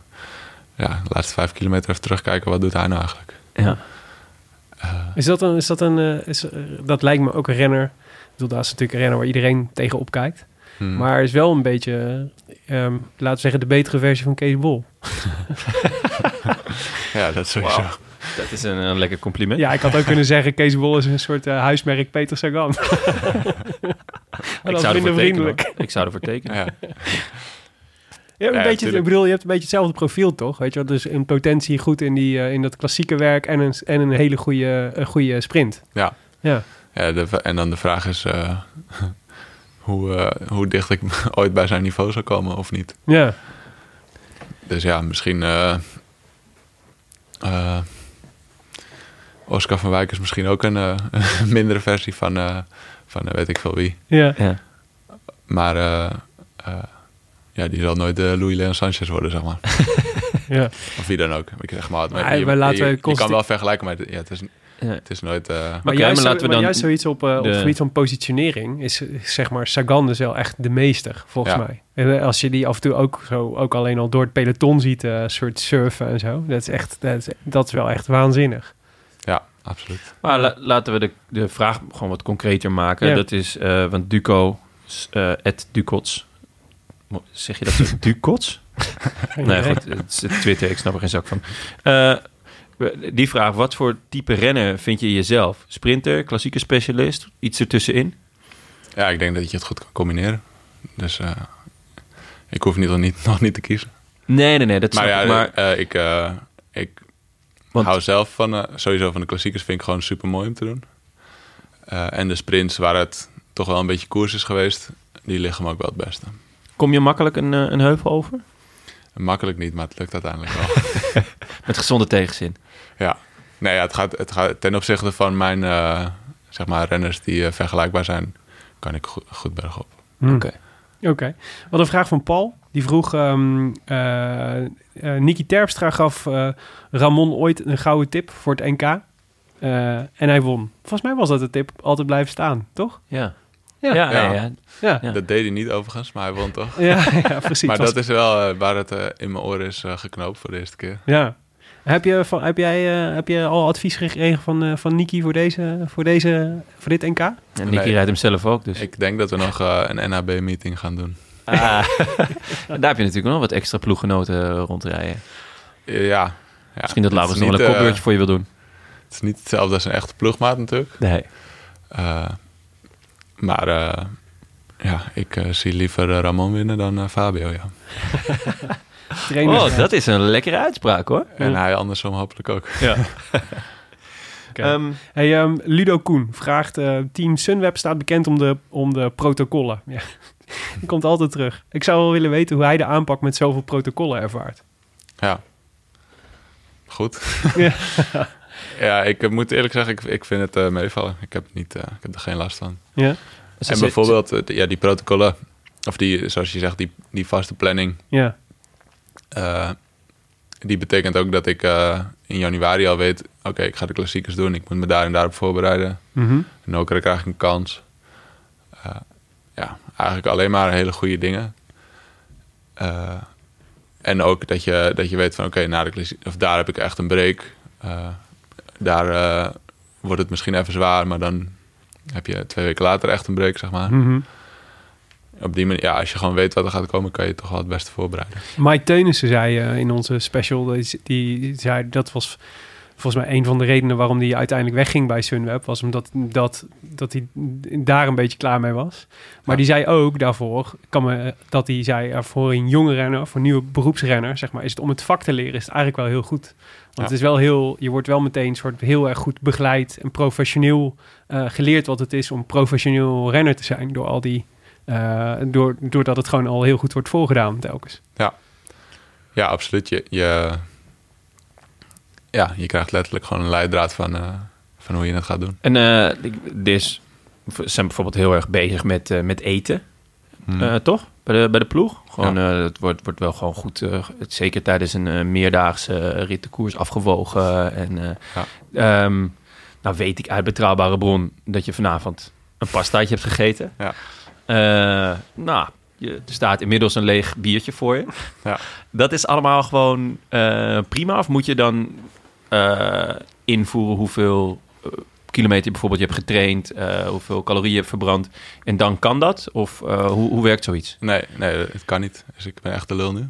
Speaker 3: Ja, de laatste vijf kilometer even terugkijken, wat doet hij nou eigenlijk?
Speaker 1: Ja.
Speaker 2: Is dat een, is dat een, eh, is, eh, dat lijkt me ook een renner. Ik bedoel, daar is natuurlijk een renner waar iedereen tegenop kijkt.
Speaker 3: Hmm.
Speaker 2: Maar is wel een beetje, eh, ehm, laten we zeggen, de betere versie van Kees Bol.
Speaker 3: Ja, dat sowieso.
Speaker 1: Dat is een, een lekker compliment.
Speaker 2: Ja, ik had ook kunnen zeggen, Kees Bol is een soort eh, huismerk Peter Sagan. maar dat is minder vriendelijk.
Speaker 1: Tekenen, hoor. ik zou ervoor tekenen.
Speaker 3: Ja.
Speaker 2: Ja, een
Speaker 3: Ja,
Speaker 2: beetje,
Speaker 3: tuurlijk.
Speaker 2: ik bedoel, je hebt een beetje hetzelfde profiel, toch? Weet je wel? Dus in potentie goed in, die, eh, in dat klassieke werk en een, en een hele goede, een goede sprint.
Speaker 3: Ja.
Speaker 2: Ja.
Speaker 3: Ja, de v- en dan de vraag is eh, hoe, eh, hoe dicht ik ooit bij zijn niveau zou komen of niet.
Speaker 2: Ja.
Speaker 3: Dus ja, misschien. eh, eh, Oscar van Wijk is misschien ook een eh, mindere versie van, eh, van eh, weet ik veel wie.
Speaker 2: Ja.
Speaker 1: Ja.
Speaker 3: Maar eh, eh, ja, die zal nooit de Louis Leon Sanchez worden, zeg maar.
Speaker 2: ja.
Speaker 3: Of wie dan ook. Ik zeg maar,
Speaker 2: Maar,
Speaker 3: maar je,
Speaker 2: maar laten
Speaker 3: je-
Speaker 2: we
Speaker 3: je
Speaker 2: constant-
Speaker 3: kan wel vergelijken, maar het, ja, het, is,
Speaker 1: Ja.
Speaker 3: het is nooit... eh,
Speaker 2: Maar,
Speaker 1: Oké,
Speaker 2: juist,
Speaker 1: maar
Speaker 2: zo-
Speaker 1: laten we
Speaker 2: maar
Speaker 1: dan
Speaker 2: juist zoiets op, eh, op het
Speaker 1: de-
Speaker 2: gebied van positionering is eh, zeg maar Sagan dus wel echt de meester, volgens
Speaker 3: Ja.
Speaker 2: mij. En eh, als je die af en toe ook, zo, ook alleen al door het peloton ziet, eh, soort surfen en zo. Dat is, echt, dat, is, dat is wel echt waanzinnig.
Speaker 3: ja, absoluut.
Speaker 1: Maar la- laten we de, de vraag gewoon wat concreter maken.
Speaker 2: Ja.
Speaker 1: Dat is, eh, want Duco, s- eh at Ducots. Mo- Zeg je dat zo? Ducots? Nee, goed, het is het Twitter, ik snap er geen zak van. Eh, die vraag, wat voor type renner vind je jezelf? Sprinter, klassieke specialist, iets ertussenin?
Speaker 3: Ja, ik denk dat je het goed kan combineren. Dus eh, ik hoef niet, nog, niet, nog niet te kiezen.
Speaker 1: Nee, nee, nee, dat snap
Speaker 3: Maar ja,
Speaker 1: ik. Maar,
Speaker 3: eh, ik, eh, ik
Speaker 1: Want-
Speaker 3: hou zelf van, eh, sowieso van de klassiekers vind ik gewoon super mooi om te doen. Eh, en de sprints waar het toch wel een beetje koers is geweest, die liggen me ook wel het beste.
Speaker 1: kom je makkelijk een, eh, een heuvel over?
Speaker 3: Makkelijk niet, maar het lukt uiteindelijk wel.
Speaker 1: Met gezonde tegenzin.
Speaker 3: ja. Nee, ja, het, gaat, het gaat ten opzichte van mijn eh, zeg maar, renners die eh, vergelijkbaar zijn, kan ik goed, goed bergop.
Speaker 2: Hmm.
Speaker 1: Oké.
Speaker 2: Oké. Wat een vraag van Paul. Die vroeg, ehm eh, eh, Nicky Terpstra gaf eh, Ramon ooit een gouden tip voor het NK. Eh, en hij won. Volgens mij was dat de tip, altijd blijven staan, toch?
Speaker 1: Ja.
Speaker 2: Ja.
Speaker 1: Ja, ja, ja.
Speaker 3: Ja.
Speaker 2: Ja, ja,
Speaker 1: Ja.
Speaker 3: Dat deed hij niet overigens, maar hij won toch.
Speaker 2: ja, precies.
Speaker 3: maar
Speaker 2: Was-
Speaker 3: dat is wel eh, waar het eh, in mijn oren is eh, geknoopt voor de eerste keer.
Speaker 2: Ja. Heb je, van, heb, jij, eh, heb je al advies gekregen van, eh, van Niki voor, deze, voor, deze, voor dit NK?
Speaker 1: En Nicky
Speaker 3: Nee.
Speaker 1: rijdt hem zelf ook, dus.
Speaker 3: Ik denk dat we nog eh, een NAB-meeting gaan doen.
Speaker 1: Ah. Daar heb je natuurlijk nog wat extra ploeggenoten rondrijden.
Speaker 3: Eh, Ja. ja.
Speaker 1: Misschien dat
Speaker 3: Het
Speaker 1: Laurens
Speaker 3: is
Speaker 1: nog wel
Speaker 3: niet,
Speaker 1: een
Speaker 3: eh,
Speaker 1: kopbeurtje voor je wil doen.
Speaker 3: Het is niet hetzelfde als een echte ploegmaat natuurlijk.
Speaker 1: Nee.
Speaker 3: Eh, maar eh, Ja, ik eh, zie liever eh, Ramon winnen dan eh, Fabio, ja.
Speaker 2: Trainer.
Speaker 1: Oh, dat is een lekkere uitspraak hoor.
Speaker 3: En hij andersom hopelijk ook.
Speaker 1: Ja.
Speaker 2: Oké. Hey, ehm, Ludo Koen vraagt... eh, team Sunweb staat bekend om de, om de protocollen. Ja. Die komt altijd terug. Ik zou wel willen weten hoe hij de aanpak met zoveel protocollen ervaart.
Speaker 3: Ja. Goed.
Speaker 2: Ja.
Speaker 3: Ja, ik eh, moet eerlijk zeggen, ik, ik vind het eh, meevallen. Ik heb, niet, eh, ik heb er geen last van.
Speaker 2: Ja?
Speaker 1: Dus
Speaker 3: en bijvoorbeeld, eh, ja, die protocollen, of die, zoals je zegt, die, die vaste planning,
Speaker 2: Ja.
Speaker 3: eh, die betekent ook dat ik eh, in januari al weet, oké, ik ga de klassiekers doen, ik moet me daar en daarop voorbereiden.
Speaker 2: Mhm.
Speaker 3: En ook krijg ik een kans. Eh, ja, eigenlijk alleen maar hele goede dingen. Eh, en ook dat je, dat je weet van oké, na de klassie- of daar heb ik echt een break. Eh, daar eh, wordt het misschien even zwaar, maar dan heb je twee weken later echt een break, zeg maar.
Speaker 2: Mhm.
Speaker 3: Op die manier, ja, als je gewoon weet wat er gaat komen, kan je je toch wel het beste voorbereiden.
Speaker 2: Mike Teunissen zei eh, in onze special, die, die zei dat was volgens mij een van de redenen waarom hij uiteindelijk wegging bij Sunweb, was omdat dat, dat hij daar een beetje klaar mee was. Maar
Speaker 3: Ja.
Speaker 2: die zei ook daarvoor, kan me, dat hij zei, eh, voor een jonge renner, voor een nieuwe beroepsrenner, zeg maar, is het om het vak te leren, is het eigenlijk wel heel goed. Want
Speaker 3: Ja.
Speaker 2: het is wel heel, je wordt wel meteen soort heel erg goed begeleid en professioneel eh, geleerd wat het is om professioneel renner te zijn door al die, eh, door, doordat het gewoon al heel goed wordt voorgedaan telkens.
Speaker 3: Ja, absoluut. Je, je, ja, je krijgt letterlijk gewoon een leidraad van, eh, van hoe je het gaat doen.
Speaker 1: En eh ik- er is- ze zijn bijvoorbeeld heel erg bezig met, eh, met eten,
Speaker 3: Hmm.
Speaker 1: eh, toch? Bij de, bij de ploeg. Gewoon, eh, het wordt, wordt wel gewoon goed, eh, het- zeker tijdens een eh, meerdaagse rittenkoers afgewogen. En, eh, ehm, nou weet ik uit betrouwbare bron dat je vanavond een pastaatje hebt gegeten.
Speaker 3: Ja.
Speaker 1: Eh, nou, je, er staat inmiddels een leeg biertje voor je.
Speaker 3: Ja.
Speaker 1: Dat is allemaal gewoon eh, prima. Of moet je dan eh, invoeren hoeveel eh, kilometer je bijvoorbeeld je hebt getraind, eh, hoeveel calorieën je hebt verbrand. En dan kan dat? Of eh, hoe, hoe werkt zoiets?
Speaker 3: Nee, nee, het kan niet. Dus ik ben echt de lul nu.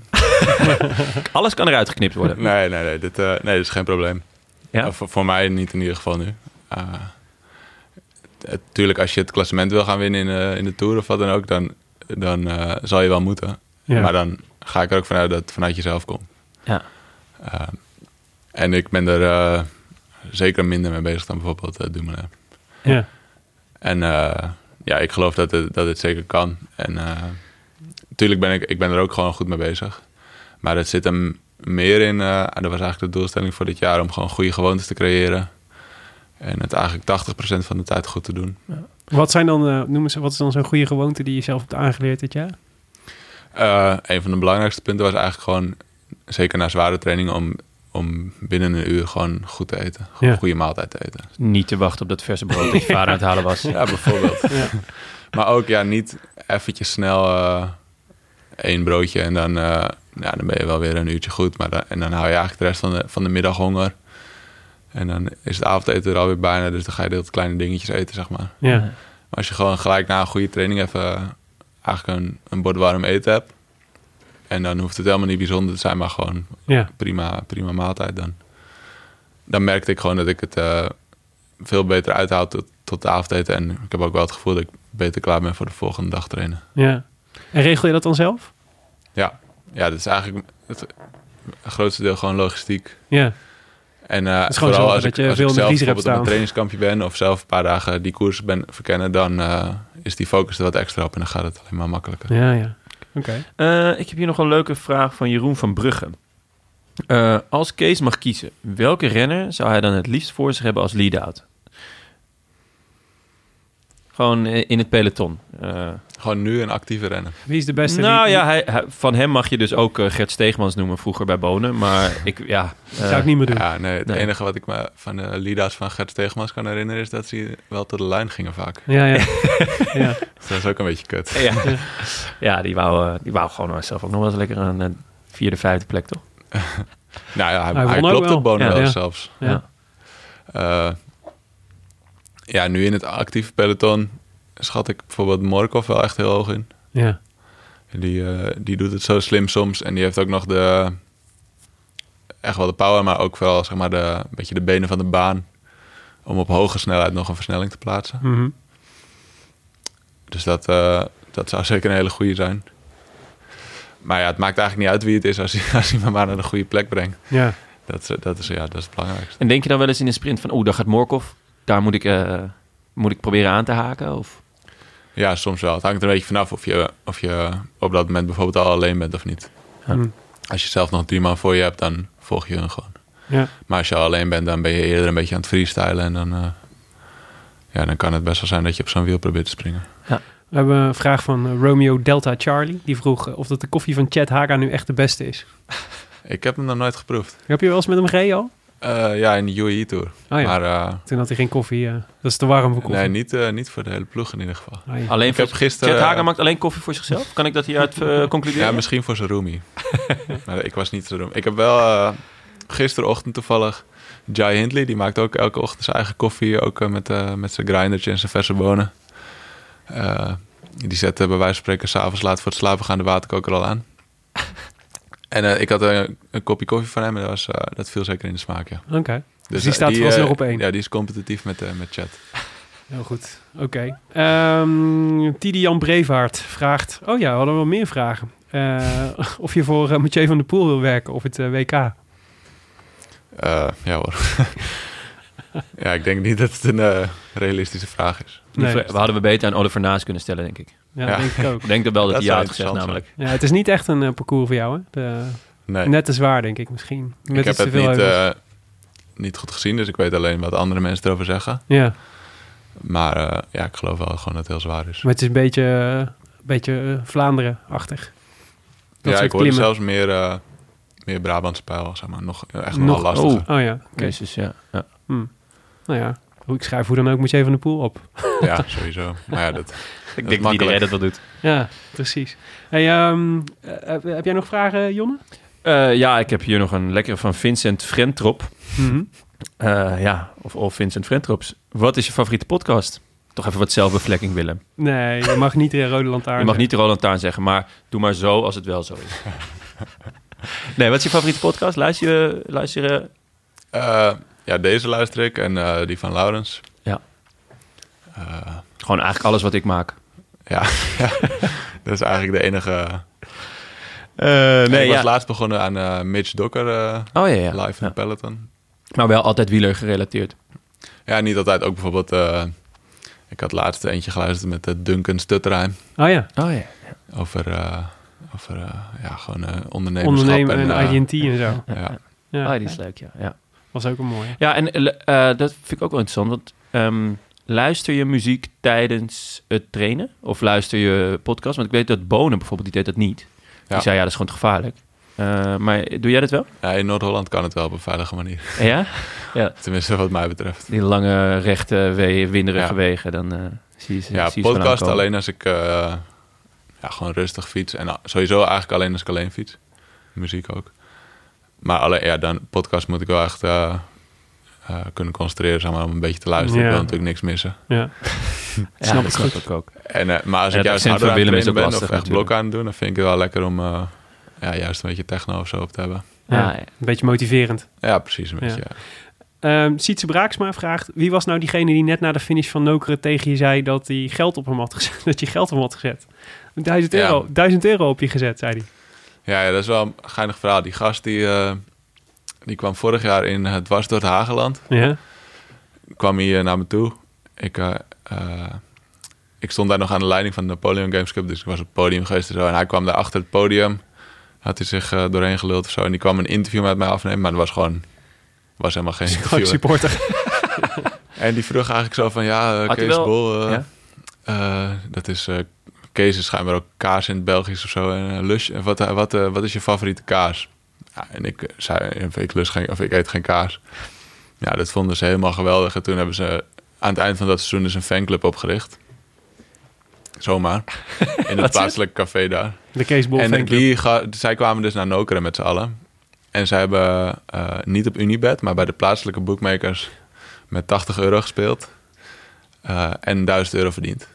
Speaker 1: Alles kan eruit geknipt worden.
Speaker 3: Nee, nee, nee. Dit, eh, nee, dit is geen probleem.
Speaker 1: Ja?
Speaker 3: Eh, voor, voor mij niet in ieder geval nu. Eh, het- tuurlijk, als je het klassement wil gaan winnen in, eh, in de Tour of wat dan ook, dan, dan eh, zal je wel moeten.
Speaker 2: Ja.
Speaker 3: Maar dan ga ik er ook vanuit dat het vanuit jezelf komt.
Speaker 1: Ja.
Speaker 3: Eh, en ik ben er eh, zeker minder mee bezig dan bijvoorbeeld eh Dumoulin.
Speaker 2: Ja.
Speaker 3: En eh, ja, ik geloof dat het, dat het zeker kan. En natuurlijk ben ik, ik ben er ook gewoon goed mee bezig. Maar het zit hem meer in, eh, dat was eigenlijk de doelstelling voor dit jaar, om gewoon goede gewoontes te creëren. En het eigenlijk 80% van de tijd goed te doen.
Speaker 2: Wat zijn dan, eh noem eens, wat is dan zo'n goede gewoonte die je zelf hebt aangeleerd dit jaar?
Speaker 3: Eh, een van de belangrijkste punten was eigenlijk gewoon, zeker na zware trainingen, om, om binnen een uur gewoon goed te eten. Gewoon
Speaker 2: Ja.
Speaker 3: een goede maaltijd te eten.
Speaker 1: Niet te wachten op dat verse brood dat je vader aan het halen was.
Speaker 3: Ja, bijvoorbeeld.
Speaker 2: Ja.
Speaker 3: Maar ook ja, niet eventjes snel eh, één broodje en dan, eh, ja, dan ben je wel weer een uurtje goed. Maar dan, en dan hou je eigenlijk de rest van de, van de middag honger. En dan is het avondeten er alweer bijna, dus dan ga je dat kleine dingetjes eten, zeg maar.
Speaker 2: Ja.
Speaker 3: Maar als je gewoon gelijk na een goede training even eh, eigenlijk een, een bord warm eten hebt. En dan hoeft het helemaal niet bijzonder te zijn, maar gewoon
Speaker 2: Ja.
Speaker 3: prima, prima maaltijd dan. Dan merkte ik gewoon dat ik het eh, veel beter uithoud tot, tot de avondeten. En ik heb ook wel het gevoel dat ik beter klaar ben voor de volgende dag trainen.
Speaker 2: ja. En regel je dat dan zelf?
Speaker 3: Ja, ja dat is eigenlijk het grootste deel gewoon logistiek.
Speaker 2: Ja.
Speaker 3: En eh,
Speaker 2: is gewoon
Speaker 3: vooral
Speaker 2: zorgen dat
Speaker 3: als ik,
Speaker 2: je veel
Speaker 3: als ik
Speaker 2: in de
Speaker 3: zelf
Speaker 2: vriezer
Speaker 3: bijvoorbeeld
Speaker 2: hebt
Speaker 3: op een
Speaker 2: staan.
Speaker 3: trainingskampje ben... of zelf een paar dagen die koers ben verkennen... dan eh, is die focus er wat extra op en dan gaat het alleen maar makkelijker.
Speaker 2: Ja, ja. Oké.
Speaker 1: Eh, ik heb hier nog een leuke vraag van Jeroen van Brugge. Eh, als Kees mag kiezen, welke renner zou hij dan het liefst voor zich hebben als lead-out? Gewoon eh, in het peloton. Eh,
Speaker 3: Gewoon nu een actieve rennen.
Speaker 2: Wie is de beste?
Speaker 1: nou
Speaker 2: die-
Speaker 1: ja, hij, hij- van hem mag je dus ook eh, Gert Steegmans noemen, vroeger bij Bonen. Maar ik, ja... eh,
Speaker 2: zou ik niet meer doen.
Speaker 3: Ja, nee, het
Speaker 1: Nee.
Speaker 3: enige wat ik me van de leaders van Gert Tegemans kan herinneren... is dat ze wel tot de lijn gingen vaak.
Speaker 2: Ja, ja. ja.
Speaker 3: Dus dat is ook een beetje kut.
Speaker 1: ja. ja, die wou, eh, die wou gewoon zelf ook nog wel eens lekker een eh, vierde, vijfde plek, toch?
Speaker 3: Nou ja, hij,
Speaker 2: Hij
Speaker 3: hij
Speaker 2: won ook
Speaker 3: klopt
Speaker 2: wel.
Speaker 3: op Bono
Speaker 1: Ja.
Speaker 3: wel
Speaker 2: Ja.
Speaker 3: zelfs.
Speaker 2: Ja.
Speaker 3: Eh, ja, nu in het actieve peloton schat ik bijvoorbeeld Morkov wel echt heel hoog in.
Speaker 2: Ja.
Speaker 3: Die, eh, die doet het zo slim soms. En die heeft ook nog de... Echt wel de power, maar ook vooral zeg maar de, een beetje de benen van de baan. Om op hoge snelheid nog een versnelling te plaatsen.
Speaker 2: Mhm.
Speaker 3: Dus dat, eh, Dat zou zeker een hele goede zijn. Maar ja, het maakt eigenlijk niet uit wie het is als hij, als hij me maar naar de goede plek brengt.
Speaker 2: Ja.
Speaker 3: Dat, is- dat, is, ja, dat is het belangrijkste.
Speaker 1: En denk je dan wel eens in een sprint van, oeh, daar gaat Morkov. Daar moet ik, eh, moet ik proberen aan te haken? Of...
Speaker 3: Ja, soms wel. Het hangt er een beetje vanaf of je, of je op dat moment bijvoorbeeld al alleen bent of niet.
Speaker 1: Ja.
Speaker 2: Hm.
Speaker 3: Als je zelf nog drie man voor je hebt, dan volg je hun gewoon.
Speaker 2: Ja.
Speaker 3: Maar als je al alleen bent, dan ben je eerder een beetje aan het freestylen. En dan, eh, ja, dan kan het best wel zijn dat je op zo'n wiel probeert te springen.
Speaker 2: We hebben een vraag van eh, Romeo Delta Charlie. Die vroeg eh, of dat de koffie van Chad Haga nu echt de beste is.
Speaker 3: Ik heb hem nog nooit geproefd.
Speaker 2: Heb je wel eens met hem gereden al?
Speaker 3: Eh, ja, in de UAE Tour.
Speaker 2: Oh ja,
Speaker 3: Maar eh,
Speaker 2: toen had hij geen koffie. eh, dat is te warm voor koffie. Oh
Speaker 3: nee, niet, eh, niet voor de hele ploeg in ieder geval.
Speaker 2: Ai.
Speaker 1: Alleen
Speaker 3: Ik heb
Speaker 1: voor...
Speaker 3: gisteren...
Speaker 1: Chet Hagen maakt alleen koffie voor zichzelf? Kan ik dat hieruit eh, concluderen?
Speaker 3: Ja, misschien voor zijn roomie. maar ik was niet zijn roomie. Ik heb wel eh, gisterochtend toevallig... Jai Hindley, die maakt ook elke ochtend zijn eigen koffie. Ook eh, met, eh, met zijn grindertje en zijn verse bonen. Eh, die zet eh, bij wijze van spreken s'avonds laat voor het slapen gaan de waterkoker al aan. En eh, ik had een, een kopje koffie van hem en dat, was, eh, dat viel zeker in de smaak, ja.
Speaker 2: Oké,
Speaker 3: Dus
Speaker 2: die
Speaker 3: eh,
Speaker 2: staat vooralsnog
Speaker 3: eh,
Speaker 2: op één.
Speaker 3: Ja, die is competitief met, eh, met chat.
Speaker 2: heel goed. Oké. Ehm Tidian Brevaart vraagt... Oh ja, we hadden wel meer vragen. Eh, of je voor eh, Mathieu van der Poel wil werken of het eh, WK.
Speaker 3: Eh, ja hoor. ja, ik denk niet dat het een eh, realistische vraag is.
Speaker 1: Die
Speaker 2: Nee.
Speaker 1: vra- we hadden we beter aan Oliver Naas kunnen stellen, denk ik.
Speaker 2: Ja,
Speaker 3: Ja.
Speaker 2: dat denk ik ook.
Speaker 1: Ik denk dat wel dat,
Speaker 3: Dat
Speaker 1: hij ja
Speaker 3: zou
Speaker 1: had gezegd,
Speaker 3: interessant
Speaker 1: namelijk.
Speaker 2: Ja, het is niet echt een eh, parcours voor jou, hè? De-
Speaker 3: Nee,
Speaker 2: Net te zwaar, denk ik misschien. Met
Speaker 3: ik heb
Speaker 2: iets te
Speaker 3: het
Speaker 2: veel
Speaker 3: niet,
Speaker 2: heuvels.
Speaker 3: eh, niet goed gezien, dus ik weet alleen wat andere mensen erover zeggen.
Speaker 2: Ja,
Speaker 3: Maar eh, ja, ik geloof wel gewoon dat het heel zwaar is.
Speaker 2: maar het is een beetje, eh, beetje eh, Vlaanderen-achtig. dat
Speaker 3: ja,
Speaker 2: soort
Speaker 3: ik hoorde
Speaker 2: klimmen.
Speaker 3: zelfs meer, eh meer Brabantse pijl, zeg maar. Nog, eh, echt nog,
Speaker 2: Nog-
Speaker 3: wel lastiger.
Speaker 1: oh.
Speaker 2: Oh ja, oké.
Speaker 1: Jezus, ja. ja.
Speaker 2: Hm. Nou ja, hoe- ik schrijf hoe dan ook Mathieu van der Poel op.
Speaker 3: Ja, sowieso. Maar ja, dat,
Speaker 1: Ik
Speaker 3: denk dat iedereen dat
Speaker 1: wel doet.
Speaker 2: Ja, precies. Hey, ehm, eh, eh, heb jij nog vragen, Jonne?
Speaker 1: Eh, ja, ik heb hier nog een lekkere van Vincent Frentrop.
Speaker 3: Mhm.
Speaker 1: Eh, ja, of, of Vincent Frentrops. Wat is je favoriete podcast? Toch even wat zelfbevlekking, Willem.
Speaker 2: Nee, je mag niet in Rode Lantaarn.
Speaker 1: Je mag niet de Roland Taan zeggen, maar doe maar zo als het wel zo is. nee, wat is je favoriete podcast? Luister je... Luister je
Speaker 3: eh, ja, deze luister ik en eh, die van Laurens.
Speaker 1: gewoon eigenlijk alles wat ik maak.
Speaker 3: Ja, dat is eigenlijk de enige...
Speaker 1: nee,
Speaker 3: ik was
Speaker 1: ja.
Speaker 3: laatst begonnen aan eh, Mitch Docker eh,
Speaker 1: Oh ja, ja.
Speaker 3: live in
Speaker 1: Ja.
Speaker 3: de Peloton.
Speaker 1: Maar wel altijd wieler gerelateerd.
Speaker 3: Ja, niet altijd. Ook bijvoorbeeld, eh, ik had laatst eentje geluisterd met eh, Duncan Stutterheim.
Speaker 2: Oh ja,
Speaker 1: Oh ja.
Speaker 3: Over, eh, over eh, ja, gewoon eh ondernemerschap.
Speaker 2: ondernemen en,
Speaker 3: eh,
Speaker 2: IDT en zo.
Speaker 3: ja.
Speaker 2: Ja,
Speaker 1: Oh, die is leuk, ja. ja.
Speaker 2: was ook een mooie.
Speaker 1: Ja, en eh, eh, dat vind ik ook wel interessant. Want ehm, luister je muziek tijdens het trainen? Of luister je podcast? Want ik weet dat Bonen bijvoorbeeld, die deed dat niet.
Speaker 3: Ja.
Speaker 1: Die zei, ja, dat is gewoon te gevaarlijk. Eh, maar doe jij dat wel?
Speaker 3: Ja, in Noord-Holland kan het wel op een veilige manier.
Speaker 1: ja?
Speaker 3: Tenminste, wat mij betreft.
Speaker 1: Die lange, rechte, we- winderige
Speaker 3: Ja.
Speaker 1: wegen. Dan eh, zie je ze zie
Speaker 3: Ja,
Speaker 1: je ze wel
Speaker 3: podcast
Speaker 1: aankomen.
Speaker 3: alleen als ik eh, ja, gewoon rustig fiets. En ah, sowieso eigenlijk alleen als ik alleen fiets. Muziek ook. Maar alleen, ja, dan podcast moet ik wel echt eh, eh, kunnen concentreren zeg maar, om een beetje te luisteren.
Speaker 2: Ja.
Speaker 3: Ik wil natuurlijk niks missen.
Speaker 2: Ja.
Speaker 1: Ja,
Speaker 2: Snap
Speaker 1: dat
Speaker 2: ik
Speaker 1: snap ik ook.
Speaker 3: En, eh, maar als
Speaker 1: Ja, het
Speaker 3: ik
Speaker 1: accent
Speaker 3: juist harder
Speaker 1: van
Speaker 3: aan het
Speaker 1: Willem is
Speaker 3: trainen ben
Speaker 1: ook
Speaker 3: of
Speaker 1: lastig
Speaker 3: echt blok aan het doen, dan vind ik het wel lekker om eh, ja, juist een beetje techno of zo op te hebben.
Speaker 2: Ja.
Speaker 1: Ah, ja.
Speaker 2: Een beetje motiverend.
Speaker 3: Ja, precies een
Speaker 2: Ja.
Speaker 3: beetje. Ja.
Speaker 2: Ehm Sietse Braaksma vraagt... Wie was nou diegene die net na de finish van Nokeren tegen je zei... dat, hij geld op hem had gezet, dat je geld op hem had gezet? Duizend
Speaker 3: Ja.
Speaker 2: euro, duizend euro op je gezet, zei hij.
Speaker 3: Ja, ja, dat is wel een geinig verhaal. Die gast die, eh, die kwam vorig jaar in het dwars door het Hageland.
Speaker 2: Ja,
Speaker 3: Kwam hier naar me toe. Ik, eh, eh, ik stond daar nog aan de leiding van de Napoleon Games Cup. Dus ik was op het podium geweest en zo. En hij kwam daar achter het podium. Had hij zich eh, doorheen geluld of zo. En die kwam een interview met mij afnemen. Maar dat was gewoon... Was helemaal geen
Speaker 2: gewoon
Speaker 3: interview.
Speaker 2: supporter.
Speaker 3: En die vroeg eigenlijk zo van... Ja, eh,
Speaker 1: Had hij
Speaker 3: Kees
Speaker 1: wel-
Speaker 3: Bol... eh,
Speaker 1: Ja?
Speaker 3: eh, dat is... eh, Kees is schijnbaar ook kaas in het Belgisch of zo. En eh, lush. En wat, eh, wat, eh, wat is je favoriete kaas? Ja, en ik eh, zei, ik, lust geen, of ik eet geen kaas. Ja, dat vonden ze helemaal geweldig. En toen hebben ze aan het eind van dat seizoen dus een fanclub opgericht. Zomaar. In het plaatselijke café daar.
Speaker 2: De Kees Bol
Speaker 3: En
Speaker 2: fanclub.
Speaker 3: die ga- zij kwamen dus naar Nokeren met z'n allen. En zij hebben eh, niet op Unibet, maar bij de plaatselijke bookmakers met 80 euro gespeeld. Eh, en 1000 euro verdiend.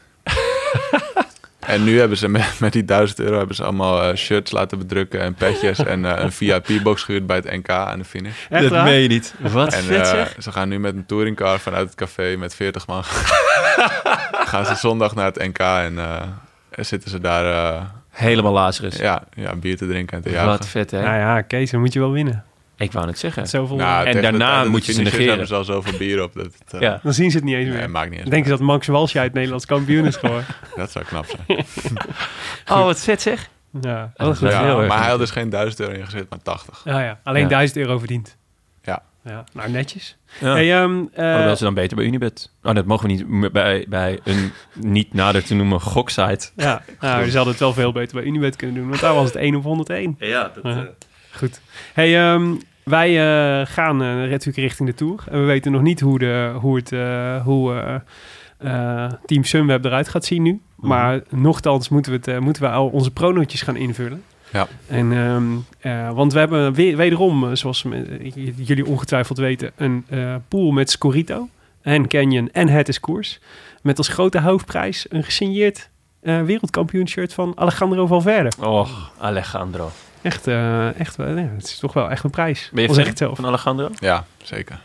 Speaker 3: en nu hebben ze met, met die 1000 euro hebben ze allemaal eh, shirts laten bedrukken en petjes en eh, een VIP-box gehuurd bij het NK aan de finish.
Speaker 2: Echt
Speaker 1: dat
Speaker 2: waar?
Speaker 1: meen je niet. Wat
Speaker 3: En
Speaker 1: vet
Speaker 3: eh,
Speaker 1: zeg.
Speaker 3: ze gaan nu met een touringcar vanuit het café met 40 man. gaan ze zondag naar het NK en eh, zitten ze daar eh,
Speaker 1: Helemaal lazerus.
Speaker 3: ja, ja, bier te drinken en te
Speaker 1: Wat
Speaker 3: jagen.
Speaker 1: vet, hè?
Speaker 2: Nou ja, Kees, dan moet je wel winnen.
Speaker 1: Ik wou het zeggen.
Speaker 2: Zoveel.
Speaker 3: Nou, tegen de
Speaker 1: daarna
Speaker 3: tijd dat de
Speaker 1: moet je ze
Speaker 3: finish is,
Speaker 1: negeren.
Speaker 3: hebben ze al zoveel bier op. Dat, het, eh,
Speaker 1: Ja.
Speaker 2: Dan zien ze het niet eens meer.
Speaker 3: nee, maakt niet eens
Speaker 2: Denken ze dat Max Walsje uit Nederlands kampioen is geworden.
Speaker 3: uit. Dat zou knap zijn.
Speaker 1: Oh, wat vet zeg. Oh,
Speaker 2: ja,
Speaker 1: Dat is
Speaker 2: goed.
Speaker 1: wel
Speaker 3: Ja,
Speaker 1: heel erg
Speaker 3: maar hij had
Speaker 1: leuk.
Speaker 3: dus geen 1000 euro ingezet, maar 80.
Speaker 2: Ja, ja. Alleen
Speaker 1: Ja.
Speaker 2: 1000 euro verdiend.
Speaker 3: Ja.
Speaker 2: ja. Nou, netjes.
Speaker 1: Ja.
Speaker 2: Hey, ehm, eh,
Speaker 1: Hoewel ze dan beter bij Unibet. Oh, dat mogen we niet m- bij, bij een niet nader te noemen goksite.
Speaker 2: ja. Nou, ze hadden het wel veel beter bij Unibet kunnen doen. Want daar was het 1 op 101.
Speaker 1: Ja, dat, eh.
Speaker 2: Ja. Goed. Hey, ehm, wij eh, gaan eh, natuurlijk richting de Tour. En we weten nog niet hoe, de, hoe, het, eh, hoe eh, eh, Team Sunweb eruit gaat zien nu. Maar nochtans moeten we, het, eh, moeten we al onze pronootjes gaan invullen.
Speaker 3: Ja.
Speaker 2: En, ehm, eh, want we hebben weer, wederom, eh, zoals me- eh, j- jullie ongetwijfeld weten, een eh, pool met Scorito en Canyon en Het is Koers. Met als grote hoofdprijs een gesigneerd eh wereldkampioenshirt van Alejandro Valverde.
Speaker 1: Oh, Alejandro.
Speaker 2: Echt, eh, echt wel. nee, het is toch wel echt een prijs.
Speaker 1: Ben je
Speaker 2: Al zeg ik het
Speaker 1: fan
Speaker 2: zelf.
Speaker 1: van Alejandro?
Speaker 3: Ja, zeker.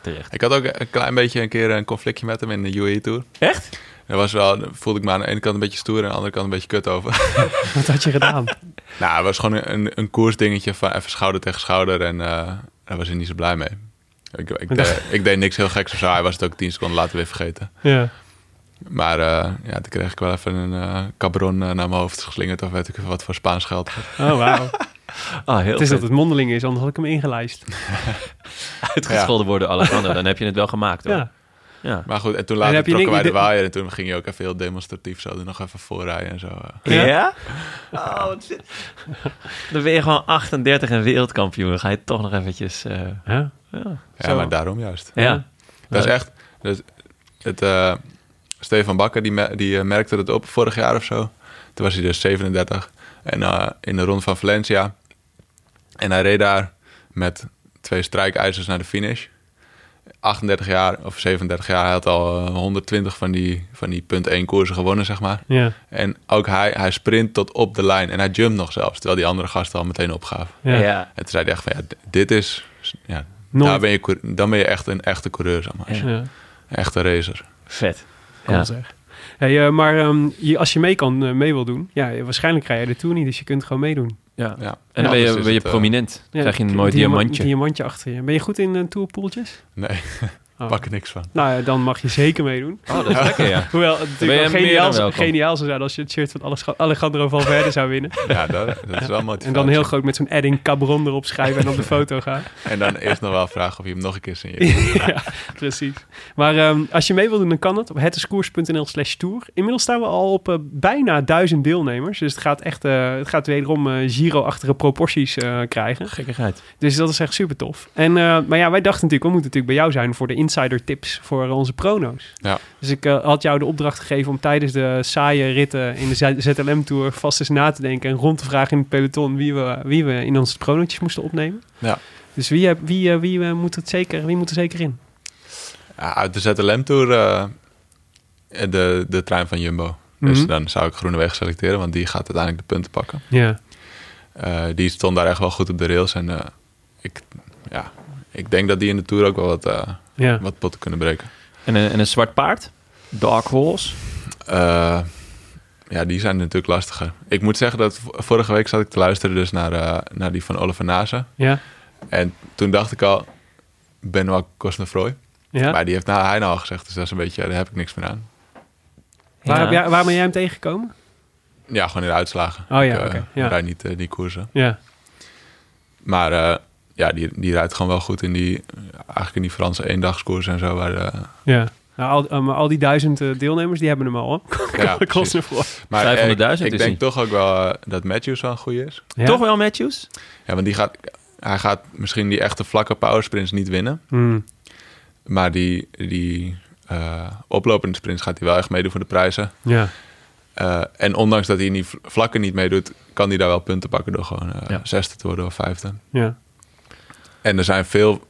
Speaker 1: Terecht.
Speaker 3: Ik had ook een klein beetje een keer een conflictje met hem in de UAE Tour.
Speaker 1: Echt?
Speaker 3: Daar was wel, daar voelde ik me aan de ene kant een beetje stoer en aan de andere kant een beetje kut over.
Speaker 2: Wat had je gedaan?
Speaker 3: nou, het was gewoon een, een koersdingetje van even schouder tegen schouder en eh, daar was hij niet zo blij mee. Ik, ik, deed- ik deed niks heel geks of zo. Hij was het ook tien seconden later weer vergeten.
Speaker 2: ja.
Speaker 3: Maar eh, ja, toen kreeg ik wel even een eh, cabron eh, naar mijn hoofd geslingerd of weet ik veel wat voor Spaans geld.
Speaker 2: Oh, wauw.
Speaker 1: Ah, heel
Speaker 2: het is
Speaker 1: vet.
Speaker 2: dat het mondeling is, anders had ik hem ingelijst.
Speaker 1: Uitgescholden worden, Alejandro. Dan heb je het wel gemaakt, hoor. Ja.
Speaker 2: Ja.
Speaker 3: Maar goed, en toen
Speaker 2: En
Speaker 3: later
Speaker 2: heb je
Speaker 3: trokken
Speaker 2: niks-
Speaker 3: wij de
Speaker 2: de-
Speaker 3: waaier en toen ging je ook even heel demonstratief zo er nog even voorrijden en zo. eh.
Speaker 2: Ja?
Speaker 1: Oh, wat zit... Dan ben je gewoon 38 en wereldkampioen. Dan ga je toch nog eventjes... eh,
Speaker 2: Ja.
Speaker 1: ja.
Speaker 3: Ja,
Speaker 2: Zo.
Speaker 3: maar daarom juist.
Speaker 1: ja.
Speaker 3: Dat is
Speaker 1: Leuk.
Speaker 3: echt. Dat, het, eh, Stefan Bakker die, me- die eh, merkte dat op vorig jaar of zo. Toen was hij dus 37. En eh, in de ronde van Valencia. En hij reed daar met twee strijkijzers naar de finish. 38 jaar of 37 jaar. Hij had al eh, 120 van die, van die punt 1 koersen gewonnen, zeg maar.
Speaker 2: Ja.
Speaker 3: En ook hij, hij sprint tot op de lijn. En hij jumpt nog zelfs. Terwijl die andere gasten al meteen opgaven.
Speaker 2: Ja.
Speaker 3: En toen zei hij echt van, ja, d- dit is... Ja,
Speaker 1: Nou,
Speaker 2: Nooit.
Speaker 3: daar ben je, coure- dan ben je echt een echte coureur, zeg maar.
Speaker 1: Ja.
Speaker 2: Ja.
Speaker 3: Een echte racer.
Speaker 1: Vet.
Speaker 2: Kom
Speaker 1: Ja.
Speaker 2: zeg. Hey, eh, maar ehm, je, als je mee kan, eh, mee wil doen. Ja, waarschijnlijk ga je de tour niet, dus je kunt gewoon meedoen.
Speaker 1: Ja.
Speaker 3: Ja.
Speaker 1: En dan ben
Speaker 3: Anders
Speaker 1: je,
Speaker 3: is
Speaker 1: ben je
Speaker 3: het, eh,
Speaker 1: prominent.
Speaker 2: Ja,
Speaker 1: Dan krijg je een mooi
Speaker 2: diama-
Speaker 1: diamantje.
Speaker 2: diamantje achter je. Ben je goed in eh, tourpoeltjes?
Speaker 3: nee,
Speaker 2: Oh.
Speaker 3: pak er niks van.
Speaker 2: Nou, ja, dan mag je zeker meedoen.
Speaker 1: Oh, dat is lekker, ja.
Speaker 2: Hoewel het
Speaker 1: Ben je
Speaker 2: natuurlijk wel
Speaker 1: meer
Speaker 2: geniaal,
Speaker 1: dan
Speaker 2: zou-
Speaker 1: welkom.
Speaker 2: geniaal zou zijn als je het shirt van Alej- Alejandro Valverde zou winnen.
Speaker 3: Ja, dat, dat is wel motivatie.
Speaker 2: En dan heel groot met zo'n adding cabron erop schrijven en op de foto gaan.
Speaker 3: En dan eerst nog wel vragen of je hem nog een keer signeert.
Speaker 2: ja, precies. Maar ehm, als je mee wil doen, dan kan dat op hetdescours.nl slash tour. Inmiddels staan we al op eh, bijna duizend deelnemers. Dus het gaat echt, eh, het gaat wederom eh Giro-achtige proporties eh, krijgen.
Speaker 1: Gekkigheid.
Speaker 2: Dus dat is echt super tof. En, eh, maar ja, wij dachten natuurlijk, we moeten natuurlijk bij jou zijn voor de insider tips voor onze prono's.
Speaker 3: Ja.
Speaker 2: Dus ik eh, had jou de opdracht gegeven om tijdens de saaie ritten in de Z- ZLM-tour vast eens na te denken en rond te vragen in het peloton wie we, wie we in onze pronootjes moesten opnemen.
Speaker 3: Ja.
Speaker 2: Dus wie, heb- wie, eh, wie, eh, moet het zeker, wie moet er zeker in?
Speaker 3: Ja, uit de ZLM Tour, eh, de, de trein van Jumbo. Dus
Speaker 2: Mhm.
Speaker 3: dan zou ik Groeneweg selecteren, want die gaat uiteindelijk de punten pakken.
Speaker 2: Ja.
Speaker 3: Eh, die stond daar echt wel goed op de rails. En eh, ik, ja, ik denk dat die in de Tour ook wel wat, eh,
Speaker 2: Ja.
Speaker 3: wat potten kunnen breken.
Speaker 1: En een, en een zwart paard. Dark horse.
Speaker 3: Eh, ja, die zijn natuurlijk lastiger. Ik moet zeggen dat v- vorige week zat ik te luisteren dus naar, eh, naar die van Oliver Nase.
Speaker 2: Ja.
Speaker 3: En toen dacht ik al, Benoit Cosnefroy.
Speaker 2: ja.
Speaker 3: Maar die heeft nou, hij nou al gezegd, dus dat is een beetje, daar heb ik niks meer aan.
Speaker 2: Waar, heb
Speaker 1: Ja.
Speaker 2: jij, waar ben jij hem tegengekomen?
Speaker 3: Ja, gewoon in de uitslagen.
Speaker 2: Oh ja,
Speaker 3: ik, eh,
Speaker 2: oké, ja.
Speaker 3: rijd niet eh, die koersen.
Speaker 2: Ja.
Speaker 3: Maar eh, ja, die, die rijdt gewoon wel goed in die, eigenlijk in die Franse eendagskoers en zo. Waar, eh,
Speaker 2: ja. Nou, al, eh, maar al die duizend eh, deelnemers, die hebben hem al. Hoor.
Speaker 3: ja, precies. Maar eh,
Speaker 1: 500.000
Speaker 3: ik, ik
Speaker 1: is
Speaker 3: denk
Speaker 1: hij.
Speaker 3: toch ook wel eh, dat Matthews wel een goeie is.
Speaker 2: Ja.
Speaker 1: Toch wel Matthews?
Speaker 3: Ja, want die gaat, hij gaat misschien die echte vlakke powersprints niet winnen.
Speaker 2: Hmm.
Speaker 3: Maar die, die eh, oplopende sprints gaat hij wel echt meedoen voor de prijzen.
Speaker 2: Ja.
Speaker 3: Eh, en ondanks dat hij in die vl- vlakken niet meedoet, kan hij daar wel punten pakken door gewoon eh,
Speaker 1: Ja.
Speaker 3: zesde te worden of vijfde.
Speaker 2: Ja.
Speaker 3: En er zijn veel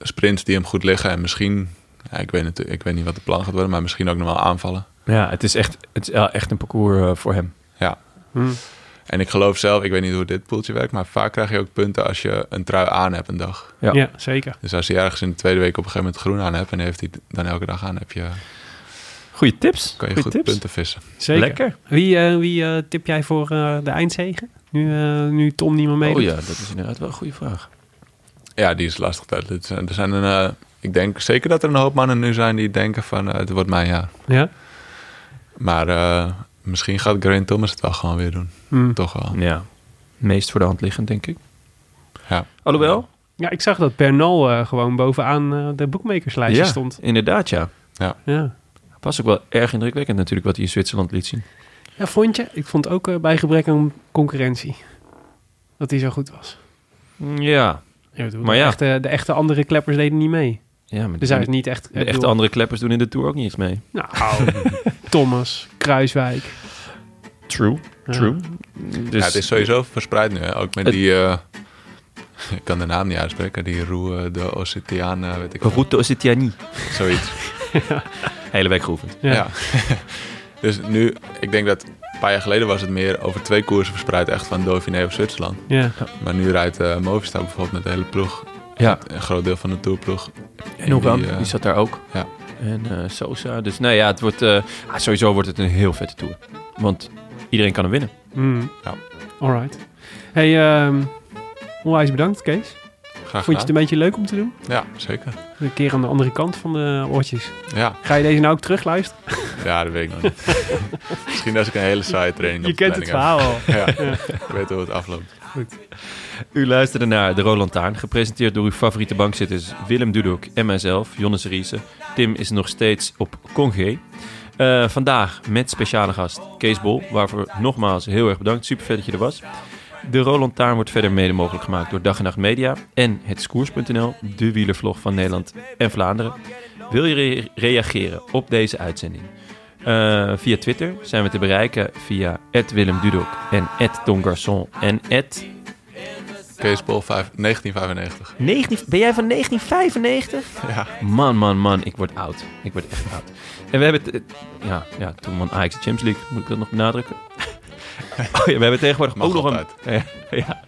Speaker 3: sprints die hem goed liggen. En misschien, ja, ik, weet natuurlijk, ik weet niet wat de plan gaat worden, maar misschien ook nog wel aanvallen.
Speaker 1: Ja, het is echt, het is wel echt een parcours eh, voor hem.
Speaker 3: Ja.
Speaker 2: Hmm.
Speaker 3: En ik geloof zelf, ik weet niet hoe dit poeltje werkt, maar vaak krijg je ook punten als je een trui aan hebt een dag.
Speaker 1: Ja.
Speaker 2: Ja. zeker.
Speaker 3: Dus als hij ergens in de tweede week op een gegeven moment groen aan hebt en heeft hij het dan elke dag aan, heb je
Speaker 1: Goeie tips.
Speaker 3: Kan je
Speaker 1: Goeie
Speaker 3: goed
Speaker 1: tips.
Speaker 3: punten vissen.
Speaker 2: Zeker.
Speaker 1: Lekker.
Speaker 2: Wie, eh, wie eh, tip jij voor eh, de eindzegen? Nu, eh, nu Tom niet meer mee.
Speaker 1: Oh ja, dat is inderdaad wel een goede vraag.
Speaker 3: Ja, die is lastig. te uitleggen. Er zijn een, eh, ik denk zeker dat er een hoop mannen nu zijn die denken van eh, het wordt mijn jaar.
Speaker 2: Ja?
Speaker 3: Maar eh, misschien gaat Grant Thomas het wel gewoon weer doen.
Speaker 2: Hm.
Speaker 3: Toch wel.
Speaker 1: Ja, meest voor de hand liggend, denk ik.
Speaker 3: Ja.
Speaker 1: Alhoewel,
Speaker 2: ja, ik zag dat Bernal eh, gewoon bovenaan eh, de boekmakerslijstje
Speaker 1: ja,
Speaker 2: stond.
Speaker 1: inderdaad ja.
Speaker 2: Ja.
Speaker 1: Was ook wel erg indrukwekkend natuurlijk wat hij in Zwitserland liet zien.
Speaker 2: ja, vond je? Ik vond ook eh, bij gebrek aan concurrentie dat hij zo goed was.
Speaker 1: Ja,
Speaker 2: Ja, ik bedoel,
Speaker 1: Maar
Speaker 2: de,
Speaker 1: ja.
Speaker 2: echte, de echte andere kleppers deden niet mee.
Speaker 1: ja maar
Speaker 2: Dus hij is niet echt... ik
Speaker 1: de echte
Speaker 2: bedoel-
Speaker 1: andere kleppers doen in de Tour ook niets mee.
Speaker 2: Nou, Thomas, Kruiswijk.
Speaker 1: True,
Speaker 2: Ja.
Speaker 1: true. Dus,
Speaker 3: ja, het is sowieso verspreid nu. Hè? Ook met
Speaker 1: Het-
Speaker 3: die... eh, ik kan de naam niet uitspreken. Die Roe eh, de Ossetiana, weet ik
Speaker 1: Route Occitanie.
Speaker 3: wat. Zoiets.
Speaker 1: Hele week geoefend.
Speaker 2: Ja.
Speaker 3: Ja. dus nu, ik denk dat een paar jaar geleden was het meer over twee koersen verspreid, echt van Dauphiné op Zwitserland.
Speaker 2: Ja.
Speaker 3: Maar nu rijdt eh Movistar bijvoorbeeld met de hele ploeg,
Speaker 1: Ja,
Speaker 3: een groot deel van de tourploeg.
Speaker 1: en Oran, die,
Speaker 3: eh,
Speaker 1: zat daar ook.
Speaker 3: ja.
Speaker 1: En eh, Sosa. Dus nou ja, het wordt, eh, ah, sowieso wordt het een heel vette Tour. Want iedereen kan hem winnen.
Speaker 2: Mm.
Speaker 3: Ja.
Speaker 2: Alright. Hey, ehm, onwijs bedankt, Kees.
Speaker 3: Graag
Speaker 2: Vond je het een
Speaker 3: gedaan.
Speaker 2: beetje leuk om te doen?
Speaker 3: Ja, zeker.
Speaker 2: Een keer aan de andere kant van de oortjes.
Speaker 3: Ja.
Speaker 2: Ga je deze nou ook terugluisteren?
Speaker 3: ja, dat weet ik nog niet. Misschien als ik een hele saaie training
Speaker 2: Je
Speaker 3: op de
Speaker 2: kent het
Speaker 3: planning
Speaker 2: verhaal al.
Speaker 3: heb. Ja, ik weet hoe het afloopt.
Speaker 1: U luisterde naar De Roland Taarn, gepresenteerd door uw favoriete bankzitters Willem Dudok en mijzelf, Jonas Riese. Tim is nog steeds op congé. Eh, vandaag met speciale gast Kees Bol, waarvoor nogmaals heel erg bedankt. Super vet dat je er was. De Roland Taarn wordt verder mede mogelijk gemaakt door Dag en Nacht Media en het Skoers.nl, de wielervlog van Nederland en Vlaanderen. Wil je re- reageren op deze uitzending? Eh, via Twitter zijn we te bereiken via Willem Dudok en Tongarson en
Speaker 3: Kees Pol, vijf- 1995.
Speaker 1: 19, ben jij van 1995?
Speaker 3: Ja.
Speaker 1: Man, man, man, ik word oud. Ik word echt oud. En we hebben... t- eh, Ja, ja, toen won Ajax de Champions League. Moet ik dat nog benadrukken? Oh ja, we hebben tegenwoordig
Speaker 3: Mag
Speaker 1: ook nog
Speaker 3: altijd.
Speaker 1: een... ja.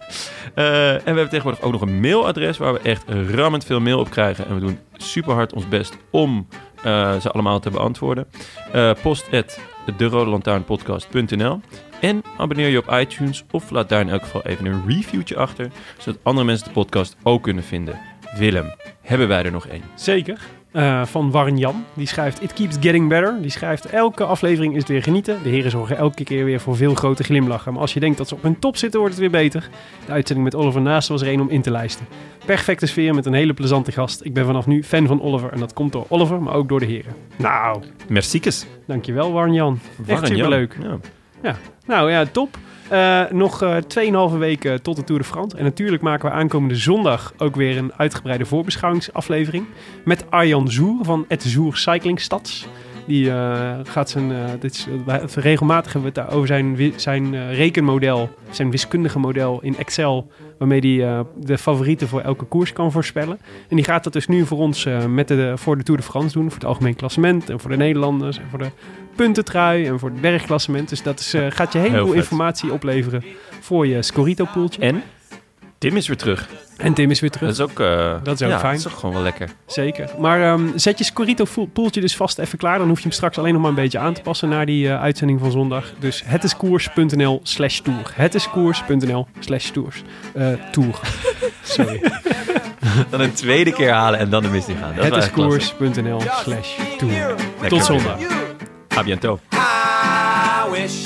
Speaker 1: Eh, en we hebben tegenwoordig ook nog een mailadres... waar we echt rammend veel mail op krijgen. En we doen super hard ons best om eh, ze allemaal te beantwoorden. Eh post at derodelantaarnpodcast.nl En abonneer je op iTunes of laat daar in elk geval even een reviewtje achter... zodat andere mensen de podcast ook kunnen vinden. Willem, hebben wij er nog één?
Speaker 2: Zeker. Eh, van Warren Jan. Die schrijft It Keeps Getting Better. Die schrijft elke aflevering is het weer genieten. De heren zorgen elke keer weer voor veel grote glimlachen. Maar als je denkt dat ze op hun top zitten, wordt het weer beter. De uitzending met Oliver Naast was er één om in te lijsten. Perfecte sfeer met een hele plezante gast. Ik ben vanaf nu fan van Oliver. En dat komt door Oliver, maar ook door de heren. Nou,
Speaker 1: Merciekes.
Speaker 2: dankjewel Warren Jan. Echt superleuk.
Speaker 1: Ja.
Speaker 2: Nou ja, top. Eh, nog eh 2,5 weken tot de Tour de France. En natuurlijk maken we aankomende zondag ook weer een uitgebreide voorbeschouwingsaflevering. Met Arjan Zoer van Het Zoer Cycling Stads. Die eh, gaat zijn. eh, dit is, wij- regelmatig hebben we het daar over zijn, wi- zijn eh, rekenmodel. Zijn wiskundige model in Excel. Waarmee hij de favorieten voor elke koers kan voorspellen. En die gaat dat dus nu voor ons eh, met de, voor de Tour de France doen. Voor het algemeen klassement. En voor de Nederlanders. En voor de puntentrui. En voor het bergklassement. Dus dat is, eh, gaat je een heleboel
Speaker 1: vet.
Speaker 2: informatie opleveren. Voor je Scorito-poeltje.
Speaker 1: En Tim is weer terug.
Speaker 2: En Tim is weer terug.
Speaker 1: Dat is ook, eh,
Speaker 2: Dat is ook
Speaker 1: ja,
Speaker 2: fijn.
Speaker 1: Dat is ook gewoon wel lekker.
Speaker 2: Zeker. Maar ehm, zet je Scorito-poeltje dus vast even klaar. Dan hoef je hem straks alleen nog maar een beetje aan te passen naar die eh, uitzending van zondag. Dus hetiskoers.nl slash tour. Hetiskoers.nl slash tours. Eh, tour. Sorry.
Speaker 1: Dan een tweede keer halen en dan de mist in gaan. Dat is koers.
Speaker 2: Hetiskoers.nl slash tour.
Speaker 1: Lekker.
Speaker 2: Tot zondag.
Speaker 1: A bientôt.
Speaker 4: I wish